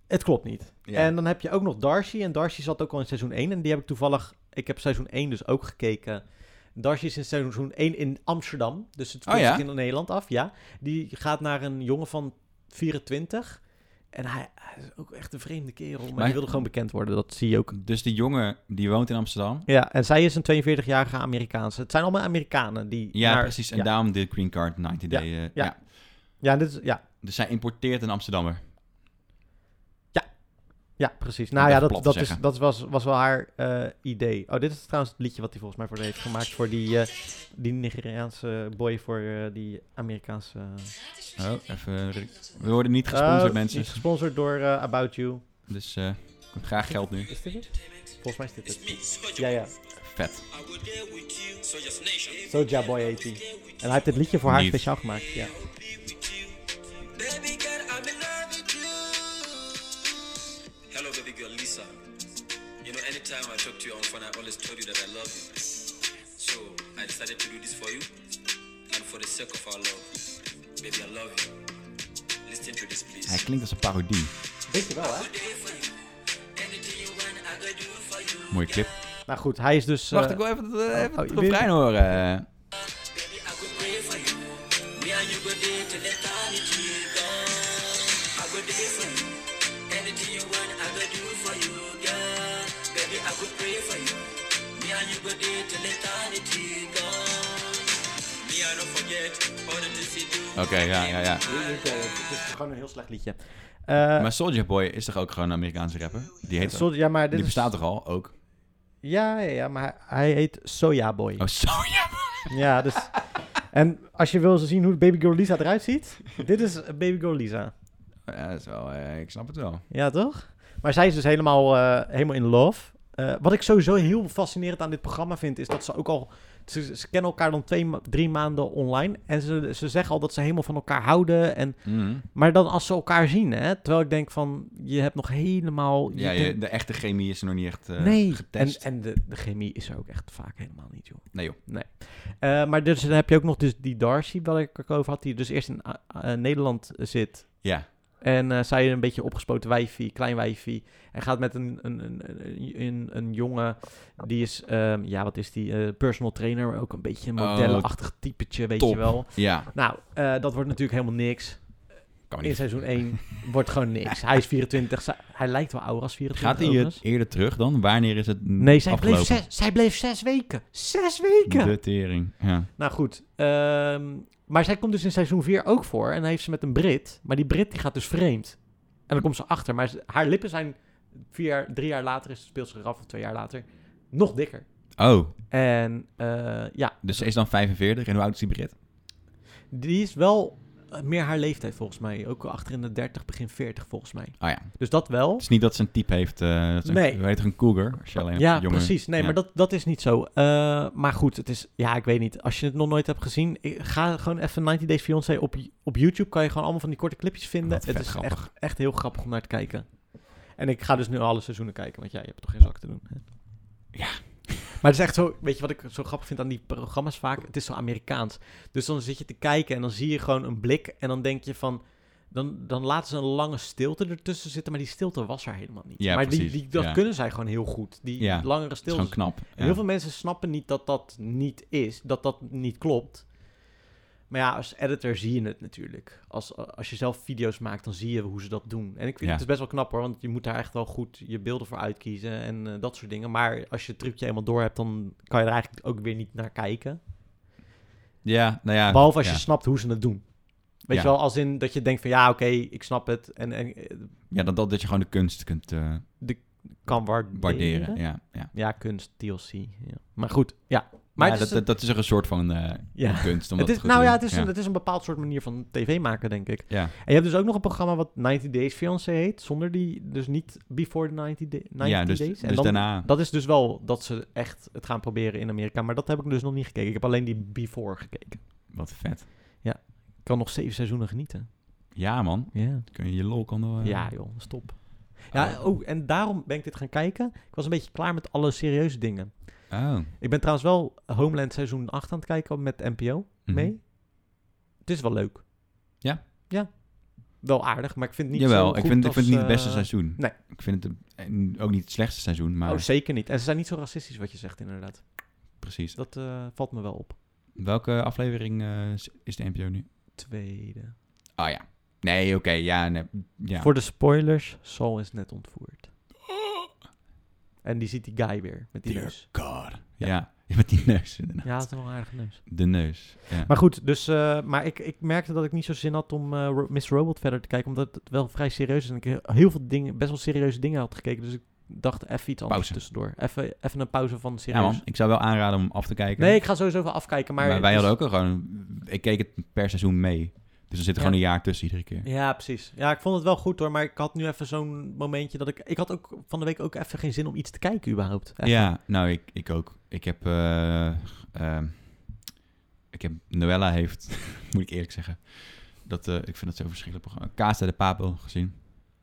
het klopt niet. Ja. En dan heb je ook nog Darcy. En Darcy zat ook al in seizoen 1. En die heb ik toevallig... Ik heb seizoen 1 dus ook gekeken. Darcy is in seizoen 1 in Amsterdam. Dus het Oh speelt ja? zich in Nederland af, ja. Die gaat naar een jongen van 24. En hij, hij is ook echt een vreemde kerel. Maar, die wilde gewoon bekend worden. Dat zie je ook. Dus die jongen die woont in Amsterdam. Ja, en zij is een 42-jarige Amerikaanse. Het zijn allemaal Amerikanen die... Ja, naar- precies. En ja. daarom de Green Card 90 Day. eh, Ja, ja. Ja, dit is, ja. Dus zij importeert een Amsterdammer. ja, precies. Om Nou het ja, even dat, plat dat, te is, zeggen. dat was, was wel haar eh, idee. Oh, dit is trouwens het liedje wat hij volgens mij voor haar heeft gemaakt. Voor die, eh, die Nigeriaanse boy, voor eh, die Amerikaanse... eh, Oh, even. We worden niet gesponsord, Oh, mensen. niet gesponsord door eh, About You. Dus eh, graag geld nu. Is dit het? Volgens mij is dit het. Ja, ja. Vet. Soja Boy heet hij. En hij heeft dit liedje voor haar Niet. speciaal gemaakt. Ja. Hello, baby girl Lisa. You know, anytime I talk to you on phone, I always told you that I love you. So I decided to do this for you and for the sake of our love. Baby, I love you. Listen to this, please. Hij klinkt als een parodie. Weet je wel, hè? Mooie clip. Nou goed, hij is dus... Wacht, eh, ik wil even, oh, eh, even oh, het je wil- refrein horen. Me and you go there till eternity gone. I go there for you. Anything you want, I go do for you, girl. Baby, I could pray for you. Me and you go there till eternity gone. Me I don't forget all the things you do. Oké, ja, ja, ja. Het eh, is gewoon een heel slecht liedje. maar Soldier Boy is toch ook gewoon een Amerikaanse rapper? Die heet Soulja- ja, maar dit Die is- bestaat toch al ook? Ja, ja, ja, maar hij- hij heet Soja Boy. Oh, Soja Boy. Ja, dus... En als je wil zien hoe Baby Girl Lisa eruit <laughs> ziet, dit is Baby Girl <laughs> Lisa. Ja, dat is wel, eh, ik snap het wel. Ja, toch? Maar zij is dus helemaal, eh, helemaal in love. Eh, wat ik sowieso heel fascinerend aan dit programma vind, is dat ze ook al... Ze, ze kennen elkaar dan twee, ma- drie maanden online. En ze, ze zeggen al dat ze helemaal van elkaar houden. En, Mhm. Maar dan als ze elkaar zien, hè? Terwijl ik denk van, je hebt nog helemaal... Ja, denkt- je, de echte chemie is er nog niet echt eh, nee, getest. en, en de, de chemie is er ook echt vaak helemaal niet, joh. Nee joh. Nee. Eh, maar dus, dan heb je ook nog dus die Darcy, waar ik het over had, die dus eerst in ah, ah, Nederland zit. Ja. En eh zij een beetje opgespoten wijfie, klein wijfie. En gaat met een, een, een, een, een- een jongen, die is, ehm, ja, wat is die? eh, personal trainer, maar ook een beetje een Oh, modellenachtig typetje, weet top. je wel. Ja. Nou, eh, dat wordt natuurlijk helemaal niks. Kan In niet. seizoen 1 <laughs> wordt gewoon niks. Hij is 24. zij- Hij lijkt wel ouder als 24. Gaat hij overigens. het eerder terug dan? Wanneer is het Nee, zij bleef, afgelopen? zes, zij bleef zes weken. Zes weken! De tering, ja. Nou goed, ehm, maar zij komt dus in seizoen 4 ook voor. En dan heeft ze met een Brit. Maar die Brit die gaat dus vreemd. En dan komt ze achter. Maar ze- haar lippen zijn vier, jaar- drie jaar later, is, speelt ze eraf of twee jaar later, nog dikker. Oh, En eh, ja, dus ze is dan 45 en hoe oud is die Brit? die is wel eh, meer haar leeftijd volgens mij. Ook achter in de 30, begin 40 volgens mij. Ah ja. Dus dat wel. Het is niet dat ze een type heeft. eh dat ze Nee. Een, weet toch een cougar? Als je alleen een Ja, jongen- precies. Nee, ja. maar dat, dat is niet zo. Eh, maar goed, het is... Ja, ik weet niet. Als je het nog nooit hebt gezien, eh, ga gewoon even 90 Days Fiancé op, op YouTube. Kan je gewoon allemaal van die korte clipjes vinden. Wat het vet is grappig. echt, echt heel grappig om naar te kijken. En ik ga dus nu alle seizoenen kijken, want jij hebt toch geen zak te doen. Hè? <laughs> Maar het is echt zo, weet je wat ik zo grappig vind aan die programma's vaak? Het is zo Amerikaans. Dus dan zit je te kijken en dan zie je gewoon een blik en dan denk je van... Dan, dan laten ze een lange stilte ertussen zitten, maar die stilte was er helemaal niet. Ja, maar precies, Die, die, dat ja. kunnen zij gewoon heel goed. Die Ja, langere dat is stilte. gewoon knap, En ja. heel veel mensen snappen niet dat dat niet is, dat dat niet klopt. Maar ja, als editor zie je het natuurlijk. Als, als je zelf video's maakt, dan zie je hoe ze dat doen. En ik vind Ja. het is best wel knap hoor, want je moet daar echt wel goed je beelden voor uitkiezen en eh, dat soort dingen. Maar als je het trucje eenmaal door hebt, dan kan je er eigenlijk ook weer niet naar kijken. Ja, nou ja. Behalve als je ja. snapt hoe ze het doen. Weet Ja. je wel, als in dat je denkt van ja, oké, ik snap het. En, en eh, Ja, dat, dat, dat je gewoon de kunst kunt. eh, de, kan waarderen. Waarderen, ja, ja. kunst, DLC. Ja. Maar goed, ja. Maar Maar ja, het is dat, dat, dat is er een soort van eh, <laughs> kunst. Om het dat is, goed nou te ja, doen. het is, Een, het is een bepaald soort manier van tv maken, denk ik. Ja. En je hebt dus ook nog een programma wat 90 Days Fiancé heet, zonder die, dus niet Before the 90, Day- 90 Ja, dus- Days. dus daarna. Dat is dus wel dat ze echt het gaan proberen in Amerika, maar dat heb ik dus nog niet gekeken. Ik heb alleen die Before gekeken. Wat vet. Ja, ik kan nog zeven seizoenen genieten. Ja, Ah. man. Ja. Kun je je lol kan wel, eh, Ja joh, stop. Ja, oh, en daarom ben ik dit gaan kijken. Ik was een beetje klaar met alle serieuze dingen. Oh. Ik ben trouwens wel Homeland seizoen 8 aan het kijken met NPO mee. Het is wel leuk. Mhm. Ja? Ja. Wel aardig, maar ik vind het niet Jawel, zo ik goed vind, ik als, vind het niet het eh, beste seizoen. Nee. Ik vind het eh, en ook niet het slechtste seizoen, maar Oh, zeker niet. En ze zijn niet zo racistisch wat je zegt, inderdaad. precies. Dat eh, valt me wel op. Welke aflevering eh, is- is de NPO nu? Tweede. Oh ja. Nee, oké, ja, nee, ja. Voor de spoilers, Saul is net ontvoerd. En die ziet die guy weer, met die Dear neus. God. Ja. <laughs> met die neus inderdaad. Ja, het is wel een aardige neus. De neus, ja. Maar goed, dus, eh, maar ik, ik merkte dat ik niet zo zin had om eh, Ro- Miss Robot verder te kijken, omdat het wel vrij serieus is. En ik he- heel veel dingen, best wel serieuze dingen had gekeken, dus ik dacht even iets anders Pauze. tussendoor. Even, even een pauze van serieus. Ja man, ik zou wel aanraden om af te kijken. Nee, ik ga sowieso even afkijken, maar... Maar, wij dus- hadden ook al gewoon... Ik keek het per seizoen mee. Dus er zit Ja. gewoon een jaar tussen iedere keer. Ja, precies. Ja, ik vond het wel goed hoor, maar ik had nu even zo'n momentje dat ik... Ik had ook van de week ook even geen zin om iets te kijken überhaupt. Echt. Ja, nou, ik, ik ook. Ik heb... eh, ehm, ik heb... Noella heeft... <laughs> moet ik eerlijk zeggen. Dat, eh, ik vind dat zo'n verschrikkelijk programma. Kaas de Papel gezien.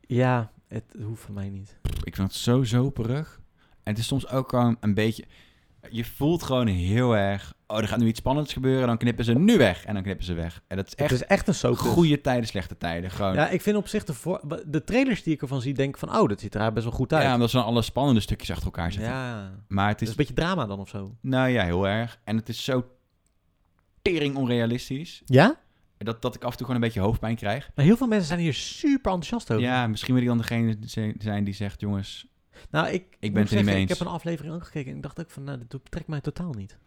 Ja, het hoeft van mij niet. Ik vind het zo zoperig. En het is soms ook gewoon een beetje... Je voelt gewoon heel erg... Oh, er gaat nu iets spannends gebeuren. Dan knippen ze nu weg. En dan knippen ze weg. En dat is echt... het is echt een soap. dus. Goede tijden, slechte tijden. Gewoon. Ja, ik vind op zich de, voor- de trailers die ik ervan zie, denk ik van... Oh, dat ziet er eigenlijk best wel goed uit. Ja, omdat ze dan alle spannende stukjes achter elkaar zetten. Ja. Maar het Het is is... een beetje drama dan of zo. Nou ja, heel erg. En het is zo tering onrealistisch. Ja? Dat, dat ik af en toe gewoon een beetje hoofdpijn krijg. Maar heel veel mensen zijn hier super enthousiast over. Ja, misschien wil ik dan degene ze- zijn die zegt, jongens... Nou, ik, Ik ben moet het er niet zeggen, mee eens. Ik heb een aflevering ook gekeken en ik dacht ook van... Nou, dit betrekt mij totaal niet.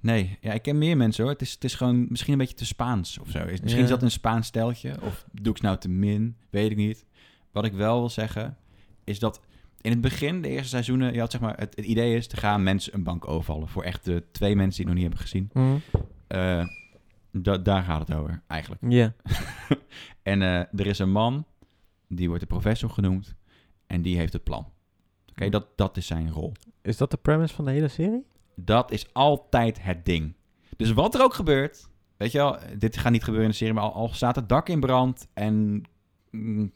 Nee, ja, ik ken meer mensen hoor. Het is, het is gewoon misschien een beetje te Spaans of zo. Is- Misschien Ja. is dat een Spaans steltje. Of doe ik ze nou te min? Weet ik niet. Wat ik wel wil zeggen, is dat in het begin, de eerste seizoenen... Je had zeg maar, het, het idee is, te gaan mensen een bank overvallen. Voor echt de twee mensen die het nog niet hebben gezien. Mhm. Eh, da- daar gaat het over, eigenlijk. Ja. en eh, er is een man, die wordt de professor genoemd. En die heeft het plan. Oké, dat, dat is zijn rol. Is dat de premise van de hele serie? Dat is altijd het ding. Dus wat er ook gebeurt, weet je wel, dit gaat niet gebeuren in de serie, maar al, al staat het dak in brand en mm,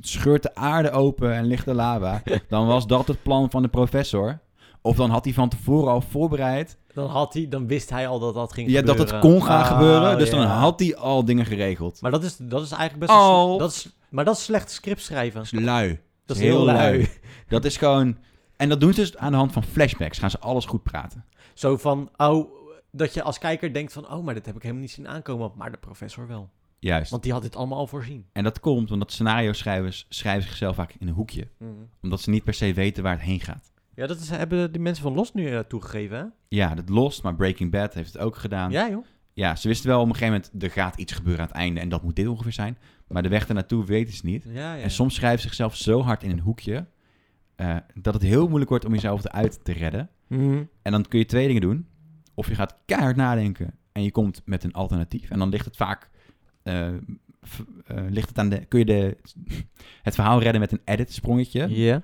scheurt de aarde open en ligt de <laughs> lava, dan was dat het plan van de professor. Of dan had hij van tevoren al voorbereid Dan, had hij, dan wist hij al dat dat ging ja, dat gebeuren. het kon gaan Oh, gebeuren, dus dan ja. had Oh. hij al dingen geregeld. Maar dat is, dat is eigenlijk best... wel sle- dat is, maar dat is slecht script schrijven. Dat is lui. Dat is heel lui. Dat is gewoon... En dat doen ze dus aan de hand van flashbacks, gaan ze alles goed praten. Zo van, oh, dat je als kijker denkt van, oh, maar dat heb ik helemaal niet zien aankomen, maar de professor wel. Juist. Want die had dit allemaal al voorzien. En dat komt omdat scenario-schrijvers schrijven zichzelf vaak in een hoekje. Mhm. Omdat ze niet per se weten waar het heen gaat. Ja, dat is, hebben die mensen van Los nu eh, toegegeven, hè? Ja, dat lost, maar Breaking Bad heeft het ook gedaan. Ja, joh. Ja, ze wisten wel op een gegeven moment, er gaat iets gebeuren aan het einde en dat moet dit ongeveer zijn. Maar de weg ernaartoe weten ze niet. Ja, ja. En soms schrijven ze zichzelf zo hard in een hoekje, eh, dat het heel moeilijk wordt om jezelf eruit te redden. Mhm. En dan kun je twee dingen doen. Of je gaat keihard nadenken en je komt met een alternatief. En dan ligt het vaak eh, v- eh, ligt het aan de, kun je de, <laughs> het verhaal redden met een edit sprongetje. Ja.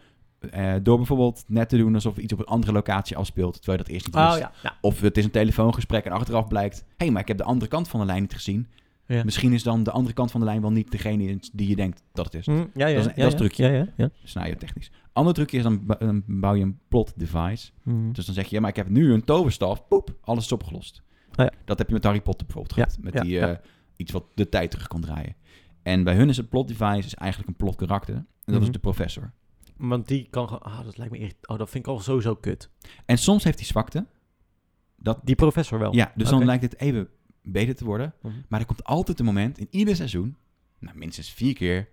Eh, door bijvoorbeeld net te doen alsof iets op een andere locatie afspeelt, terwijl je dat eerst niet Oh, wist. ja, ja. Of het is een telefoongesprek en achteraf blijkt, hé, hey, maar ik heb de andere kant van de lijn niet gezien. Ja. Misschien is dan de andere kant van de lijn wel niet degene die je denkt dat het is. Mm, ja, ja, dat is een, ja, dat is ja. een trucje. Ja, ja, ja. Scenario technisch. Ander trucje is dan, b- dan bouw je een plot device. Mhm. Dus dan zeg je, ja, maar ik heb nu een toverstaf. Poep, alles is opgelost. Ah, ja. Dat heb je met Harry Potter bijvoorbeeld Ja, gehad. Met ja, die, ja. eh, iets wat de tijd terug kan draaien. En bij hun is het plot device is eigenlijk een plot karakter. En dat Mhm. is de professor. Want die kan gewoon... Ah, dat lijkt me irrit- Oh, dat vind ik al sowieso kut. En soms heeft hij zwakte. Dat, Die professor wel. Ja, dus Oké. dan lijkt het even beter te worden. Mhm. Maar er komt altijd een moment in ieder seizoen, nou, minstens vier keer,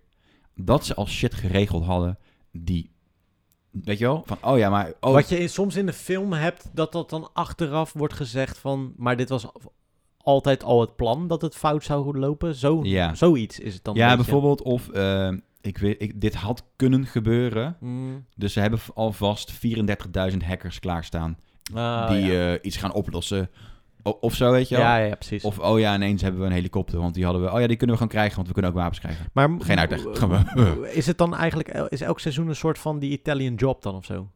dat ze al shit geregeld hadden die, weet je wel, van oh ja, maar oh, Wat je in- soms in de film hebt, dat dat dan achteraf wordt gezegd van... Maar dit was altijd al het plan dat het fout zou lopen. Zo, Ja. Zoiets is het dan. ja, een beetje. bijvoorbeeld of eh, ik weet, ik, dit had kunnen gebeuren. Mm. Dus ze hebben v- alvast 34.000 hackers klaarstaan Ah, die ja. eh, iets gaan oplossen. O- of zo, weet je wel. Ja, ja, ja, precies. Of, oh ja, ineens hebben we een helikopter, want die hadden we... Oh ja, die kunnen we gaan krijgen, want we kunnen ook wapens krijgen. Maar m- Geen uitleg. Gewoon- eh. Is het dan eigenlijk... el- Is elk seizoen een soort van die Italian job dan of zo?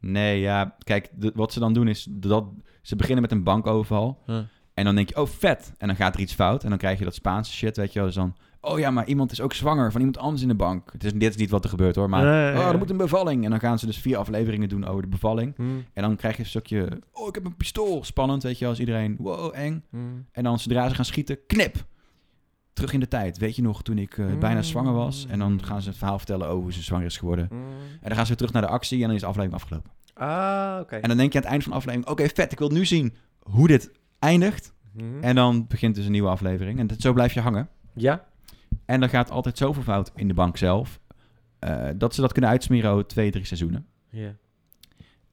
Nee, ja, kijk, de- wat ze dan doen is dat ze beginnen met een bankoverval. Ja. En dan denk je, oh vet. En dan gaat er iets fout. En dan krijg je dat Spaanse shit, weet je wel. Dus dan, oh ja, maar iemand is ook zwanger van iemand anders in de bank. Het is, dit is niet wat er gebeurt hoor, maar Ja, ja, ja. Oh, er moet een bevalling. En dan gaan ze dus vier afleveringen doen over de bevalling. Hmm. En dan krijg je een stukje, oh ik heb een pistool. Spannend, weet je wel, als iedereen, wow, eng. Hmm. En dan zodra ze gaan schieten, knip. Terug in de tijd, weet je nog, toen ik eh, bijna zwanger was. En dan gaan ze het verhaal vertellen over hoe ze zwanger is geworden. hm. En dan gaan ze weer terug naar de actie en dan is de aflevering afgelopen. Ah, oké. En dan denk je aan het eind van de aflevering: oké, vet, ik wil nu zien hoe dit eindigt. Mhm. En dan begint dus een nieuwe aflevering. En dat, zo blijf je hangen. Ja. En dan gaat altijd zoveel fout in de bank zelf. eh, dat ze dat kunnen uitsmeren over twee, drie seizoenen. Ja.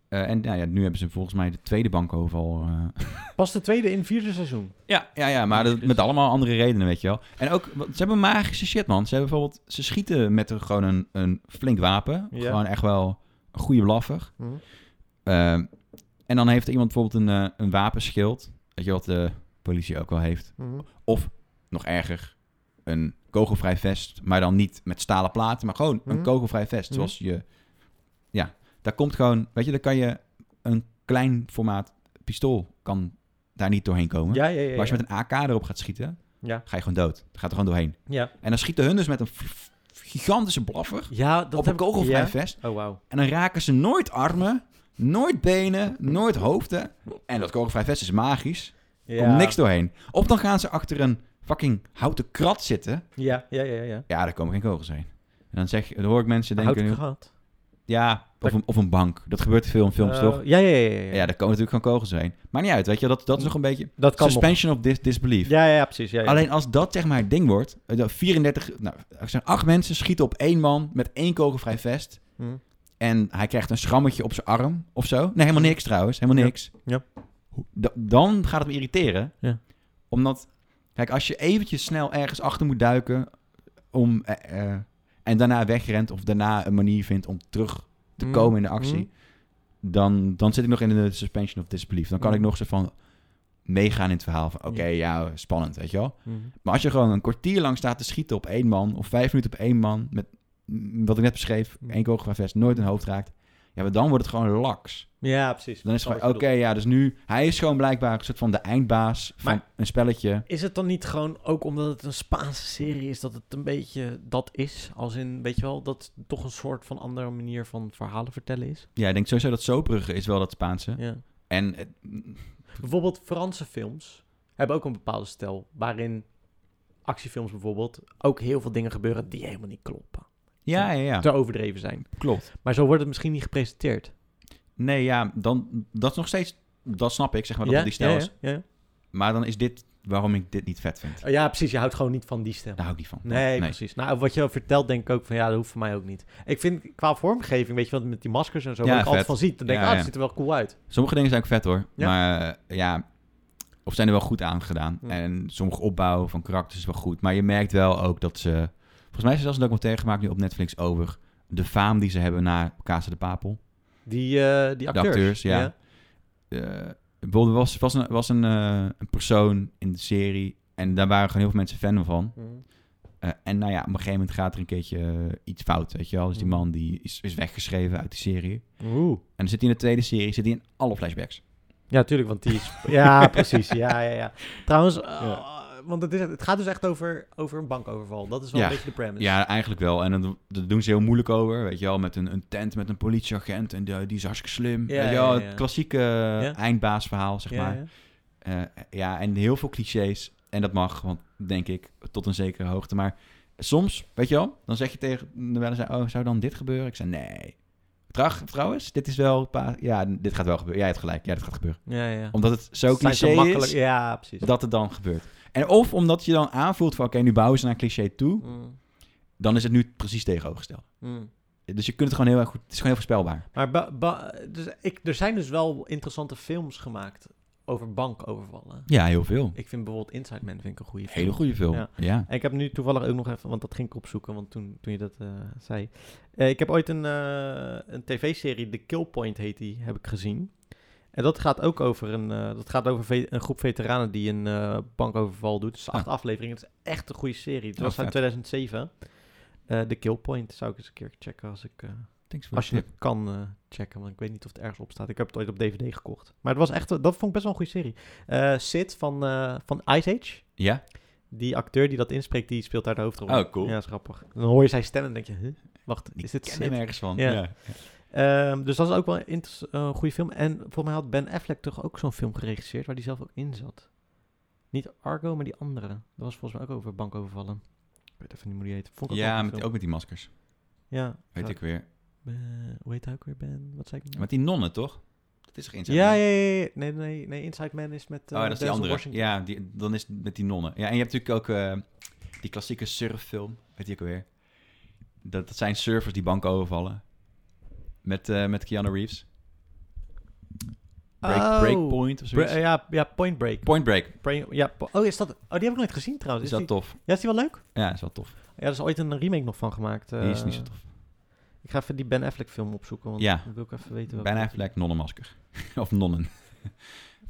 Eh, en nou ja, nu hebben ze volgens mij de tweede bankoverval. eh. Pas de tweede in vierde seizoen. ja, ja, ja, maar dat, dus. met allemaal andere redenen, weet je wel. En ook, wat- ze hebben magische shit, man. Ze hebben bijvoorbeeld, ze schieten met een, gewoon een, een flink wapen. Ja. Gewoon echt wel een goede blaffer. Mhm. Ehm, en dan heeft iemand bijvoorbeeld een, eh, een wapenschild. Weet je wat de politie ook wel heeft. Mhm. Of, nog erger, een kogelvrij vest. Maar dan niet met stalen platen, maar gewoon Mhm. een kogelvrij vest. Mhm. Zoals je... Ja, daar komt gewoon... Weet je, daar kan je een klein formaat pistool kan daar niet doorheen komen. Ja, ja, ja, maar als je ja. met een AK erop gaat schieten, Ja. ga je gewoon dood. Dan gaat er gewoon doorheen. Ja. En dan schieten hun dus met een f- f- gigantische blaffer Ja, dat op heb een ik- kogelvrij ja? vest. Oh, wauw. En dan raken ze nooit armen, nooit benen, nooit hoofden. En dat kogelvrij vest is magisch. Er Ja. komt niks doorheen. Of dan gaan ze achter een fucking houten krat zitten. Ja, ja, ja, ja. Ja, daar komen geen kogels heen. En dan, zeg, dan hoor ik mensen Een denken... houten nu- krat? Ja, of een, of een bank. Dat gebeurt veel in films, Eh, toch? ja, ja, ja, ja, ja. Ja, daar komen natuurlijk gewoon kogels heen. Maar niet uit, weet je. wel, Dat, dat is nog een beetje... Dat kan nog. Suspension of dis- disbelief. Ja, ja, ja, precies. Ja, ja. Alleen als dat zeg maar het ding wordt, eh, dat 34, nou, er zijn acht mensen schieten op één man met één kogelvrij vest. Hm. En hij krijgt een schrammetje op zijn arm of zo. Nee, helemaal niks trouwens, helemaal niks. Hm. Ja. Hoe- da- Dan gaat het me irriteren. Ja. Omdat, kijk, als je eventjes snel ergens achter moet duiken om, eh, eh, en daarna wegrent of daarna een manier vindt om terug te Hm. komen in de actie, dan, dan zit ik nog in de suspension of disbelief. Dan kan Hm. ik nog zo van meegaan in het verhaal van, oké, ja, spannend, weet je wel. Mhm. Maar als je gewoon een kwartier lang staat te schieten op één man, of vijf minuten op één man, met mm, wat ik net beschreef, één kogelvrij vest, nooit een hoofd raakt, ja, maar dan wordt het gewoon laks. Ja, precies. Dan is Snap het wat gewoon, je oké, ja, dus nu, hij is gewoon blijkbaar een soort van de eindbaas van Maar- een spelletje. Is het dan niet gewoon ook omdat het een Spaanse serie is dat het een beetje dat is? Als in, weet je wel, dat het toch een soort van andere manier van verhalen vertellen is? Ja, ik denk sowieso dat soperige is wel dat Spaanse. Ja. En het- Bijvoorbeeld Franse films hebben ook een bepaalde stijl waarin actiefilms bijvoorbeeld ook heel veel dingen gebeuren die helemaal niet kloppen. Ja, ja, ja. Te overdreven zijn. Klopt. Maar zo wordt het misschien niet gepresenteerd. nee, ja, dan, dat is nog steeds, dat snap ik, zeg maar, dat Ja, het die stijl ja, ja, is. ja, ja. Maar dan is dit waarom ik dit niet vet vind. Oh ja, precies. Je houdt gewoon niet van die stijl. Daar hou ik niet van. Nee, Nee. precies. Nou, wat je vertelt, denk ik ook van ja, dat hoeft voor mij ook niet. Ik vind qua vormgeving, weet je wat met die maskers en zo, Ja, waar ik altijd van vet. ziet, dan denk ik, Ja, ah, ja. het ziet er wel cool uit. Sommige dingen zijn ook vet hoor. Ja. Maar eh, ja, of zijn er wel goed aan gedaan. En sommige opbouw van karakters is wel goed. Maar je merkt wel ook dat ze. Volgens mij is er zelfs een documentaire gemaakt nu op Netflix over de faam die ze hebben na Casa de Papel. Die, eh, die acteurs. De acteurs, ja. Eh, bijvoorbeeld er was, was, een, was een, eh, een persoon in de serie En daar waren gewoon heel veel mensen fan van. Mhm. Eh, en nou ja, op een gegeven moment gaat er een keertje eh, iets fout, weet je wel. Dus Mm. die man die is, is weggeschreven uit die serie. Oeh. En dan zit hij in de tweede serie, zit hij in alle flashbacks. Ja, tuurlijk, want die is... <laughs> Ja, precies. Ja, ja, ja. Trouwens, eh, want het, is, het gaat dus echt over, over een bankoverval. Dat is wel een beetje de premise. Ja, eigenlijk wel. En dan- daar doen ze heel moeilijk over, weet je wel. Met een, een tent met een politieagent en die, die is hartstikke slim. Ja, weet je wel, ja, ja. het klassieke eh, Ja. eindbaasverhaal, zeg Ja, maar. ja. Eh, ja, en heel veel clichés. En dat mag, want denk ik, tot een zekere hoogte. Maar soms, weet je wel, dan zeg je tegen de zei, oh, zou dan dit gebeuren? Ik zei, nee. Trouw, trouwens, dit is wel... pa- ja, dit gaat wel gebeuren. Jij hebt gelijk. Ja, dit gaat gebeuren. Ja, ja. Omdat het zo Het zijn zo cliché is makkelijk- ja, precies. dat het dan gebeurt. En of omdat je dan aanvoelt van, oké, nu bouwen ze naar cliché toe. Dan is het nu precies tegenovergesteld. Mm. Dus je kunt het gewoon heel erg goed... Het is gewoon heel voorspelbaar. Maar ba- ba- dus ik, er zijn dus wel interessante films gemaakt over bankovervallen. Ja, heel veel. Ik vind bijvoorbeeld Inside Man vind ik een goede film. Hele goede film, ja. En ik heb nu toevallig ook nog even, want dat ging ik opzoeken, want toen, toen je dat eh, zei. Eh, ik heb ooit een, eh, een tv-serie, The Kill Point heet die, heb ik gezien. En dat gaat ook over een, eh, dat gaat over ve- een groep veteranen die een eh, bankoverval doet. Het is acht afleveringen, het is echt een goede serie. Het Ah. Oh, was vet. uit 2007. Eh The Kill Point zou ik eens een keer checken als ik... eh, Thanks voor als de je het kan eh, checken, want ik weet niet of het ergens op staat. Ik heb het ooit op DVD gekocht. Maar het was echt, dat vond ik best wel een goede serie. Eh Sid van, eh, van Ice Age. Ja. Die acteur die dat inspreekt, die speelt daar de hoofdrol. Oh, cool. Ja, dat is grappig. Dan hoor je zijn stem en denk je, huh? wacht, is dit ken Sid? hem ergens van, ja. Ehm, dus dat is ook wel een inter- eh, goede film. En volgens mij had Ben Affleck toch ook zo'n film geregisseerd waar hij zelf ook in zat. Niet Argo, maar die andere. Dat was volgens mij ook over bankovervallen. Ik weet even niet hoe die heet. Vond ik ook wel Ja, een met, film. ook met die maskers. Ja. Weet ik weer. Ben- hoe heet hij ook weer, Ben? Wat zei ik nou? Met die nonnen, toch? Dat is geen ja, ja, ja, ja. Nee, nee, nee. Inside Man is met eh oh, dat is die Denzel andere. Washington. Ja, die, dan is het met die nonnen. Ja, en je hebt natuurlijk ook eh, die klassieke surffilm. Weet je ook weer. Dat, dat zijn surfers die banken overvallen. Met, eh, met Keanu Reeves. Break, Oh. Breakpoint of zoiets. Bra- ja, ja, Point Break. Point Break. Bra- ja, po- oh, is dat... oh, die heb ik nooit gezien trouwens. Is dat die- tof? Ja, is die wel leuk? Ja, is wel tof. Ja, er is ooit een remake nog van gemaakt. Die is niet zo eh. Ik ga even die Ben Affleck film opzoeken, want Ja. dan wil ik even weten welke. Ben Affleck nonnenmasker. <laughs> of nonnen. Vind je Ik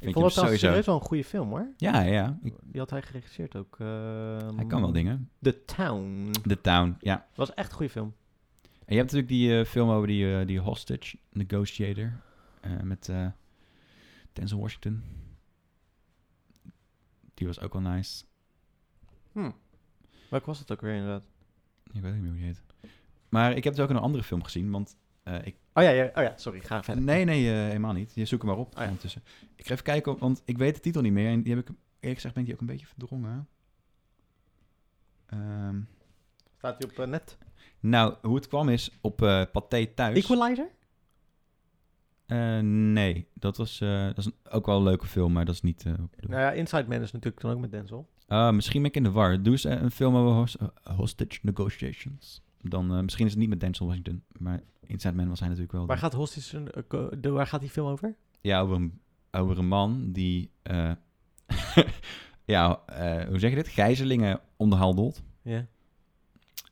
vond hem dat trouwens sowieso. serieus wel een goede film, hoor. Ja, ja. Die had hij geregisseerd ook. Ehm, Hij kan wel dingen. The Town. The Town, ja. was echt een goede film. En je hebt natuurlijk die eh, film over die, eh, die hostage negotiator eh, met eh Denzel Washington. Die was ook wel nice. Welke was het ook weer, inderdaad? Ik weet niet meer hoe die heet. Maar ik heb dus ook een andere film gezien, want eh, ik... Oh ja, ja, oh ja, sorry, ga verder. Nee, nee, eh, helemaal niet. Je zoekt hem maar op ondertussen. Ik ga even kijken, want ik weet de titel niet meer. En die heb ik, eerlijk gezegd, ben ik die ook een beetje verdrongen. Ehm, Staat hij op eh, net? nou, hoe het kwam is, op eh Pathé Thuis... Equalizer? Eh, nee, dat was, eh, dat is een- ook wel een leuke film, maar dat is niet... eh, wat ik bedoel. Nou ja, Inside Man is natuurlijk dan ook met Denzel. Ah, misschien ben ik in de war. Doe eens eh, een film over hos- eh, hostage negotiations. Dan, eh, misschien is het niet met Denzel Washington, maar Inside Man was hij natuurlijk wel. Waar de- gaat Hostage... een- eh, ko- de- waar gaat die film over? Ja, over een, over een man die, eh, <laughs> ja, eh, hoe zeg je dit? Gijzelingen onderhandelt. Ja.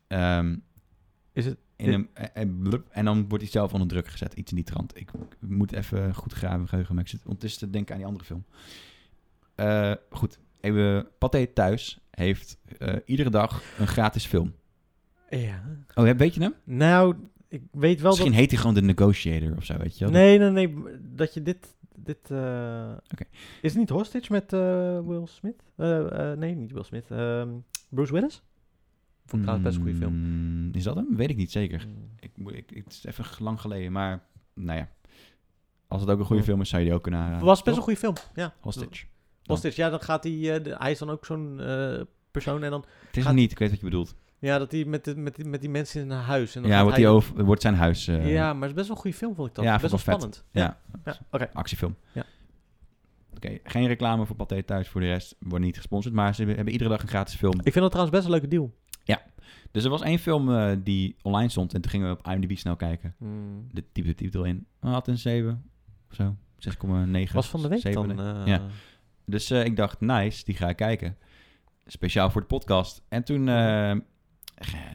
Ehm, Is het... in een, eh, eh, blup, en dan wordt hij zelf onder druk gezet. Iets in die trant. Ik moet even goed graven, geheugen. Maar ik zit ondertussen te denken aan die andere film. Eh, goed. Even, Pathé Thuis heeft eh, iedere dag een gratis film. Ja. Oh, ja, weet je hem? Nou, ik weet wel Misschien dat... heet hij gewoon de Negotiator of zo, weet je wel? Nee, nee, nee. m- Dat je dit... dit eh, Oké. Is het niet Hostage met eh, Will Smith? Eh, eh, nee, niet Will Smith. ehm, Bruce Willis? Vond ik trouwens best een goede film. Mm, Is dat hem? Weet ik niet zeker. Ik, moet- ik, het is even lang geleden, maar nou ja. Als het ook een goede Ja. film is, zou je die ook kunnen aanraden. Oh. was best toch? een goede film, ja. Hostage. Hostage, ja, dan gaat hij... eh, de- hij is dan ook zo'n eh, persoon en dan... Het is gaat- hem niet, ik weet wat je bedoelt. Ja, dat hij met, de- met, die- met die mensen in een huis... En dan Ja, gaat wordt, hij hij over, wordt zijn huis... eh, ja, maar het is best wel een goede film, vond ik dat. ja, best wel vond ik vet. spannend. Ja. Ja, oké. Actiefilm. Ja. Oké, geen reclame voor Pathé Thuis voor de rest. Wordt niet gesponsord, maar ze hebben iedere dag een gratis film. Ik vind dat trouwens best een leuke deal. Ja. Dus er was één film eh, die online stond en toen gingen we op IMDb snel kijken. Hmm. De typte de titel in. Hij had een 7 of zo. 6,9. Was van de week 7, dan, denk ik. eh. Ja. Dus eh, ik dacht, nice, die ga ik kijken. Speciaal voor de podcast. En toen eh, en,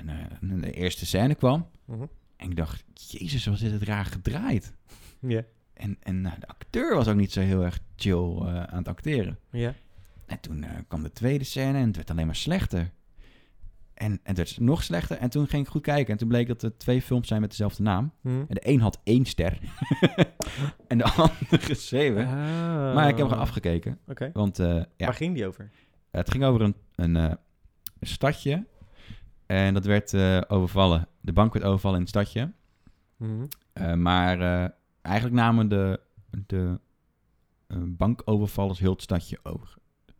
eh, de eerste scène kwam. Mhm. En ik dacht, jezus, wat is het raar gedraaid. Ja. En, en nou, de acteur was ook niet zo heel erg chill eh, aan het acteren. Ja. En toen eh, kwam de tweede scène en het werd alleen maar slechter. En, en het werd nog slechter. En toen ging ik goed kijken. En toen bleek dat er twee films zijn met dezelfde naam. Mhm. En de een had één ster. <laughs> en de andere <laughs> zeven. Maar ik heb hem afgekeken. Oké. Want, eh, ja. Ah. Waar ging die over? Het ging over een, een, eh, een stadje. En dat werd eh, overvallen. De bank werd overvallen in het stadje. Mhm. Eh, maar eh, eigenlijk namen de, de eh, bankovervallers heel het stadje over.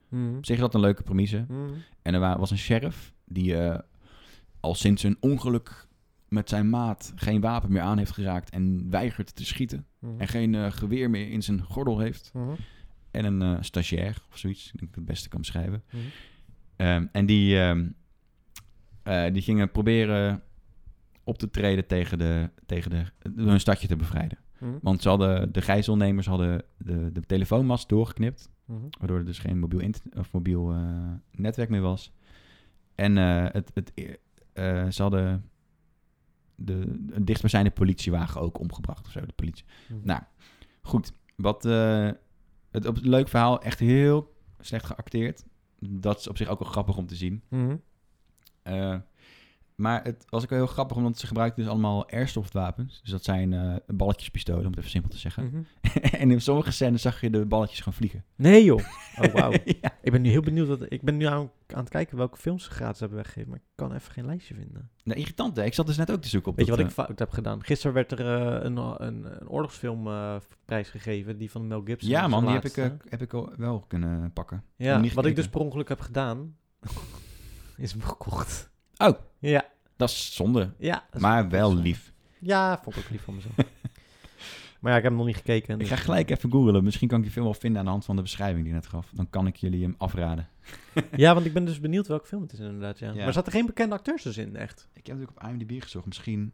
Mhm. Op zich is dat een leuke premisse. Mhm. En er wa- was een sheriff die eh, al sinds een ongeluk met zijn maat geen wapen meer aan heeft geraakt en weigert te schieten. Mhm. En geen eh, geweer meer in zijn gordel heeft. Mhm. En een eh, stagiair of zoiets, ik denk dat ik het beste kan beschrijven. Mhm. Ehm, en die, ehm, eh, die gingen proberen op te treden tegen, de, tegen de, hun stadje te bevrijden. Mhm. Want ze hadden, de gijzelnemers hadden de, de telefoonmast doorgeknipt. Mhm. Waardoor er dus geen mobiel, internet, of mobiel eh, netwerk meer was. En eh, het, het, eh, ze hadden de, een dichtstbijzijnde politiewagen ook omgebracht of zo, de politie. Mhm. Nou, goed. Wat, eh, het, op- leuk verhaal, echt heel slecht geacteerd. Dat is op zich ook wel grappig om te zien. Mhm. Eh, maar het was ook wel heel grappig, omdat ze gebruikten dus allemaal airsoftwapens. Dus dat zijn eh, balletjespistolen, om het even simpel te Hmm. zeggen. <laughs> en in sommige scènes zag je de balletjes gaan vliegen. Nee joh. Oh wauw. <laughs> <laughs> Ja. Ik ben nu heel benieuwd. Wat, ik ben nu aan, aan het kijken welke films ze gratis hebben weggegeven. Maar ik kan even geen lijstje vinden. Nou, irritant, hè? Ik zat dus net ook te zoeken op Weet je dat, wat ik eh, fout heb gedaan? Gisteren werd er eh, een, een, een oorlogsfilm eh, prijs gegeven. Die van Mel Gibson. Ja, zijn man, die heb ik, laatste. eh, heb ik al wel kunnen pakken. Ja, Nog wat niet ik dus gekeken. per ongeluk heb gedaan, <laughs> is hem gekocht. Oh. Ja. Dat is zonde. Ja, dat is maar wel lief. Ja, vond ik ook lief <laughs> van mezelf. maar ja, ik heb hem nog niet gekeken. Ik dus- ga gelijk even googlen. Misschien kan ik die film wel vinden aan de hand van de beschrijving die je net gaf. Dan kan ik jullie hem afraden. Ja, want ik ben dus benieuwd welke film het is inderdaad, ja. Ja. Maar zaten geen bekende acteurs dus in, echt? Ik heb natuurlijk op IMDb gezocht. Misschien,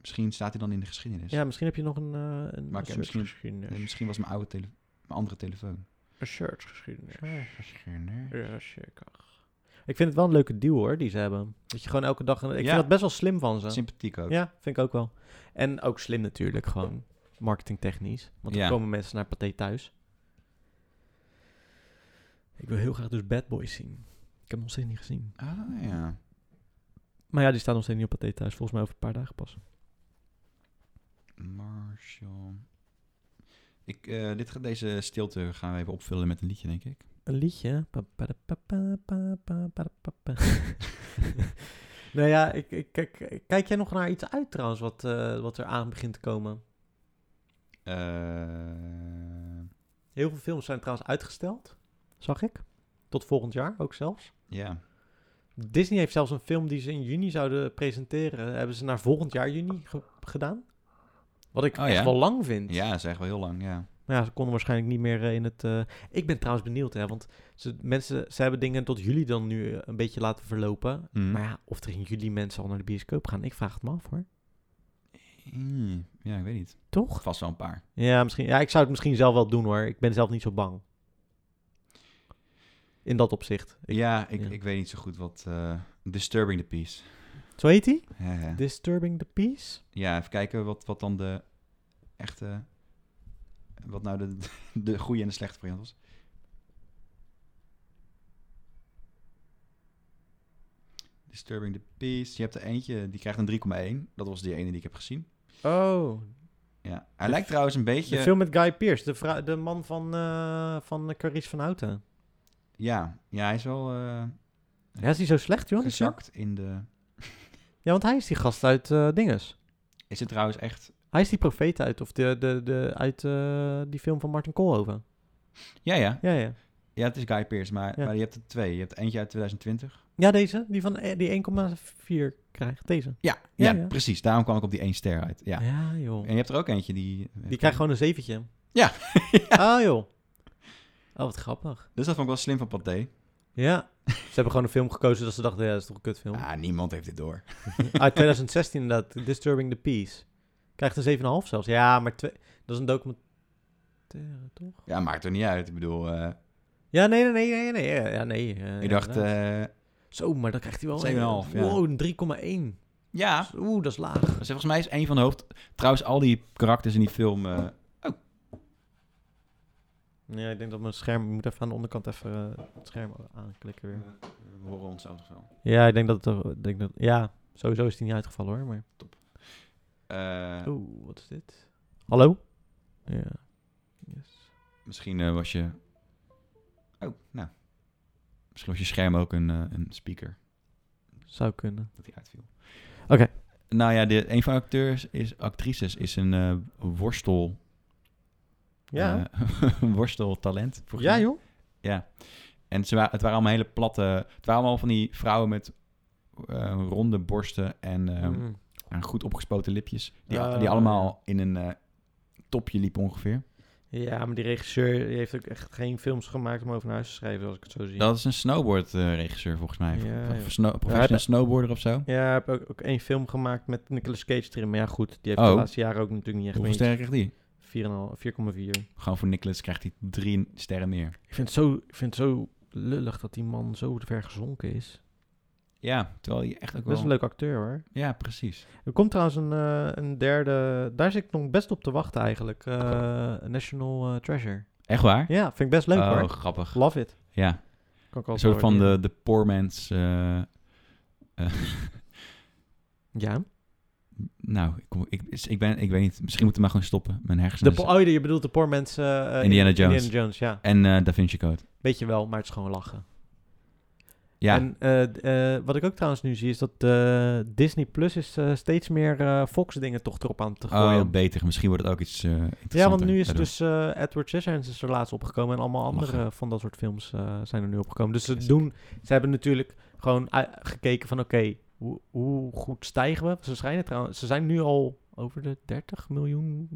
misschien staat hij dan in de geschiedenis. Ja, misschien heb je nog een, eh een maar ik heb search Dus- misschien, geschiedenis. nee, misschien was mijn oude tele, mijn andere telefoon. Een search geschiedenis. Geschiedenis. Ja, zeker. Ik vind het wel een leuke deal hoor, die ze hebben. Dat je gewoon elke dag... Een, ik Ja. vind dat best wel slim van ze. Sympathiek ook. Ja, vind ik ook wel. En ook slim natuurlijk, gewoon marketingtechnisch. Want dan Ja. komen mensen naar Pathé thuis. Ik wil heel graag dus Bad Boys zien. Ik heb hem nog steeds niet gezien. Ah ja. Maar ja, die staat nog steeds niet op Pathé thuis. Volgens mij over een paar dagen pas. Marshall. Ik, eh, dit, gaat- deze stilte gaan we even opvullen met een liedje, denk ik. Een liedje. Pa, pa, da, pa, pa, pa, pa, pa, da, pa, <laughs> pa. nou ja, ik, ik, kijk, kijk jij nog naar iets uit trouwens wat, eh, wat er aan begint te komen? Eh, Heel veel films zijn trouwens uitgesteld, zag ik. Tot volgend jaar ook zelfs. Ja. Disney heeft zelfs een film die ze in juni zouden presenteren. Hebben ze naar volgend jaar juni ge- gedaan. Wat ik Oh, echt ja? wel lang vind. Ja, dat is echt wel heel lang, ja. Maar ja, ze konden waarschijnlijk niet meer eh, in het... eh, Ik ben trouwens benieuwd, hè. Want ze, mensen, ze hebben dingen tot juli dan nu eh, een beetje laten verlopen. Mhm. Maar ja, of er in juli mensen al naar de bioscoop gaan, ik vraag het me af, hoor. Hmm, Ja, ik weet niet. Toch? Vast wel een paar. Ja, misschien, ja, ik zou het misschien zelf wel doen, hoor. Ik ben zelf niet zo bang. In dat opzicht. Ik- ja, ik, ja. ik weet niet zo goed wat... eh, disturbing the Peace. Zo heet die? Ja, ja. Disturbing the Peace? Ja, even kijken wat, wat dan de echte... Wat nou de, <laughs> de goede en de slechte variant was. Disturbing the Peace. Je hebt er eentje, die krijgt een 3,1. Dat was die ene die ik heb gezien. Oh, Ja. Hij lijkt trouwens een beetje... de film met Guy Pearce, de, vrou- de man van, eh van Carice van Houten. Ja, ja, hij is wel eh Ja, Oh, is die zo slecht, joh? die film? gezakt in de... Ja, want hij is die gast uit eh, Dinges. Is het trouwens echt... Hij is die profeet uit, of de, de, de, uit eh, die film van Martin Koolhoven. Ja, ja. Ja, ja. Ja, het is Guy Pearce, maar, Ja. maar je hebt er twee. Je hebt eentje uit 2020. Ja, deze, die van eh, die 1,4 krijgt, deze. Ja, ja, Ja, ja. precies. Daarom kwam ik op die één ster uit. Ja. Ja, joh. En je hebt er ook eentje die... Die krijgt gewoon een zeventje. Ja. <laughs> Ah, joh. Oh, wat grappig. Dus dat vond ik wel slim van Pathé. Ja. Ze hebben gewoon een film gekozen dat ze dachten, ja, dat is toch een kutfilm. Ah, niemand heeft dit door. Uit 2016 inderdaad, Disturbing the Peace. Krijgt een 7,5 zelfs. Ja, maar twee, dat is een documentaire, toch? Ja, maakt er niet uit. Ik bedoel, eh, Ja, nee, nee, nee, nee, nee. Ja, ja, nee eh, ik dacht... inderdaad. eh Zo, maar dan krijgt hij wel 7,5, ja. Wow, een 3,1. ja, Oeh, dat is laag. dus volgens mij is een van de hoofd... Trouwens, al die karakters in die film... eh, oh. Ja, ik denk dat mijn scherm... Ik moet even aan de onderkant even eh, het scherm aanklikken weer. We horen ons zelfs wel. Ja, ik denk dat het... toch- ik Denk dat, ja, sowieso is die niet uitgevallen hoor, maar... Eh, Oeh, wat is dit? Hallo? Ja. Misschien eh, was je... Oh, nou. Misschien was je scherm ook een, eh, een speaker. Zou kunnen. Dat hij uitviel. Oké. Nou ja, de, een van de acteurs is, actrices is een eh, worstel... Ja. eh, <laughs> worsteltalent. volgens Ja, mij. joh. Ja. En ze wa- het waren allemaal hele platte... Het waren allemaal van die vrouwen met eh, ronde borsten en eh, Mm. en goed opgespoten lipjes. Die, Oh, die allemaal in een eh, topje liepen ongeveer. Ja, maar die regisseur die heeft ook echt geen films gemaakt om over naar huis te schrijven, als ik het zo zie. Dat is een snowboardregisseur volgens mij. Ja, Of een joh. snow- Ja, professional dat- snowboarder of zo. Ja, hij heeft ook, ook één film gemaakt met Nicolas Cage erin. Maar ja, goed, die heeft Oh. de laatste jaren ook natuurlijk niet echt Hoeveel sterren krijgt die? 4,5, 4,4. Gewoon voor Nicholas krijgt hij drie sterren meer. Ik vind, het zo, ik vind het zo lullig dat die man zo ver gezonken is. Ja, terwijl je echt ook Best wel... een leuk acteur hoor. Ja, precies. Er komt trouwens een, eh, een derde, daar zit ik nog best op te wachten eigenlijk. Eh, National eh, Treasure. Echt waar? Ja, vind ik best leuk oh, hoor. grappig. Love it. Ja. Kan ik Een altijd soort wel van de, waarderen. de poor man's... eh, eh, <laughs> Ja? nou, ik, kom- ik, ik, ben, ik weet niet. Misschien moeten we maar gewoon stoppen. Mijn De, hersenen... po- oh, je bedoelt de poor mensen. eh, Indiana Jones. Indiana Jones, ja. En eh, Da Vinci Code. Weet je wel, maar het is gewoon lachen. Ja. En eh, d- eh, wat ik ook trouwens nu zie is dat eh, Disney Plus is eh, steeds meer eh, Fox dingen toch erop aan te gooien. Oh, beter. Misschien wordt het ook iets eh interessanter. ja, want nu is daardoor. dus eh, Edward Scissorhands is er laatst opgekomen en allemaal andere Lachen. van dat soort films eh, zijn er nu opgekomen. Dus ze doen, ze hebben natuurlijk gewoon eh, gekeken van oké, hoe, hoe goed stijgen we? Ze, schijnen trouwens, ze zijn nu al over de 30 miljoen.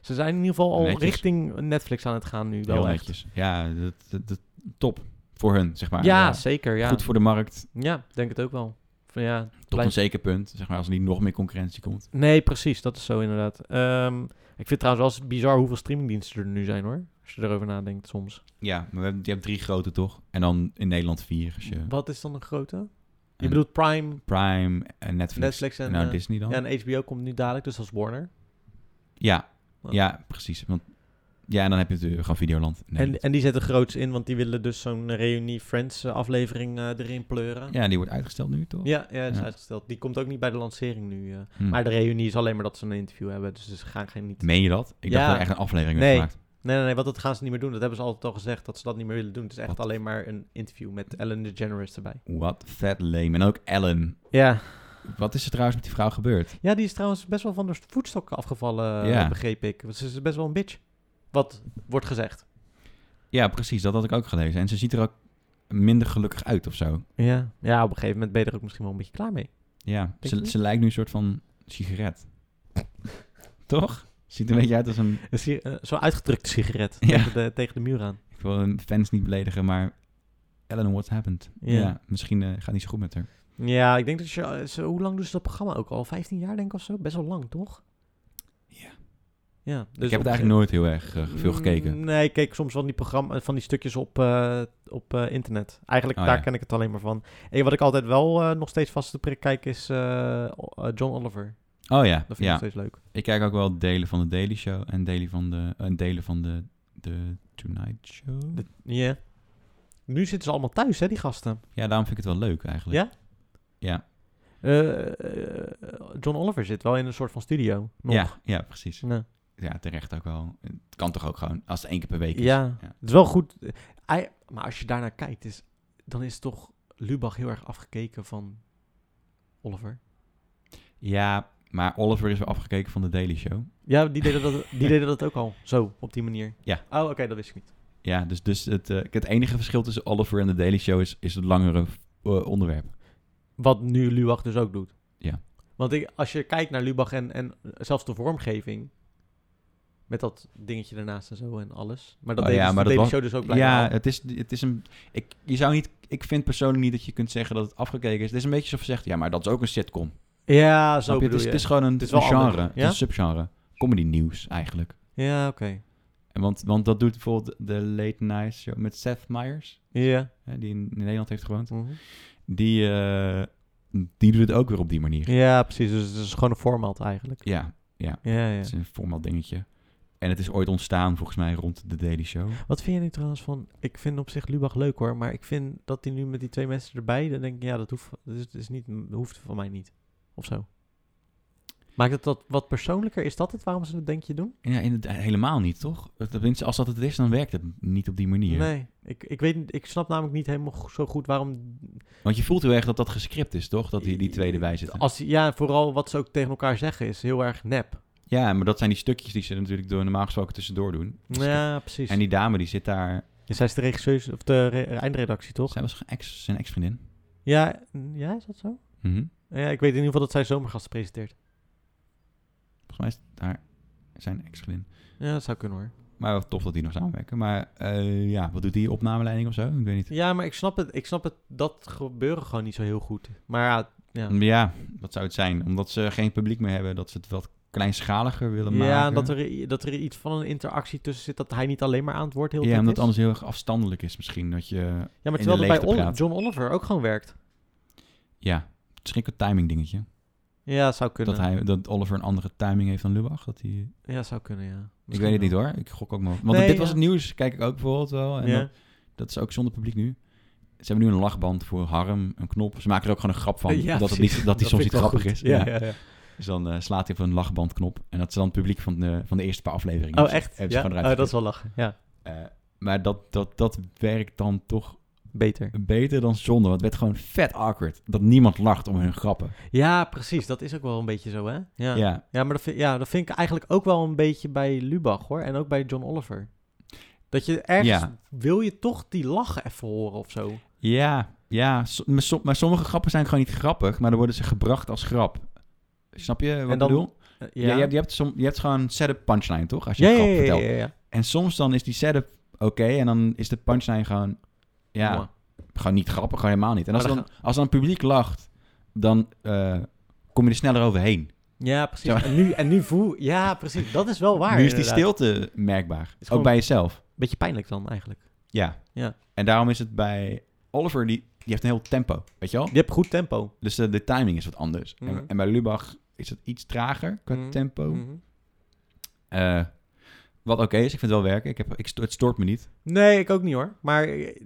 Ze zijn in ieder geval al Netjes. richting Netflix aan het gaan nu wel Heel echt. netjes. Ja, dat, dat, dat- top voor hun, zeg maar. Ja, Eh, zeker, ja. Goed voor de markt, Ja, denk het ook wel. Van, ja, tot blijf- een zeker punt. Zeg maar, als er niet nog meer concurrentie komt. Nee, precies. Dat is zo inderdaad. Ehm, ik vind het trouwens wel eens bizar hoeveel streamingdiensten er nu zijn hoor. Als je erover nadenkt soms. Ja, maar we hebben, je hebt drie grote, toch? En dan in Nederland vier. Als je Wat is dan een grote? Je En- bedoelt Prime, Prime en Netflix. Netflix en, nou, eh, Disney dan. Ja, Ja, en HBO komt nu dadelijk, dus als Warner. ja, precies. Want, ja, en dan heb je natuurlijk gewoon Videoland. in en, Nederland. en die zetten groots in, want die willen dus zo'n reunie Friends eh, aflevering eh, erin pleuren. ja, die wordt uitgesteld nu, toch? Ja, ja, dat is Ja. uitgesteld. Die komt ook niet bij de lancering nu. eh. Hmm. Maar de reunie is alleen maar dat ze een interview hebben. Dus ze gaan geen... Niet... Meen je dat? Ik dacht dat er echt een aflevering werd nee. gemaakt. Nee, nee, nee, want dat gaan ze niet meer doen. Dat hebben ze altijd al gezegd, dat ze dat niet meer willen doen. Het is echt alleen maar een interview met Ellen DeGeneres erbij. Wat vet lame. En ook Ellen. Ja. Wat is er trouwens met die vrouw gebeurd? Ja, die is trouwens best wel van de voetstok afgevallen, eh, Ja. begreep ik. Want Ze is best wel een bitch. Wat wordt gezegd. Ja, precies. Dat had ik ook gelezen. En ze ziet er ook minder gelukkig uit of zo. Ja. Ja, op een gegeven moment ben je er ook misschien wel een beetje klaar mee. Ja, Denk je ze, niet? ze lijkt nu een soort van sigaret. <laughs> Toch? Ziet er een beetje uit als een... Een si- eh, Zo'n uitgedrukte sigaret Ja. tegen, de, tegen de muur aan. Ik wil hun fans niet beledigen, maar... Ellen, what happened? Ja. Dus Ja, misschien eh, gaat het niet zo goed met haar. Ja, ik denk dat je... ze- Hoe lang doen ze dat programma ook al? 15 jaar denk ik of zo? Best wel lang, toch? Ja. dus Ja. ik heb het eigenlijk nooit heel erg eh, veel gekeken. Mm, Nee, ik keek soms van die, programma, van die stukjes op, eh, op eh, internet. Eigenlijk Oh, daar ja. ken ik het alleen maar van. En wat ik altijd wel eh, nog steeds vast te prik kijk is eh, o- eh, John Oliver. Oh ja, Dat vind ik ja. nog steeds leuk. Ik kijk ook wel delen van de Daily Show en delen van de, en delen van de, de Tonight Show. Ja. Nu zitten ze allemaal thuis, hè, die gasten. Ja, daarom vind ik het wel leuk eigenlijk. Ja? Ja, Eh, eh, John Oliver zit wel in een soort van studio. Nog. ja, ja precies. Ja. Ja, terecht ook wel. Het kan toch ook gewoon, als het één keer per week is. Ja, het is wel goed. Ei- Maar als je daarnaar kijkt, is, dan is toch Lubach heel erg afgekeken van Oliver. Ja, maar Oliver is wel afgekeken van de Daily Show. Ja, die deden <laughs> dat, die deden dat ook al. Zo, op die manier. Ja. Oh, oké, dat wist ik niet. Ja, dus, dus het, eh, het enige verschil tussen Oliver en de Daily Show is, is het langere eh, onderwerp. Wat nu Lubach dus ook doet. Ja. Want ik, als je kijkt naar Lubach en, en zelfs de vormgeving... Met dat dingetje ernaast en zo en alles. Maar dat Oh deed ja, dus, maar deed dat de show was- dus ook blijkbaar Ja, al. het is, het is een... Ik, je zou niet, ik vind persoonlijk niet dat je kunt zeggen dat het afgekeken is. Het is een beetje alsof je zegt, ja, maar dat is ook een sitcom. Ja, zo Snap je? bedoel Het is, je. het is gewoon een, Het is wel een genre, anders. het is Ja? een subgenre. Comedy nieuws eigenlijk. Ja, oké. En want, want dat doet bijvoorbeeld de Late Night Show met Seth Meyers. Ja. Hè, die in, in Nederland heeft gewoond. Mhm. Die, eh, die doet het ook weer op die manier. Ja, precies. Dus het is gewoon een format eigenlijk. Ja, ja. Ja, ja. Het is een format dingetje. En het is ooit ontstaan volgens mij rond de Daily Show. Wat vind je nu trouwens van... Ik vind op zich Lubach leuk hoor, maar ik vind dat hij nu met die twee mensen erbij... Dan denk ik, ja, dat hoeft, dat is, dat is niet, dat hoeft van mij niet. Of zo. Maakt het dat wat persoonlijker? Is dat het waarom ze het denk je doen? Ja, in helemaal niet, toch? Tenminste, als dat het is, dan werkt het niet op die manier. Nee, ik, ik, weet, niet- ik snap namelijk niet helemaal go- zo goed waarom... Want je voelt heel erg dat dat gescript is, toch? Dat die, die tweede bij zitten. Als, ja, vooral wat ze ook tegen elkaar zeggen is heel erg nep. Ja, maar dat zijn die stukjes die ze natuurlijk door normaal gesproken tussendoor doen. Ja, precies. Dus En die dame die zit daar. zij is de regisseur of de re- eindredactie, toch? Zij was ex, zijn ex-vriendin. Ja, ja, is dat zo? Mhm. Ja, ik weet in ieder geval dat zij Zomergasten presenteert. Volgens mij is het daar zijn ex-vriendin. Ja, dat zou kunnen hoor. Maar wel tof dat die nog samenwerken. Maar eh, ja, wat doet die opnameleiding of zo? Ik weet niet. Ja, maar ik snap het. Ik snap het. Dat gebeuren gewoon niet zo heel goed. Maar ja, ja. Ehm, Ja. wat zou het zijn? Omdat ze geen publiek meer hebben, dat ze het wat kleinschaliger willen maken. Ja, dat er, i- dat er iets van een interactie tussen zit dat hij niet alleen maar aan het woord heel de Ja, tijd omdat is. het anders heel erg afstandelijk is misschien. Dat je Ja, maar in de terwijl dat bij leegte Ol- praat. John Oliver ook gewoon werkt. Ja, misschien ook een timing dingetje. Ja, zou kunnen. Dat, hij, dat Oliver een andere timing heeft dan Lubach. Dat hij... Ja, zou kunnen, Ik ja. Misschien weet het niet wel. hoor, ik gok ook maar. Want Nee, dit was ja. het nieuws, kijk ik ook bijvoorbeeld wel. En Ja. dat, dat is ook zonder publiek nu. Ze hebben nu een lachband voor Harm, een knop. Ze maken er ook gewoon een grap van. <laughs> Ja, dat, het precies. niet, dat die Dat vind soms ik niet wel grappig goed. is. Ja, ja, ja. Dus dan eh, slaat hij op een lachbandknop. En dat ze dan het publiek van de, van de eerste paar afleveringen... Oh, hebben ze- echt? hebben ze Ja? gewoon Oh, eruit dat is wel geknipt. lachen, ja. Eh, maar dat, dat, dat werkt dan toch... Beter. Beter dan zonder. Want het werd gewoon vet awkward. Dat niemand lacht om hun grappen. Ja, precies. Dat is ook wel een beetje zo, hè? Ja, Ja. maar dat vind, ja, dat vind ik eigenlijk ook wel een beetje bij Lubach, hoor. En ook bij John Oliver. Dat je ergens... Ja. Wil je toch die lachen even horen of zo? Eh, Ja, ja so- maar, som- maar sommige grappen zijn gewoon niet grappig, maar dan worden ze gebracht als grap. Snap je wat En dan- ik bedoel? eh, ja. ja. je, hebt, je, hebt som, je hebt gewoon setup punchline, toch? Als je Ja, een grap ja, ja, vertelt. ja, ja, ja. En soms dan is die setup oké en dan is de punchline gewoon, ja, Mwah. gewoon niet grappig, gewoon helemaal niet. En als, Maar dan, dan als dan het publiek lacht, dan eh, kom je er sneller overheen. Ja, precies. Zeg maar, En nu, en nu voel... Ja, precies. Dat is wel waar, nu is die inderdaad. stilte merkbaar, ook gewoon- bij jezelf. Beetje pijnlijk dan, eigenlijk. Ja. Ja. En daarom is het bij Oliver, die, die heeft een heel tempo, weet je wel? Die hebt goed tempo. Dus de, de timing is wat anders. Mhm. En, en bij Lubach is het iets trager qua Mhm. tempo. Mhm. Eh, wat oké is, ik vind het wel werken. Ik heb, ik, sto- het stoort me niet. Nee, ik ook niet, hoor. Maar... eh,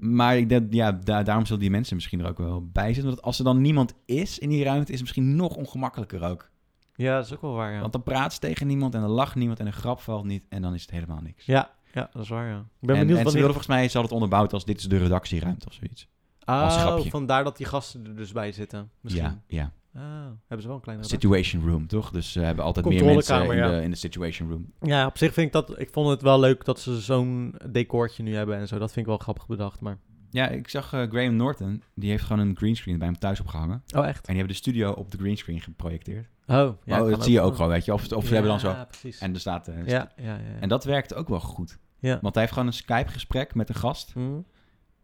Maar ik denk, ja, da- daarom zullen die mensen misschien er ook wel bij zitten. Want als er dan niemand is in die ruimte, is het misschien nog ongemakkelijker ook. Ja, dat is ook wel waar, ja. Want dan praat ze tegen niemand en dan lacht niemand en een grap valt niet. En dan is het helemaal niks. Ja, ja dat is waar, ja. Ik en, ben benieuwd en ze wanneer... wilden volgens mij, ze hadden het onderbouwd als dit is de redactieruimte of zoiets. als Oh, grapje. vandaar dat die gasten er dus bij zitten. Misschien. Ja, ja. Ah, hebben ze wel een kleine Situation room, toch? Dus ze hebben altijd meer mensen Controlekamer, in, ja. de, in de situation room. Ja, op zich vind ik dat... Ik vond het wel leuk dat ze zo'n decoortje nu hebben en zo. Dat vind ik wel grappig bedacht, maar... Ja, ik zag eh, Graham Norton. Die heeft gewoon een greenscreen bij hem thuis opgehangen. Oh, echt? En die hebben de studio op de greenscreen geprojecteerd. Oh, ja, Maar kan dat zie je ook. ook gewoon, weet je. Of, of ze Ja, hebben dan zo... precies. En er staat... eh, Ja, ja, ja, ja. En dat werkt ook wel goed. Ja. Want hij heeft gewoon een Skype-gesprek met een gast. Hm?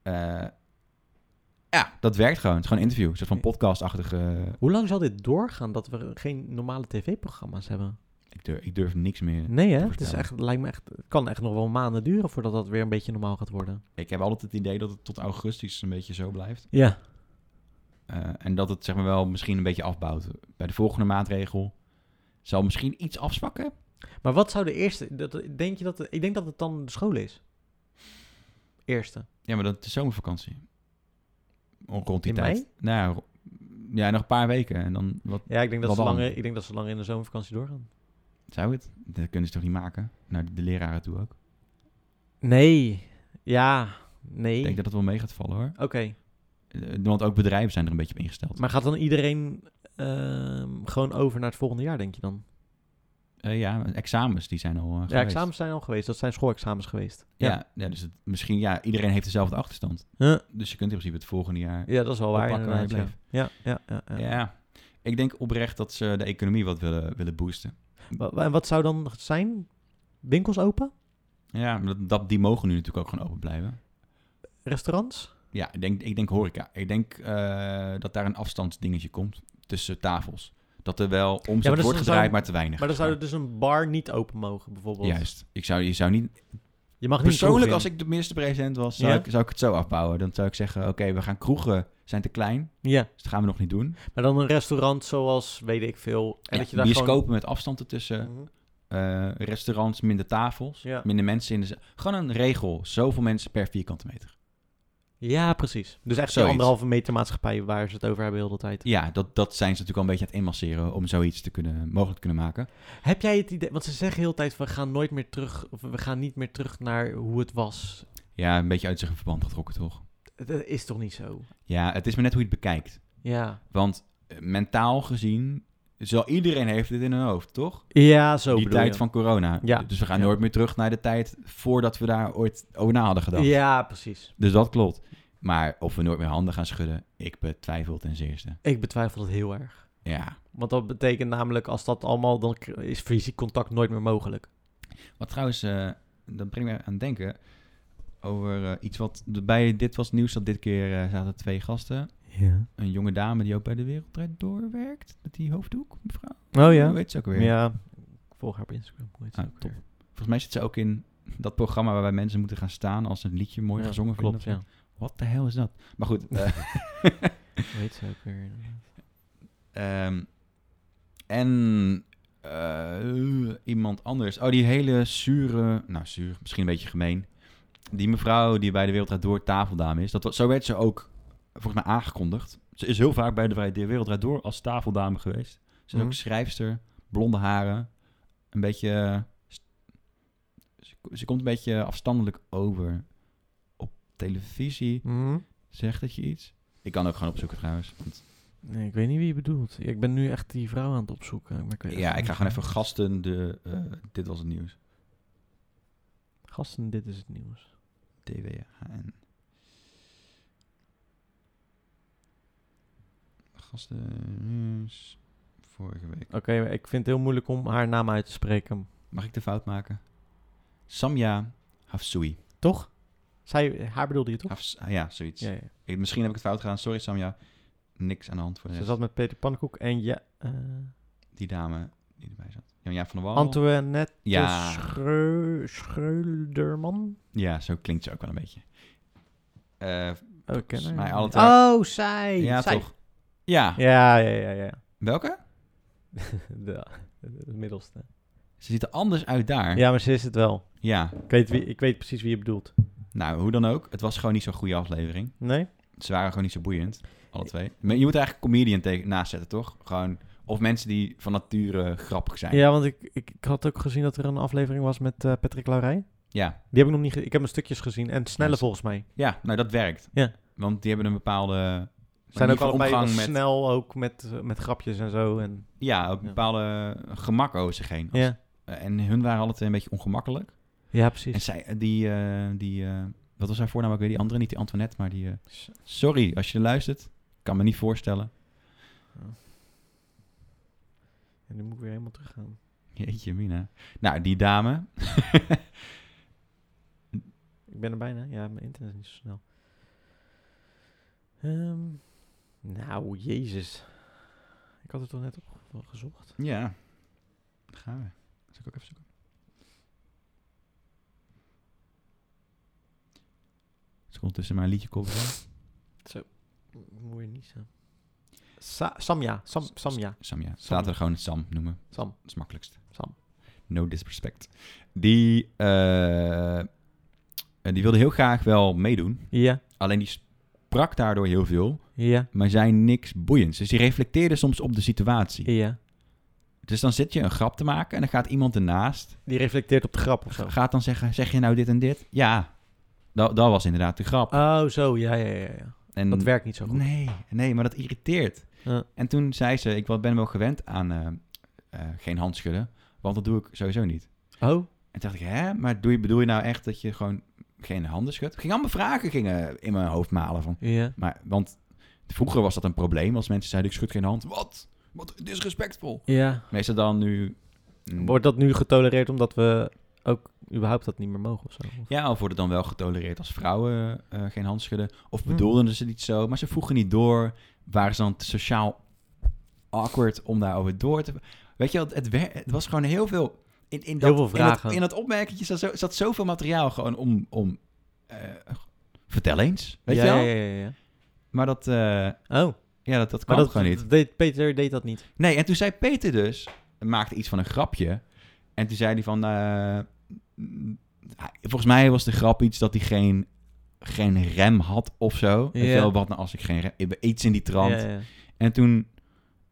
Eh, ja, dat werkt gewoon. Het is gewoon een interview. Een soort van podcast-achtige... Hoe lang zal dit doorgaan dat we geen normale tv-programma's hebben? Ik durf, ik durf niks meer Nee, hè? te Het, is voorspellen. echt, het lijkt me echt, het kan echt nog wel maanden duren voordat dat weer een beetje normaal gaat worden. Ik heb altijd het idee dat het tot augustus een beetje zo blijft. Ja. Eh, en dat het zeg maar wel misschien een beetje afbouwt. Bij de volgende maatregel zal misschien iets afzwakken. Maar wat zou de eerste... Dat, denk je dat, het- ik denk dat het dan de school is. Eerste. Ja, maar dat is de zomervakantie. Rond die In tijd. mei? Nou, ja, ro- ja, nog een paar weken. En dan wat, Ja, ik denk dat, wat ze dan? langer, ik denk dat ze langer in de zomervakantie doorgaan. Zou het? Dat kunnen ze toch niet maken? Naar de, de leraren toe ook. Nee. Ja. Nee. Ik denk dat het wel mee gaat vallen hoor. Oké. Eh, Want ook bedrijven zijn er een beetje op ingesteld. Maar gaat dan iedereen ehm, gewoon over naar het volgende jaar, denk je dan? Eh, ja, examens die zijn al eh, geweest. Ja, examens zijn al geweest. Dat zijn schoolexamens geweest. Ja, ja. dus het, misschien, ja, iedereen heeft dezelfde achterstand. Ja. Dus je kunt in principe het volgende jaar Ja, dat is wel waar, oppakken waar je inderdaad, bleef. ja. Ja, ja, ja, ja. Ja. ik denk oprecht dat ze de economie wat willen, willen boosten. Wa- wa- En wat zou dan zijn? Winkels open? Ja, maar dat, dat, die mogen nu natuurlijk ook gewoon open blijven. Restaurants? Ja, ik denk, ik denk horeca. Ik denk eh, dat daar een afstandsdingetje komt tussen tafels. Dat er wel omzet dus wordt dan gedraaid, zou- maar te weinig. Maar dan zou er dus een bar niet open mogen, bijvoorbeeld. Juist. Ik zou, je zou niet... Je mag niet Persoonlijk, kroeg in. als ik de minister-president was, zou, Ja? ik, zou ik het zo afbouwen. Dan zou ik zeggen, oké, we gaan kroegen, zijn te klein. Ja. Dus dat gaan we nog niet doen. Maar dan een restaurant zoals, weet ik veel. En Ja, dat je daar bioscopen gewoon... Mhm. met afstand ertussen. eh, restaurants, minder tafels, Ja. minder mensen in de... za- Gewoon een regel. Zoveel mensen per vierkante meter. Ja, precies. Dus echt zo'n Zoiets. anderhalve meter maatschappij waar ze het over hebben heel de hele tijd. Ja, dat, dat zijn ze natuurlijk al een beetje aan het inmasseren om zoiets te kunnen, mogelijk te kunnen maken. Heb jij het idee, want ze zeggen heel de tijd, we gaan nooit meer terug, of we gaan niet meer terug naar hoe het was. Ja, een beetje uit zijn verband getrokken, toch? Dat is toch niet zo? Ja, het is maar net hoe je het bekijkt. Ja. Want eh, mentaal gezien, zal iedereen heeft dit in hun hoofd, toch? Ja, zo Die bedoel tijd je. van corona. Ja. Dus we gaan nooit meer terug naar de tijd voordat we daar ooit over na hadden gedacht. Ja, precies. Dus dat klopt. Maar of we nooit meer handen gaan schudden, ik betwijfel ten zeerste. Ik betwijfel het heel erg. Ja. Want dat betekent namelijk, als dat allemaal, dan k- is fysiek contact nooit meer mogelijk. Wat trouwens, eh, dat brengt me aan het denken over eh, iets wat bij dit was nieuws dat dit keer eh, zaten twee gasten. Ja. Een jonge dame die ook bij de Wereld Draait Door werkt, met die hoofddoek, mevrouw. Oh ja. Hoe heet ze ook weer? Ja, ik volg haar op Instagram. Hoe heet ze Ah, ook top. weer? Volgens mij zit ze ook in dat programma waarbij mensen moeten gaan staan als ze een liedje mooi Ja, gezongen vinden. klopt, of zo. Wat de hel is dat? Maar goed. eh, Hoe heet ze ook weer? ehm, en eh, iemand anders. Oh, die hele zure, nou zuur, misschien een beetje gemeen. Die mevrouw die bij de Wereld Draait Door tafeldame is. Dat, was- zo werd ze ook volgens mij aangekondigd. Ze is heel vaak bij de, de Wereld Draait Door als tafeldame geweest. Ze is Mhm. ook schrijfster, blonde haren, een beetje... eh, st- Ze, ze komt een beetje afstandelijk over. Op televisie Mhm. zegt dat je iets. Ik kan ook gewoon opzoeken trouwens. want- Nee, ik weet niet wie je bedoelt. Ja, Ik ben nu echt die vrouw aan het opzoeken. Maar ik weet ja, ik ga gewoon niet. even gasten de... eh, dit was het nieuws. Gasten, dit is het nieuws. DWHN. Gasten nieuws. Vorige week. Oké, maar ik vind het heel moeilijk om haar naam uit te spreken. Mag ik de fout maken? Samja Hafsoui. Toch? Zij, haar bedoelde je toch? Hafs- ah, ja, zoiets. Ja, ja. Ik- misschien heb ik het fout gedaan. Sorry Samja. Niks aan de hand voor de Ze rest. zat met Peter Pannenkoek en ja, eh, Die dame die erbij zat. Ja, van der Wal. Antoinette Oh. Ja. Schreu- Schreuderman. Ja, zo klinkt ze ook wel een beetje. Eh, volgens nee. mij alle twee- Oh, zij. Ja, zij. toch? Ja. Ja, ja, ja, ja. <laughs> Welke? de, de middelste. Ze ziet er anders uit daar. Ja, maar ze is het wel. Ja. Ik weet, wie, ik weet precies wie je bedoelt. Nou, hoe dan ook. Het was gewoon niet zo'n goede aflevering. Nee? Ze waren gewoon niet zo boeiend, alle twee. Maar je moet er eigenlijk comedian tegen, naast zetten, toch? Gewoon, of mensen die van nature grappig zijn. Ja, want ik, ik, ik had ook gezien dat er een aflevering was met eh, Patrick Laurij. Ja. Die heb ik nog niet ge- Ik heb mijn stukjes gezien. En snelle Nice. volgens mij. Ja, nou dat werkt. Ja. Want die hebben een bepaalde... Zijn ook manier van allebei wel omgang met, snel ook met, eh, met grapjes en zo. En, Ja, ook een bepaalde gemak over zich heen. Als- Ja. En hun waren alle twee een beetje ongemakkelijk. Ja, precies. En zij, die, eh, die eh, wat was haar voornaam ook weer? Die andere, niet die Antoinette, maar die... eh, sorry, als je luistert, kan me niet voorstellen. en nu moet ik weer helemaal teruggaan. Jeetje mina. Nou, die dame. Ik ben er bijna. Ja, mijn internet is niet zo snel. Ehm, nou, jezus. Ik had het toch net op gezocht. ja. Daar gaan we. Zal ik ook even zoeken. Ze komt tussen mijn liedje koppelen. Zo. Moet je niet zo. Sa- Samja. Sam, Samja. Sam, ja. Sam. Laten we gewoon Sam noemen. Sam. Dat is het makkelijkst. Sam. No disrespect. Die, eh, eh, die wilde heel graag wel meedoen. Ja. Alleen die sprak daardoor heel veel. Ja. Maar zei niks boeiends. Dus die reflecteerde soms op de situatie. Ja. Dus dan zit je een grap te maken en dan gaat iemand ernaast. Die reflecteert op de grap of zo. Gaat dan zeggen, zeg je nou dit en dit? Ja. Dat, dat was inderdaad de grap. Oh, zo. Ja, ja, ja. ja. En- dat werkt niet zo goed. Nee, nee, maar dat irriteert. Ja. En toen zei ze, ik wel- ben wel gewend aan eh, eh, geen handschudden, want dat doe ik sowieso niet. Oh. En toen dacht ik, hè, maar doe je, bedoel je nou echt dat je gewoon geen handen schudt? Ik ging allemaal vragen gingen in mijn hoofd malen van. Ja. Maar, want vroeger was dat een probleem als mensen zeiden, ik schud geen hand. Wat? Wat disrespectvol. Ja. Meestal dan nu... mm, Wordt dat nu getolereerd omdat we ook überhaupt dat niet meer mogen of zo? Ja, of wordt het dan wel getolereerd als vrouwen eh, geen hand schudden? Of Hm. bedoelden ze niet zo, maar ze vroegen niet door. Waren ze dan te sociaal awkward om daarover door te... Weet je, wel, het, wer- het was gewoon heel veel... In, in dat, Heel veel In vragen. dat, in dat opmerkertje zat, zo, zat zoveel materiaal gewoon om... om eh, vertel eens, weet ja, je wel? Ja, ja, ja, ja. Maar dat... eh, oh. Ja, dat, dat kwam Maar dat, gewoon niet. Deed, Peter deed dat niet. Nee, en toen zei Peter dus, maakte iets van een grapje. En toen zei hij van... eh, mm, hij- volgens mij was de grap iets dat hij geen, geen rem had of zo. Weet je Ja. wel, wat nou als ik geen rem... ik ben Iets in die trant. Ja, ja. En toen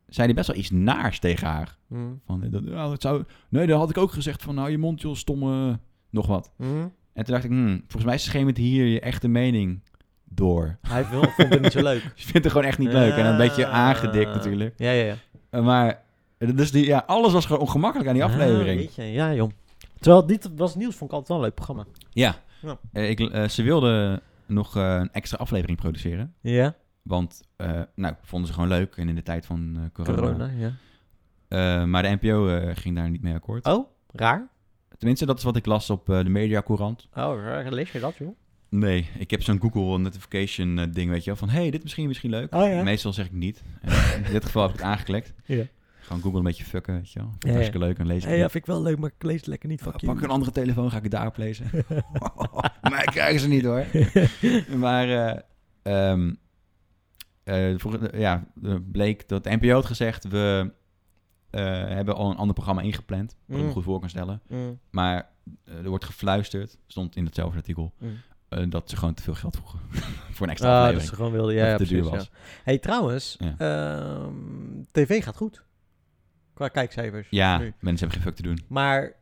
zei hij best wel iets naars tegen haar. Hm, Mm. Van, eh, dat, nou, dat zou, nee, dat had ik ook gezegd van... Nou, je mond, joh, stomme... Nog wat. Mhm. En toen dacht ik, hmm, volgens mij schemert hier je echte mening door. <laughs> Hij wil- vond het niet zo leuk. je vindt het gewoon echt <laughs> niet leuk. En een beetje aangedikt Ah. natuurlijk. Ja, ja, ja. Eh, Maar eh, dus die, ja, alles was gewoon ongemakkelijk aan die aflevering. Ah, jeetje, ja, jong. Terwijl dit was nieuws, vond ik altijd wel een leuk programma. Ja. Ja. Eh, ik, eh, ze wilden nog eh, een extra aflevering produceren. Ja. Want, eh, nou, vonden ze gewoon leuk. En in de tijd van eh, corona. Corona, ja. Eh, maar de NPO eh, ging daar niet mee akkoord. Oh, raar. Tenminste, dat is wat ik las op eh, de Media Courant. Oh, raar. lees je dat, joh? Nee, ik heb zo'n Google notification eh, ding, weet je wel. Van, hey, dit misschien misschien leuk. Oh, ja. Meestal zeg ik <laughs> niet. En in dit geval heb ik het aangeklikt. Ja. Gewoon Google een beetje fucken, weet je wel. Vind ik Ja, ja. hartstikke leuk en lees ik Hey, niet. ja, vind ik wel leuk, maar ik lees het lekker niet. Fuck you. Pak een andere telefoon, ga ik het daarop lezen. <laughs> <laughs> maar ik krijg ze niet hoor. maar eh, ehm, eh, vroeg- ja, eh, bleek dat de NPO had gezegd... we eh, hebben al een ander programma ingepland. Wat ik me Mm. goed voor kan stellen. Mm. Maar eh, er wordt gefluisterd, stond in datzelfde artikel... Mm. eh, dat ze gewoon te veel geld vroegen <laughs> voor een extra Ah, aflevering. dat ze gewoon wilden. Ja, Dat ja, het te duur precies, was. ja. hey, trouwens, Ja. ehm, tv gaat goed. Qua kijkcijfers. Ja, nu. mensen hebben geen fuck te doen. Maar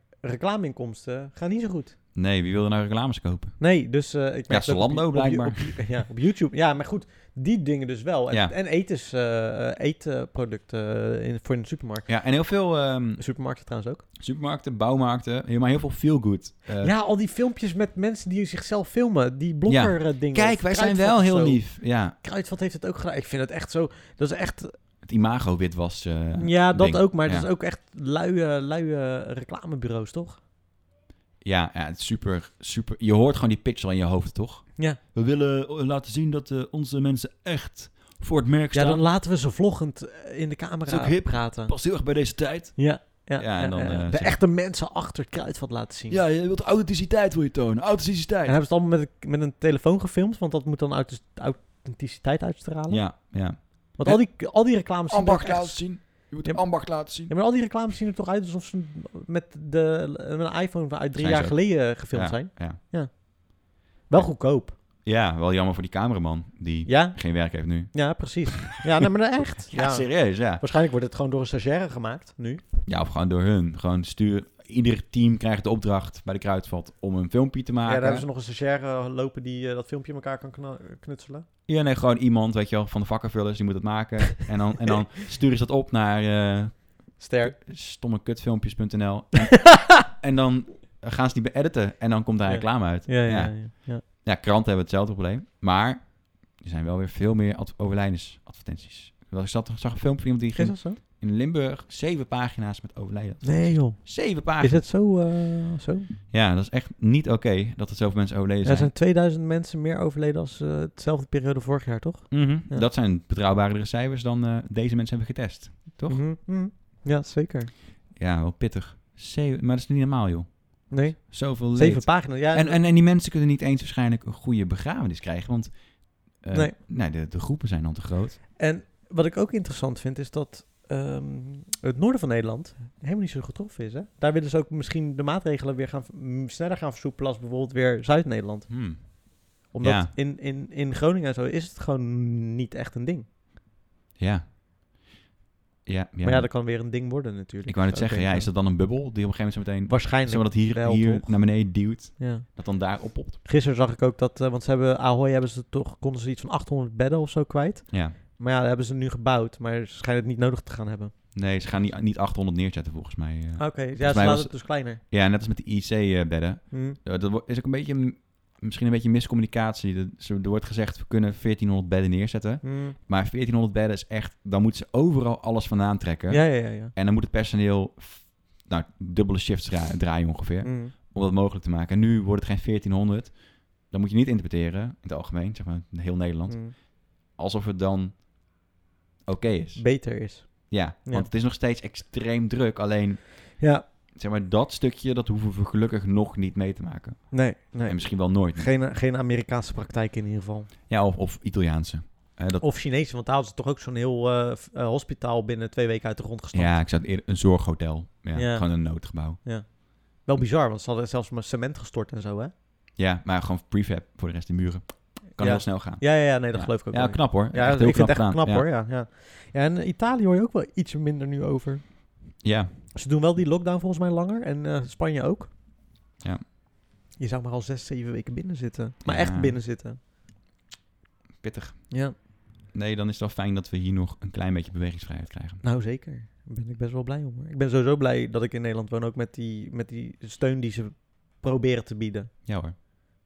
reclameinkomsten gaan niet zo goed. Nee, wie wil er nou reclames kopen? Nee, dus eh, ik merk dat op- Zalando op- op- blijkbaar. op- ja, op YouTube. Ja, maar goed, die dingen dus wel. En, Ja. en etens, eh, eh, eetproducten eh, in, voor in de supermarkt. Ja, en heel veel... ehm, Supermarkten trouwens ook. Supermarkten, bouwmarkten, heel- maar heel veel feel-good. eh, ja, al die filmpjes met mensen die zichzelf filmen, die blogger eh, dingen. Kijk, Of wij zijn Kruidvat wel of heel zo. lief. Ja, Kruidvat heeft het ook gedaan. Ik vind het echt zo. Dat is echt. het imago wit was. eh, ja, dat ding. ook. Maar ja. dat is ook echt luie, luie reclamebureaus, toch? Ja, ja, het is super, super. Je hoort gewoon die pitch al in je hoofd, toch? Ja. We willen eh, laten zien dat eh, onze mensen echt voor het merk Ja, staan. dan laten we ze vloggend eh, in de Dat camera is ook hip. praten. Past heel erg bij deze tijd. Ja. Ja, Ja, en ja, dan, ja. eh, de zeg- echte mensen achter Kruidvat laten zien. Ja, je wilt authenticiteit wil je tonen. En Authenticiteit. hebben ze het allemaal met een, met een telefoon gefilmd, want dat moet dan uit authenticiteit uitstralen. Ja, ja. Want al die, al die reclames zien er Ambacht ook echt- laten zien. Je moet Ja, hem ambacht laten zien. Ja, maar al die reclames zien er toch uit alsof ze met, de, met een iPhone van uit drie Zijn jaar ze ook. geleden eh, Ja, gefilmd zijn. ja. Wel goedkoop. Ja, wel jammer voor die cameraman die Ja? geen werk heeft nu. Ja, precies. Ja, nee, maar echt. Ja, serieus, ja. Waarschijnlijk wordt het gewoon door een stagiaire gemaakt, nu. Ja, of gewoon door hun. Gewoon stuur. Ieder team krijgt de opdracht bij de kruidvat om een filmpje te maken. Ja, daar hebben ze nog een stagiaire lopen die eh, dat filmpje in elkaar kan kna- knutselen. Ja, nee, gewoon iemand, weet je wel, van de vakkenvullers, die moet het maken. En dan, en <laughs> dan sturen ze dat op naar eh, Ster. <laughs> stommekutfilmpjes.nl. En, en dan gaan ze die beëditen en dan komt daar Ja. reclame uit. Ja, ja, ja, ja. Ja, kranten hebben hetzelfde probleem. Maar er zijn wel weer veel meer ad- overlijdensadvertenties. Want Ik zat, zag een filmpje van iemand die Is ging dat zo? in Limburg zeven pagina's met overlijden. Nee, joh. Zeven Is pagina's. het zo? eh, zo? Ja, dat is echt niet oké dat er zoveel mensen overleden Er zijn. zijn 2000 mensen meer overleden als eh hetzelfde periode vorig jaar, toch? Mhm. Ja. Dat zijn betrouwbaardere cijfers dan eh, deze mensen hebben getest. Toch? Mhm, mhm. Ja, zeker. Ja, wel pittig. Zeven- maar dat is niet normaal, joh. Nee. Zoveel Zeven leed. pagina's, ja. en, en, en die mensen kunnen niet eens waarschijnlijk een goede begrafenis krijgen, want eh, Nee. nee, de, de groepen zijn dan te groot. En wat ik ook interessant vind, is dat ehm, het noorden van Nederland helemaal niet zo getroffen is. Hè? Daar willen ze ook misschien de maatregelen weer gaan, m, sneller gaan versoepelen als bijvoorbeeld weer Zuid-Nederland. Hmm. Omdat Ja. in, in, in Groningen en zo is het gewoon niet echt een ding. Ja. Ja, ja. maar ja, dat kan weer een ding worden natuurlijk. ik wou net Zou zeggen, ja, denken. is dat dan een bubbel die op een gegeven moment zo meteen... Waarschijnlijk Zodat hier, wel, hier toch? naar beneden duwt, Ja. dat dan daar oppopt. Gisteren zag ik ook dat, eh, want ze hebben, Ahoy hebben ze toch, konden ze iets van 800 bedden of zo kwijt. Ja. Maar ja, dat hebben ze nu gebouwd, maar ze schijnen het niet nodig te gaan hebben. Nee, ze gaan niet, niet 800 neerzetten volgens mij. eh. Oké, Volgens ja, mij ze laten was- het dus kleiner. Ja, net als met de eh, IC-bedden. Mhm. dat wo- is ook een beetje, m- misschien een beetje miscommunicatie. Dat- zo- Er wordt gezegd, we kunnen 1400 bedden neerzetten. Mhm. Maar 1400 bedden is echt, dan moeten ze overal alles vandaan trekken. Ja, ja, ja, ja. En dan moet het personeel, f- nou, dubbele shifts draa- draaien ongeveer. Mhm. Om dat mogelijk te maken. En nu wordt het geen 1400. Dan moet je niet interpreteren, in het algemeen, zeg maar, in heel Nederland. Mhm. Alsof het dan oké is. Beter is. Ja, Ja. want het is nog steeds extreem druk. Alleen, Ja. zeg maar, dat stukje, dat hoeven we gelukkig nog niet mee te maken. Nee, nee. En misschien wel nooit. Geen, geen Amerikaanse praktijk in ieder geval. Ja, of, of Italiaanse. Eh, Hè, dat, Of Chinees, want daar hadden ze toch ook zo'n heel eh, f- eh, hospitaal binnen twee weken uit de grond gestampt. ja, ik zou het eerder een zorghotel. Ja, Ja. Gewoon een noodgebouw. Ja. Wel bizar, want ze hadden zelfs maar cement gestort en zo, hè? Ja, maar gewoon prefab voor de rest de muren. Kan Ja. heel snel gaan. Ja, ja, ja, nee, dat Ja. geloof ik ook Ja, wel. knap hoor. Ja, Echt heel ik vind het knap echt knap gedaan. hoor, ja. ja. Ja, en Italië hoor je ook wel iets minder nu over. Ja. Ze doen wel die lockdown volgens mij langer en eh, Spanje ook. Ja. Je zou maar al zes, zeven weken binnen zitten. Maar Ja. echt binnen zitten. Pittig. Ja. Nee, dan is het wel fijn dat we hier nog een klein beetje bewegingsvrijheid krijgen. Nou, zeker. Daar ben ik best wel blij om. Hoor. Ik ben sowieso blij dat ik in Nederland woon, ook met die, met die steun die ze proberen te bieden. Ja hoor.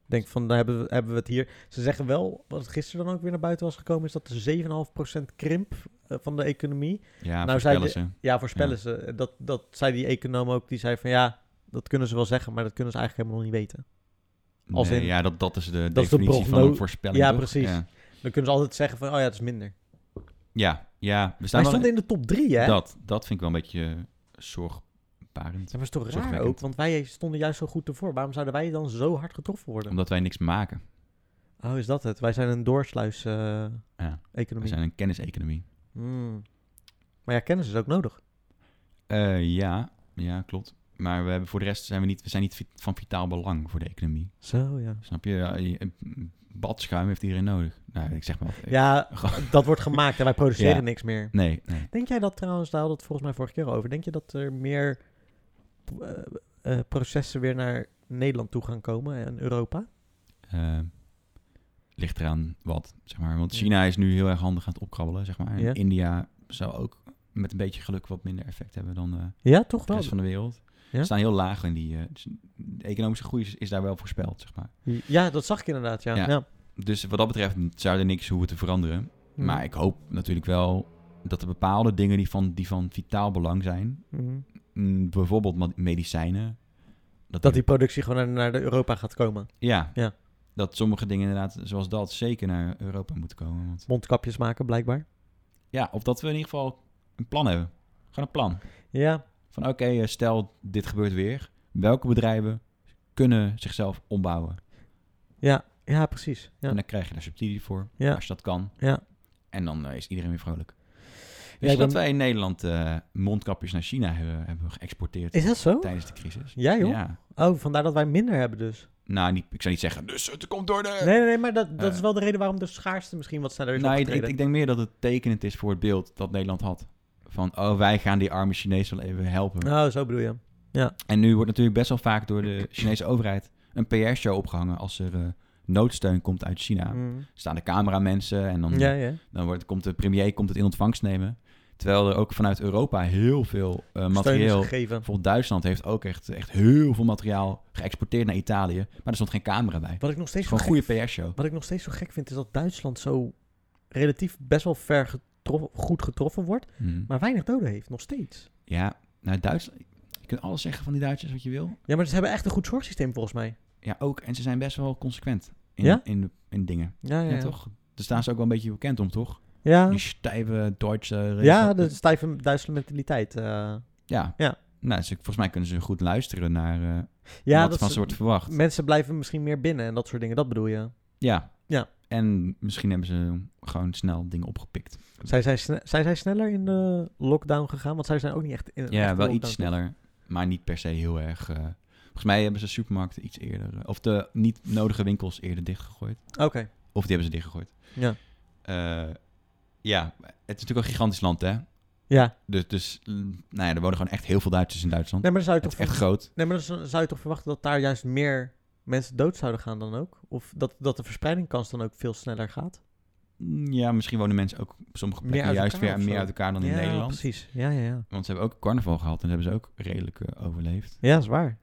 Ik denk van, daar hebben we, hebben we het hier. Ze zeggen wel, wat gisteren dan ook weer naar buiten was gekomen, is dat de 7,5% krimp eh, van de economie. Ja, nou, voorspellen zei de- ze. Ja, voorspellen ze. Dat, dat zei die econoom ook, die zei van ja, dat kunnen ze wel zeggen, maar dat kunnen ze eigenlijk helemaal nog niet weten. Als Nee, in- ja, dat, dat is de dat is de definitie van progno- een voorspelling. Ja, toch? precies. Ja, Dan kunnen ze altijd zeggen van, oh ja, het is minder. ja. ja, we staan Hij wel- stond in de top drie, hè? Dat, dat vind ik wel een beetje eh, zorgbarend. Dat was toch raar Zorgwekkend. ook, want wij stonden juist zo goed ervoor. Waarom zouden wij dan zo hard getroffen worden? Omdat wij niks maken. Oh, is dat het? Wij zijn een eh, doorsluis-economie. Ja. We zijn een kenniseconomie. Hmm. Maar ja, kennis is ook nodig. Eh, ja, ja, klopt. Maar we hebben voor de rest zijn we niet, we zijn niet vi- van vitaal belang voor de economie. Zo, ja. Snap je? Ja, je- een badschuim heeft iedereen nodig. Nou, ik zeg maar. wat. Ja, Gewoon- dat wordt gemaakt en wij produceren Ja. niks meer. Nee, nee. Denk jij dat trouwens, daar hadden we het volgens mij vorige keer over. Denk je dat er meer eh, eh, processen weer naar Nederland toe gaan komen en Europa? Eh, ligt eraan wat, zeg maar. Want China is nu heel erg handig aan het opkrabbelen, zeg maar. En Ja. India zou ook met een beetje geluk wat minder effect hebben dan eh, Ja, toch de wel. rest van de wereld. Oh. Ja? Ze staan heel laag in die... eh, dus de economische groei is, is daar wel voorspeld, zeg maar. Ja, dat zag ik inderdaad, ja. Ja. ja. Dus wat dat betreft zou er niks hoeven te veranderen. Mhm. Maar ik hoop natuurlijk wel dat er bepaalde dingen die van, die van vitaal belang zijn, Mhm. mm, bijvoorbeeld ma- medicijnen, dat, Dat die productie gewoon naar, naar de Europa gaat komen. ja, Ja. dat sommige dingen inderdaad, zoals dat, zeker naar Europa moeten komen. Want, Mondkapjes maken, blijkbaar. ja, of dat we in ieder geval een plan hebben. Gewoon een plan. Ja. Van oké, eh, stel dit gebeurt weer. Welke bedrijven kunnen zichzelf ombouwen? Ja, ja precies. Ja. En dan krijg je daar subsidie voor, Ja. als je dat kan. Ja. En dan eh, is iedereen weer vrolijk. Ja, Dus ik dat ben- wij in Nederland eh, mondkapjes naar China hebben, hebben geëxporteerd. Is dat zo? Tijdens de crisis. Ja, joh. Ja. Oh, vandaar dat wij minder hebben dus. Nou, niet, ik zou niet zeggen, dus het komt door de... Nee, nee, nee maar dat, dat Eh. is wel de reden waarom de schaarste misschien wat sneller is nou, ik, opgetreden. ik denk meer dat het tekenend is voor het beeld dat Nederland had. Van, oh, wij gaan die arme Chinezen wel even helpen. Nou, zo bedoel je. Ja. En nu wordt natuurlijk best wel vaak door de Chinese overheid een PR-show opgehangen als er eh, noodsteun komt uit China. Mhm. Staan de cameramensen en dan, Ja, ja. dan wordt, komt de premier komt het in ontvangst nemen. Terwijl er ook vanuit Europa heel veel eh, materieel... gegeven. Bijvoorbeeld Duitsland heeft ook echt, echt heel veel materiaal geëxporteerd naar Italië. Maar er stond geen camera bij. Wat ik nog steeds Gewoon zo een gek- goede PR-show. Wat ik nog steeds zo gek vind is dat Duitsland zo relatief best wel ver getroffen, goed getroffen wordt, Mhm. maar weinig doden heeft, nog steeds. Ja, nou Duitsland... Je kunt alles zeggen van die Duitsers wat je wil. Ja, maar ze hebben echt een goed zorgsysteem volgens mij. Ja, ook. En ze zijn best wel consequent in, Ja? in, in dingen. Ja, ja, ja. toch? Daar staan ze ook wel een beetje bekend om, toch? Ja. Die stijve Duitse... regels. Ja, de stijve Duitse mentaliteit. eh. Ja. Ja. Nou, ze- volgens mij kunnen ze goed luisteren naar eh, ja wat van ze wordt verwacht. Mensen blijven misschien meer binnen en dat soort dingen, dat bedoel je. Ja. Ja. En misschien hebben ze gewoon snel dingen opgepikt. Zij zijn, sne- zijn zij sneller in de lockdown gegaan? Want zij zijn ook niet echt in een Ja, echte wel lockdown, iets toch? sneller, maar niet per se heel erg. eh, volgens mij hebben ze supermarkten iets eerder, eh, of de niet nodige winkels eerder dichtgegooid. Oké. Of die hebben ze dichtgegooid. Ja. Eh, ja, het is natuurlijk een gigantisch land, hè? Ja. Dus, dus mm, nou ja, er wonen gewoon echt heel veel Duitsers in Duitsland. Nee, maar dan zou je het toch is echt verwachten- groot. Nee, maar dan zou- zou je toch verwachten dat daar juist meer mensen dood zouden gaan dan ook? Of dat, dat de verspreidingkans dan ook veel sneller gaat? Mm, Ja, misschien wonen mensen ook op sommige Meer plekken uit juist elkaar weer of meer zo. uit elkaar dan in Ja, Nederland. precies. Ja, ja, ja. Want ze hebben ook carnaval gehad en dat hebben ze ook redelijk eh, overleefd. Ja, is waar.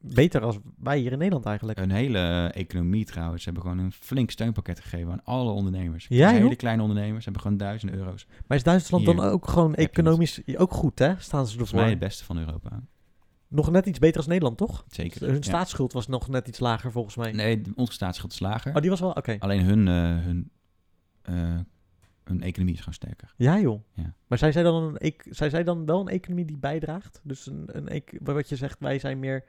Beter als wij hier in Nederland eigenlijk. Een hele eh, economie trouwens. Ze hebben gewoon een flink steunpakket gegeven aan alle ondernemers. Ja, joh. hele kleine ondernemers hebben gewoon duizenden euro's. Maar is Duitsland Hier dan ook gewoon heb je het. economisch ook goed, hè? Staan ze Volgens mij ervoor? het beste van Europa. Nog net iets beter als Nederland, toch? Zeker, Hun ja. staatsschuld was nog net iets lager, volgens mij. Nee, d- onze staatsschuld is lager. Oh, die was wel... Oké. Alleen hun, eh, hun, eh, hun economie is gewoon sterker. Ja, joh. Ja. Maar zijn zij, dan een, ec- zijn zij dan wel een economie die bijdraagt? Dus een, een ec- wat je zegt, wij zijn meer...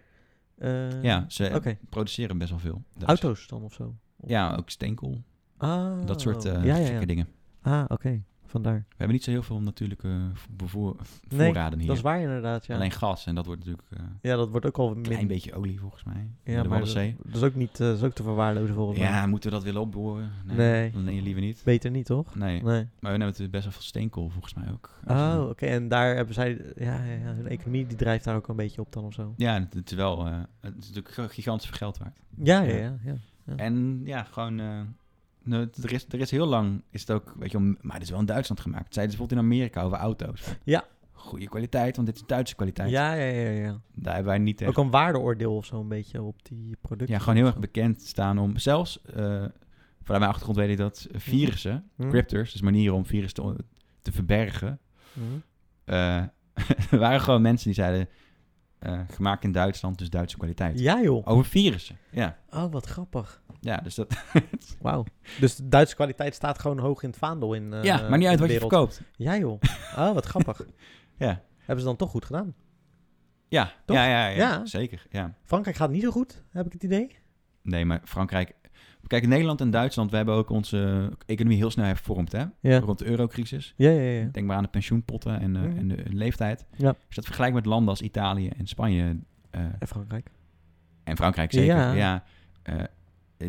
eh, ja, ze Oké. produceren best wel veel. Duitsers. Auto's dan of zo? Ja, ook steenkool. Ah, dat soort eh, ja, ja, ja. gekke dingen. Ah, oké. Vandaar. We hebben niet zo heel veel natuurlijke bevoor, Nee, voorraden hier. dat is waar inderdaad, ja. Alleen gas en dat wordt natuurlijk eh, Ja, dat wordt ook al een min- klein beetje olie volgens mij. Ja, de maar dat, Waddenzee. dat is ook niet eh, dat is ook te verwaarlozen volgens mij. Ja, moeten we dat willen opboren? Nee. Nee. Dan nee, liever niet. Beter niet, toch? Nee. Nee. Maar we hebben natuurlijk best wel veel steenkool volgens mij ook. Oh, oké. En daar hebben zij... Ja, ja, ja, hun economie die drijft daar ook een beetje op dan of zo. Ja, het is wel eh, het is natuurlijk gigantisch veel geld waard. Ja, ja, ja, ja, En ja, gewoon... eh, nou, het- er, is, er is heel lang, is het ook, weet je wel, maar het is wel in Duitsland gemaakt. Zeiden ze bijvoorbeeld in Amerika over auto's. Ja. Goede kwaliteit, want dit is Duitse kwaliteit. Ja, ja, ja, ja. Daar hebben wij niet echt... Ook een waardeoordeel of zo een beetje op die producten. Ja, gewoon heel erg bekend staan om... Zelfs, eh, vanuit mijn achtergrond weet ik dat, eh, virussen, Mhm. cryptors, dus manieren om virussen te, te verbergen. Mhm. eh, <laughs> er waren gewoon mensen die zeiden, eh, gemaakt in Duitsland, dus Duitse kwaliteit. Ja, joh. Over virussen, ja. Oh, wat grappig. Ja, dus dat... Eh, Wauw. Dus de Duitse kwaliteit staat gewoon hoog in het vaandel in eh, Ja, maakt niet uit in wat je de wereld. verkoopt. Ja, joh. <laughs> Oh, wat grappig. Ja. Hebben ze dan toch goed gedaan? Ja, Toch? ja, ja, ja, Ja. zeker, ja. Frankrijk gaat niet zo goed, heb ik het idee. Nee, maar Frankrijk... Kijk, Nederland en Duitsland, we hebben ook onze economie heel snel hervormd, hè? Ja. Rond de eurocrisis. Ja, ja, ja. Denk maar aan de pensioenpotten en, eh, Mhm. en de leeftijd. Ja. Als je dat vergelijkt met landen als Italië en Spanje... eh, En Frankrijk. en Frankrijk zeker, Ja. ja. eh,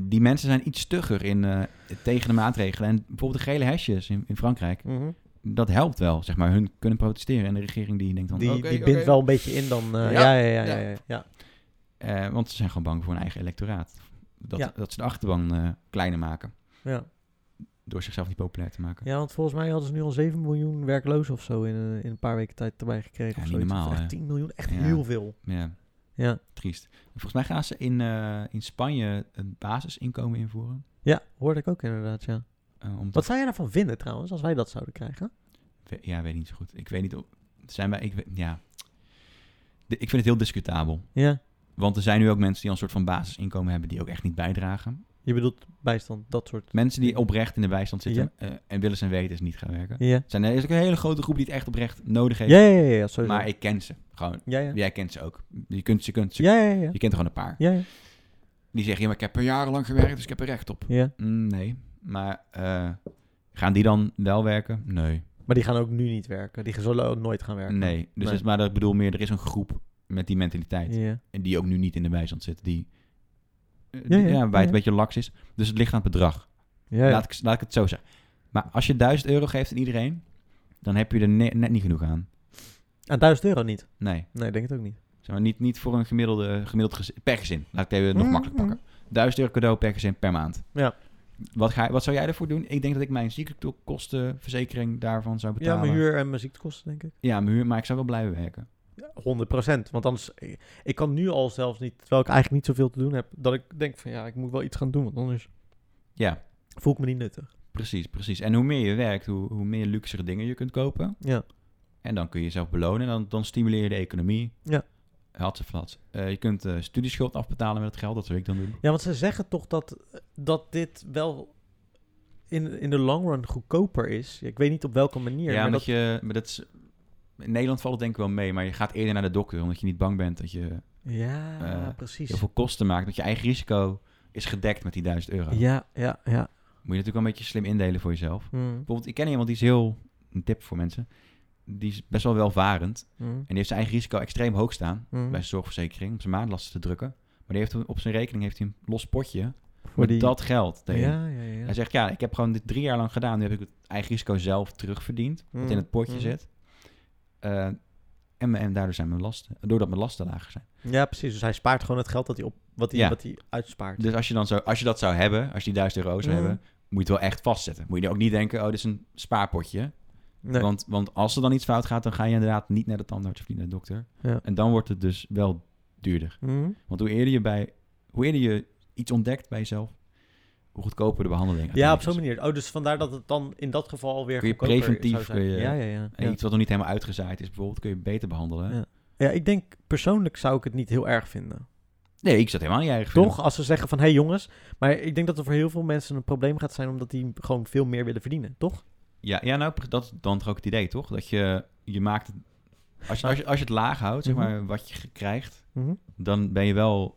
die mensen zijn iets stugger in, eh, tegen de maatregelen. En bijvoorbeeld de gele hesjes in, in Frankrijk... Mhm. Dat helpt wel, zeg maar. Hun kunnen protesteren en de regering die denkt dan... Die, oké, die oké. bindt wel een beetje in dan... eh, ja, ja, ja, ja. ja, ja. Eh, want ze zijn gewoon bang voor hun eigen electoraat. Dat, Ja. dat ze de achterban eh, kleiner maken. Ja. Door zichzelf niet populair te maken. Ja, want volgens mij hadden ze nu al 7 miljoen werklozen of zo in, eh, in een paar weken tijd erbij gekregen. Ja, of niet zoiets. Of normaal, echt hè? 10 miljoen, echt Ja. heel veel. Ja. Ja. Triest. Volgens mij gaan ze in, eh, in Spanje een basisinkomen invoeren. Ja, hoorde ik ook inderdaad, ja. Eh, omdat, Wat zou jij daarvan vinden trouwens, als wij dat zouden krijgen? we- ja, weet niet zo goed. Ik weet niet of... Zijn wij... Ik, weet- ja. De- ik vind het heel discutabel. Ja. Want er zijn nu ook mensen die al een soort van basisinkomen hebben... die ook echt niet bijdragen. Je bedoelt bijstand, dat soort... Mensen die oprecht in de bijstand zitten eh, en willen zijn weten is niet gaan werken. Ja. Zijn er is ook een hele grote groep die het echt oprecht nodig heeft. Ja, ja, ja, ja, sowieso. Maar ik ken ze gewoon. Ja, ja. Jij kent ze ook. Je kunt ze, kunt ze. Ja, ja, ja. Je kent er gewoon een paar. Ja, ja. Die zeggen, ja, maar ik heb er jarenlang gewerkt, dus ik heb er recht op. Ja. Mm, nee, maar eh, gaan die dan wel werken? Nee. Maar die gaan ook nu niet werken. Die zullen ook nooit gaan werken. Nee, dus Nee. het is maar dat ik bedoel meer, er is een groep met die mentaliteit. Ja. En die ook nu niet in de bijstand zit, die, eh, Ja, die- ja, ja, ja, waar het ja. een beetje laks is. Dus het ligt aan het bedrag. Ja, ja. Laat, ik, laat ik het zo zeggen. Maar als je 1000 euro geeft aan iedereen, dan heb je er ne- net niet genoeg aan. Aan 1000 euro niet? Nee. Nee, ik denk het ook niet. Zeg maar, niet, niet voor een gemiddelde, gemiddeld gezin, per gezin. Laat ik het even nog Mm, makkelijk pakken. 1000 euro cadeau per gezin per maand. Ja. Wat, ga, wat zou jij ervoor doen? Ik denk dat ik mijn ziektekostenverzekering daarvan zou Ja, betalen. mijn huur en mijn ziektekosten, denk ik. Ja, mijn huur, maar ik zou wel blijven werken. 100 procent. Want anders, ik- ik kan nu al zelfs niet, terwijl ik eigenlijk niet zoveel te doen heb, dat ik denk van ja, ik moet wel iets gaan doen, want anders Ja, voel ik me niet nuttig. precies, precies. En hoe meer je werkt, hoe, hoe meer luxere dingen je kunt kopen. Ja. En dan kun je jezelf belonen en dan, dan stimuleer je de economie. Ja. Had ze flat. je kunt eh, studieschuld afbetalen met het geld, dat zou ik dan doen. Ja, want ze zeggen toch dat, dat dit wel in, in de long run goedkoper is. Ik weet niet op welke manier. ja, maar omdat dat, je... Maar dat is, in Nederland valt het denk ik wel mee, maar je gaat eerder naar de dokter... omdat je niet bang bent dat je Ja, eh, precies. heel veel kosten maakt. Dat je eigen risico is gedekt met die 1000 euro. Ja, ja, ja. Moet je natuurlijk wel een beetje slim indelen voor jezelf. Mm. Bijvoorbeeld, ik ken iemand die is heel... Een tip voor mensen. Die is best wel welvarend. Mm. En die heeft zijn eigen risico extreem hoog staan... Mm. bij zijn zorgverzekering, om zijn maandlasten te drukken. Maar die heeft op zijn rekening heeft hij een los potje... Voor met die- dat geld. erin. Ja, ja, ja. Hij zegt, ja, ik heb gewoon dit drie jaar lang gedaan. Nu heb ik het eigen risico zelf terugverdiend. Wat Mm, in het potje mm. zit. Eh, en, en daardoor zijn mijn lasten... Doordat mijn lasten lager zijn. Ja, precies. Dus hij spaart gewoon het geld dat hij, op, wat hij, Ja. wat hij uitspaart. Dus als je, dan zo, als je dat zou hebben, als je die 1000 euro zou Mhm. hebben, moet je het wel echt vastzetten. Moet je ook niet denken, oh, dit is een spaarpotje. Nee. Want, want als er dan iets fout gaat, dan ga je inderdaad niet naar de tandarts of niet naar de dokter. Ja. En dan wordt het dus wel duurder. Mhm. Want hoe eerder, je bij, hoe eerder je iets ontdekt bij jezelf, hoe goedkoper de behandeling. ja, op uiteindelijk zo'n is. manier. Oh, dus vandaar dat het dan in dat geval weer Kun je goedkoper preventief, eh, zou zijn. kun je, ja, ja, ja. en ja. iets wat nog niet helemaal uitgezaaid is bijvoorbeeld, kun je beter behandelen. Ja. Ja, ik denk persoonlijk zou ik het niet heel erg vinden. Nee, ik zat helemaal niet erg Toch? vinden. Als ze zeggen van, hé hey jongens, maar ik denk dat er voor heel veel mensen een probleem gaat zijn omdat die gewoon veel meer willen verdienen, toch? Ja, ja nou, dat is dan toch ook het idee, toch? Dat je, je maakt het... Als je, als, je, als je het laag houdt, zeg Mhm. maar, wat je ge- krijgt, Mhm. dan ben je wel... Dan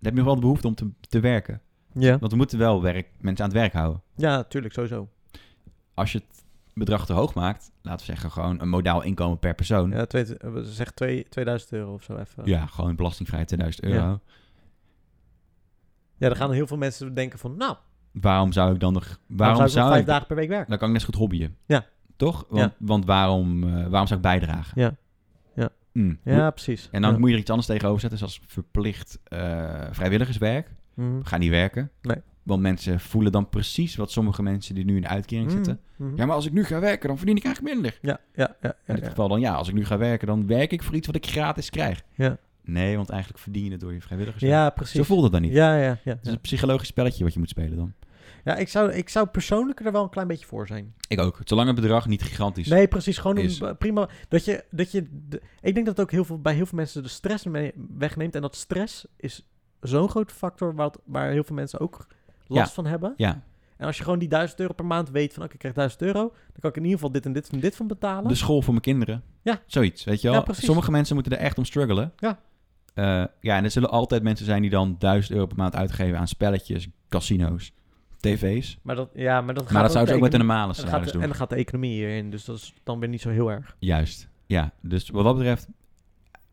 heb je nog wel de behoefte om te, te werken. Ja. Want we moeten wel werk, mensen aan het werk houden. Ja, tuurlijk, sowieso. als je het bedrag te hoog maakt, laten we zeggen gewoon een modaal inkomen per persoon. Ja, twee, eh, zeg twee, 2000 euro of zo even. Mm. Ja, gewoon belastingvrij 2000 euro. Ja. Ja, dan gaan heel veel mensen denken van, nou, Waarom zou ik dan nog... Waarom, zou ik nog vijf dagen per week werken? Dan kan ik net zo goed hobbyen. Ja. Toch? Want, want waarom, eh, waarom zou ik bijdragen? Ja. Ja. Mm. Ja, precies. En dan Ja. moet je er iets anders tegenover zetten, zoals verplicht eh, vrijwilligerswerk. Mhm. Ga niet werken. Nee. Want mensen voelen dan precies wat sommige mensen die nu in de uitkering Mhm. zitten. Mhm. Ja, maar als ik nu ga werken, dan verdien ik eigenlijk minder. Ja, ja, ja. In dit geval dan, ja, als ik nu ga werken, dan werk ik voor iets wat ik gratis krijg. Ja. Nee, want eigenlijk verdien je het door je vrijwilligerswerk. Ja, precies. Zo voelt het dan niet. Dus- Ja, ja, ja. Het is een psychologisch spelletje wat je moet spelen dan. Ja, ik zou, ik zou persoonlijk er wel een klein beetje voor zijn. Ik ook. Zolang het bedrag niet gigantisch Nee, precies. Gewoon is. een, eh, prima. Dat je, dat je de- ik denk dat het ook heel veel, bij heel veel mensen de stress mee wegneemt. En dat stress is zo'n groot factor wat, waar heel veel mensen ook last Ja, van hebben. ja. En als je gewoon die 1000 euro per maand weet van, oké, ik krijg 1000 euro. Dan kan ik in ieder geval dit en dit en dit van betalen. De school voor mijn kinderen. Ja. Zoiets, weet je Ja, wel. precies. Sommige mensen moeten er echt om struggelen. Ja. Eh, ja, en er zullen altijd mensen zijn die dan 1000 euro per maand uitgeven aan spelletjes, casino's, tv's. Maar dat, ja, maar dat, Maar dat gaat zouden ze ook met de economie- normale en dan gaat salaris de- doen. En dan gaat de economie hierin, dus dat is dan weer niet zo heel erg. Juist, ja. Dus wat dat betreft,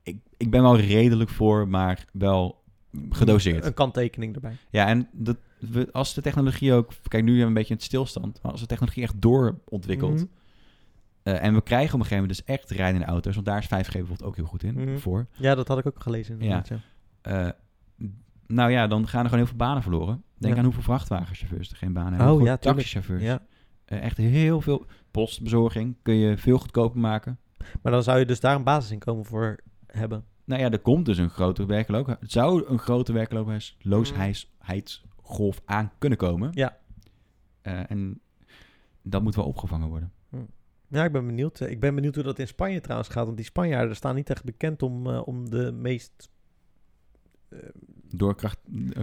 ik, ik ben wel redelijk voor, maar wel gedoseerd. Een kanttekening erbij. Ja, en dat, we, als de technologie ook... Kijk, nu hebben we een beetje een stilstand. Maar als de technologie echt doorontwikkelt... Mhm. eh, en we krijgen op een gegeven moment dus echt rijdende auto's... want daar is 5G bijvoorbeeld ook heel goed in Mhm. voor. Ja, dat had ik ook gelezen inderdaad, ja. Eh, nou ja, dan gaan er gewoon heel veel banen verloren. Denk Ja. aan hoeveel vrachtwagenchauffeurs er geen banen Oh, hebben. hoeveel ja, tuurlijk. taxichauffeurs. Ja. Eh, echt heel veel... Postbezorging kun je veel goedkoper maken. Maar dan zou je dus daar een basisinkomen voor hebben. Nou ja, er komt dus een grote werkloosheid. Het zou een grote werkloosheidsgolf aan kunnen komen. Eh, Ja. en dat moet wel opgevangen worden. Ja, ik ben benieuwd. Eh, Ik ben benieuwd hoe dat in Spanje trouwens gaat. Want die Spanjaarden staan niet echt bekend om, eh, om de meest... Doorkracht,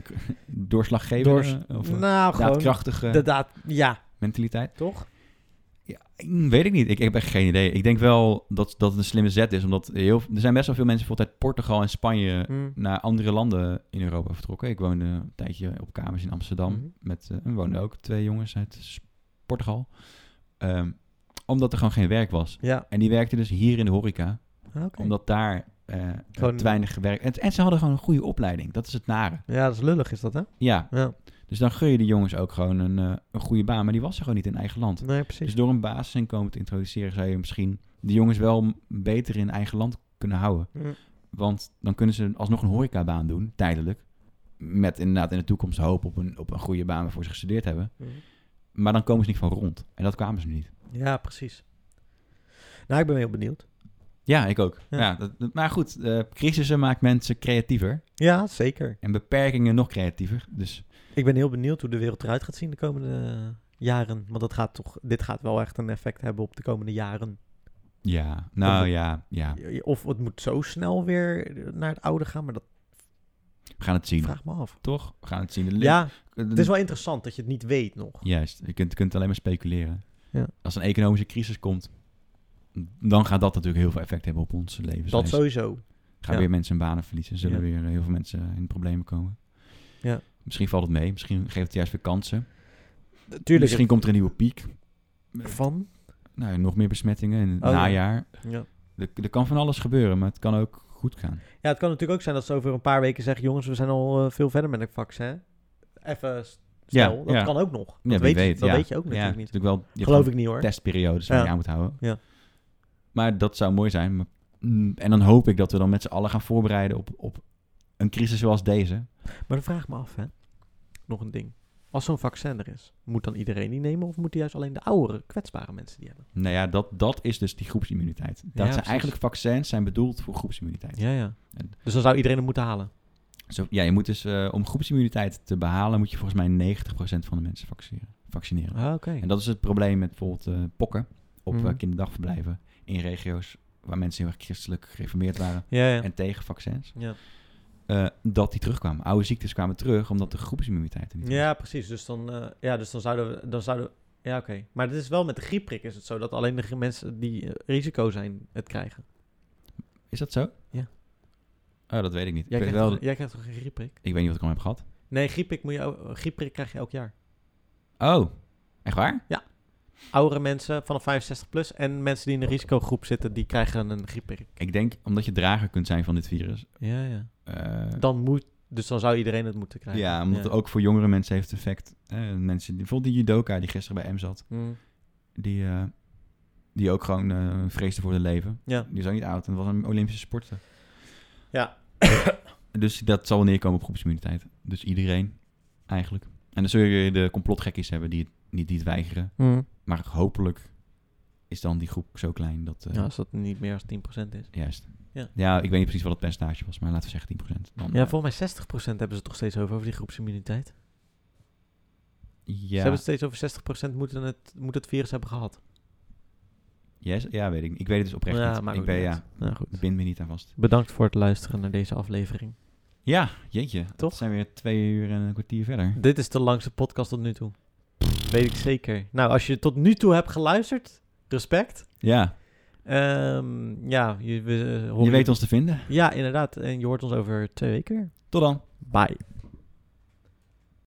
<laughs> doorslaggevende doors- eh, of eh, nou, gewoon... daadkrachtige De daad... Ja, mentaliteit? toch? Mm, Weet ik niet. Ik, ik heb echt geen idee. Ik denk wel dat, dat het een slimme zet is. Omdat heel, er zijn best wel veel mensen bijvoorbeeld uit Portugal en Spanje Mm. naar andere landen in Europa vertrokken. Ik woonde een tijdje op kamers in Amsterdam. Mhm. Met, eh, er woonden ook twee jongens uit S- Portugal. Ehm, omdat er gewoon geen werk was. Ja. En die werkten dus hier in de horeca. Ah, oké. Omdat daar eh Gewoon- te weinig werk... En, en ze hadden gewoon een goede opleiding. Dat is het nare. Ja, dat is lullig is dat, hè? Ja. Ja. Dus dan gun je de jongens ook gewoon een, eh, een goede baan. Maar die was er gewoon niet in eigen land. Nee, precies. Dus door een basisinkomen te introduceren... zou je misschien de jongens wel m- beter in eigen land kunnen houden. Mm. Want dan kunnen ze alsnog een horecabaan doen, tijdelijk. Met inderdaad in de toekomst hoop op een, op een goede baan waarvoor ze gestudeerd hebben. Mhm. Maar dan komen ze niet van rond. En dat kwamen ze nu niet. Ja, precies. Nou, ik ben heel benieuwd. Ja, ik ook. Ja. Ja. dat- dat- maar goed, eh, crisissen maakt mensen creatiever. Ja, zeker. En beperkingen nog creatiever. Dus Ik ben heel benieuwd hoe de wereld eruit gaat zien de komende eh, jaren. Want dat gaat toch, dit gaat wel echt een effect hebben op de komende jaren. ja, nou Of- ja, ja, Of het moet zo snel weer eh, naar het oude gaan, maar dat we gaan het zien. vraag me af. Toch? We gaan het zien. De link- Ja, eh, het is wel interessant dat je het niet weet nog. Juist, je kunt, kunt alleen maar speculeren. Ja. Als een economische crisis komt, dan gaat dat natuurlijk heel veel effect hebben op ons leven. Dat sowieso. Gaan Ja. weer mensen hun banen verliezen, zullen Ja. weer eh, heel veel mensen in problemen komen. Ja. Misschien valt het mee, misschien geeft het juist weer kansen. Tuurlijk. Misschien komt er een nieuwe piek. Van? Nou, nog meer besmettingen in het Oh, ja. najaar. Ja. Er, er kan van alles gebeuren, maar het kan ook goed gaan. Ja, het kan natuurlijk ook zijn dat ze over een paar weken zeggen... jongens, we zijn al eh, veel verder met het vaccin. Even s- snel. dat kan ook nog. Dat, Ja, wie weet, je- weet, dat ja. weet je ook natuurlijk Ja, niet. natuurlijk wel, je hebt Geloof wel ik niet, hoor. Testperiodes waar Ja. je aan moet houden. Ja. Maar dat zou mooi zijn. Maar, mm, en dan hoop ik dat we dan met z'n allen gaan voorbereiden op, op een crisis zoals deze. Maar dan vraag ik me af, hè. Nog een ding. Als zo'n vaccin er is, moet dan iedereen die nemen... of moeten juist alleen de oudere, kwetsbare mensen die hebben? Nou ja, dat, dat is dus die groepsimmuniteit. Dat zijn precies. eigenlijk vaccins zijn bedoeld voor groepsimmuniteit. Ja, ja. En- Dus dan zou iedereen het moeten halen. Zo, ja, je moet dus eh, om groepsimmuniteit te behalen, moet je volgens mij 90% van de mensen vaccineren. vaccineren. Ah, oké. En dat is het probleem met bijvoorbeeld eh, pokken op Mhm. eh, kinderdagverblijven in regio's waar mensen heel erg christelijk gereformeerd waren Ja, ja. en tegen vaccins. Ja. eh, dat die terugkwamen. Oude ziektes kwamen terug omdat de groepsimmuniteit er niet Ja, precies. Dus dan, eh, ja, dus dan zouden we... Dan zouden we- ja, oké. Maar het is wel met de griepprik is het zo... dat alleen de grie- mensen die eh, risico zijn het krijgen. was. Is dat zo? Ja. Oh, dat weet ik niet. Jij ik, weet krijgt, wel, toch, jij krijgt toch geen griepprik? ik weet niet wat ik al heb gehad. eh, Nee, griepprik, moet je, el- griepprik krijg je elk jaar. Oh, echt waar? Ja. oudere mensen vanaf 65 plus en mensen die in de risicogroep zitten, die krijgen een grieprik. Ik denk omdat je drager kunt zijn van dit virus. Ja, ja. Eh, Dan moet, dus dan zou iedereen het moeten krijgen. ja, omdat het ook voor jongere mensen heeft effect. Eh, mensen, die, bijvoorbeeld die judoka die gisteren bij M zat. Mm. Die, eh, die ook gewoon eh vreesde voor haar leven. Ja. Die is ook niet oud en was een Olympische sporter. Ja. <coughs> Dus dat zal wel neerkomen op groepsimmuniteit. Dus iedereen, eigenlijk. En dan zul je de complotgekkies hebben die het, niet, die het weigeren. Mhm. Maar hopelijk is dan die groep zo klein dat... eh, Ja, als dat niet meer dan 10% is. Juist. Ja. ja, ik weet niet precies wat het percentage was, maar laten we zeggen 10%. Dan, Ja, eh, volgens mij 60% hebben ze het toch steeds over, over die groepsimmuniteit. Ze ja, hebben het steeds over 60% moeten het, moet het virus hebben gehad. Yes? ja, weet ik niet. Ik weet het dus oprecht Ja, niet. maakt ik ook ben, niet ja, uit. Nou, goed. bind me niet aan vast. Bedankt voor het luisteren naar deze aflevering. Ja, jeetje. Toch? zijn weer twee uur en een kwartier verder. Dit is de langste podcast tot nu toe. Weet ik zeker. Nou, als je tot nu toe hebt geluisterd, respect. Ja, Ehm, ja, je, we, eh, horen je weet ons te vinden. Ja, inderdaad. En je hoort ons over twee weken weer. Tot dan. Bye.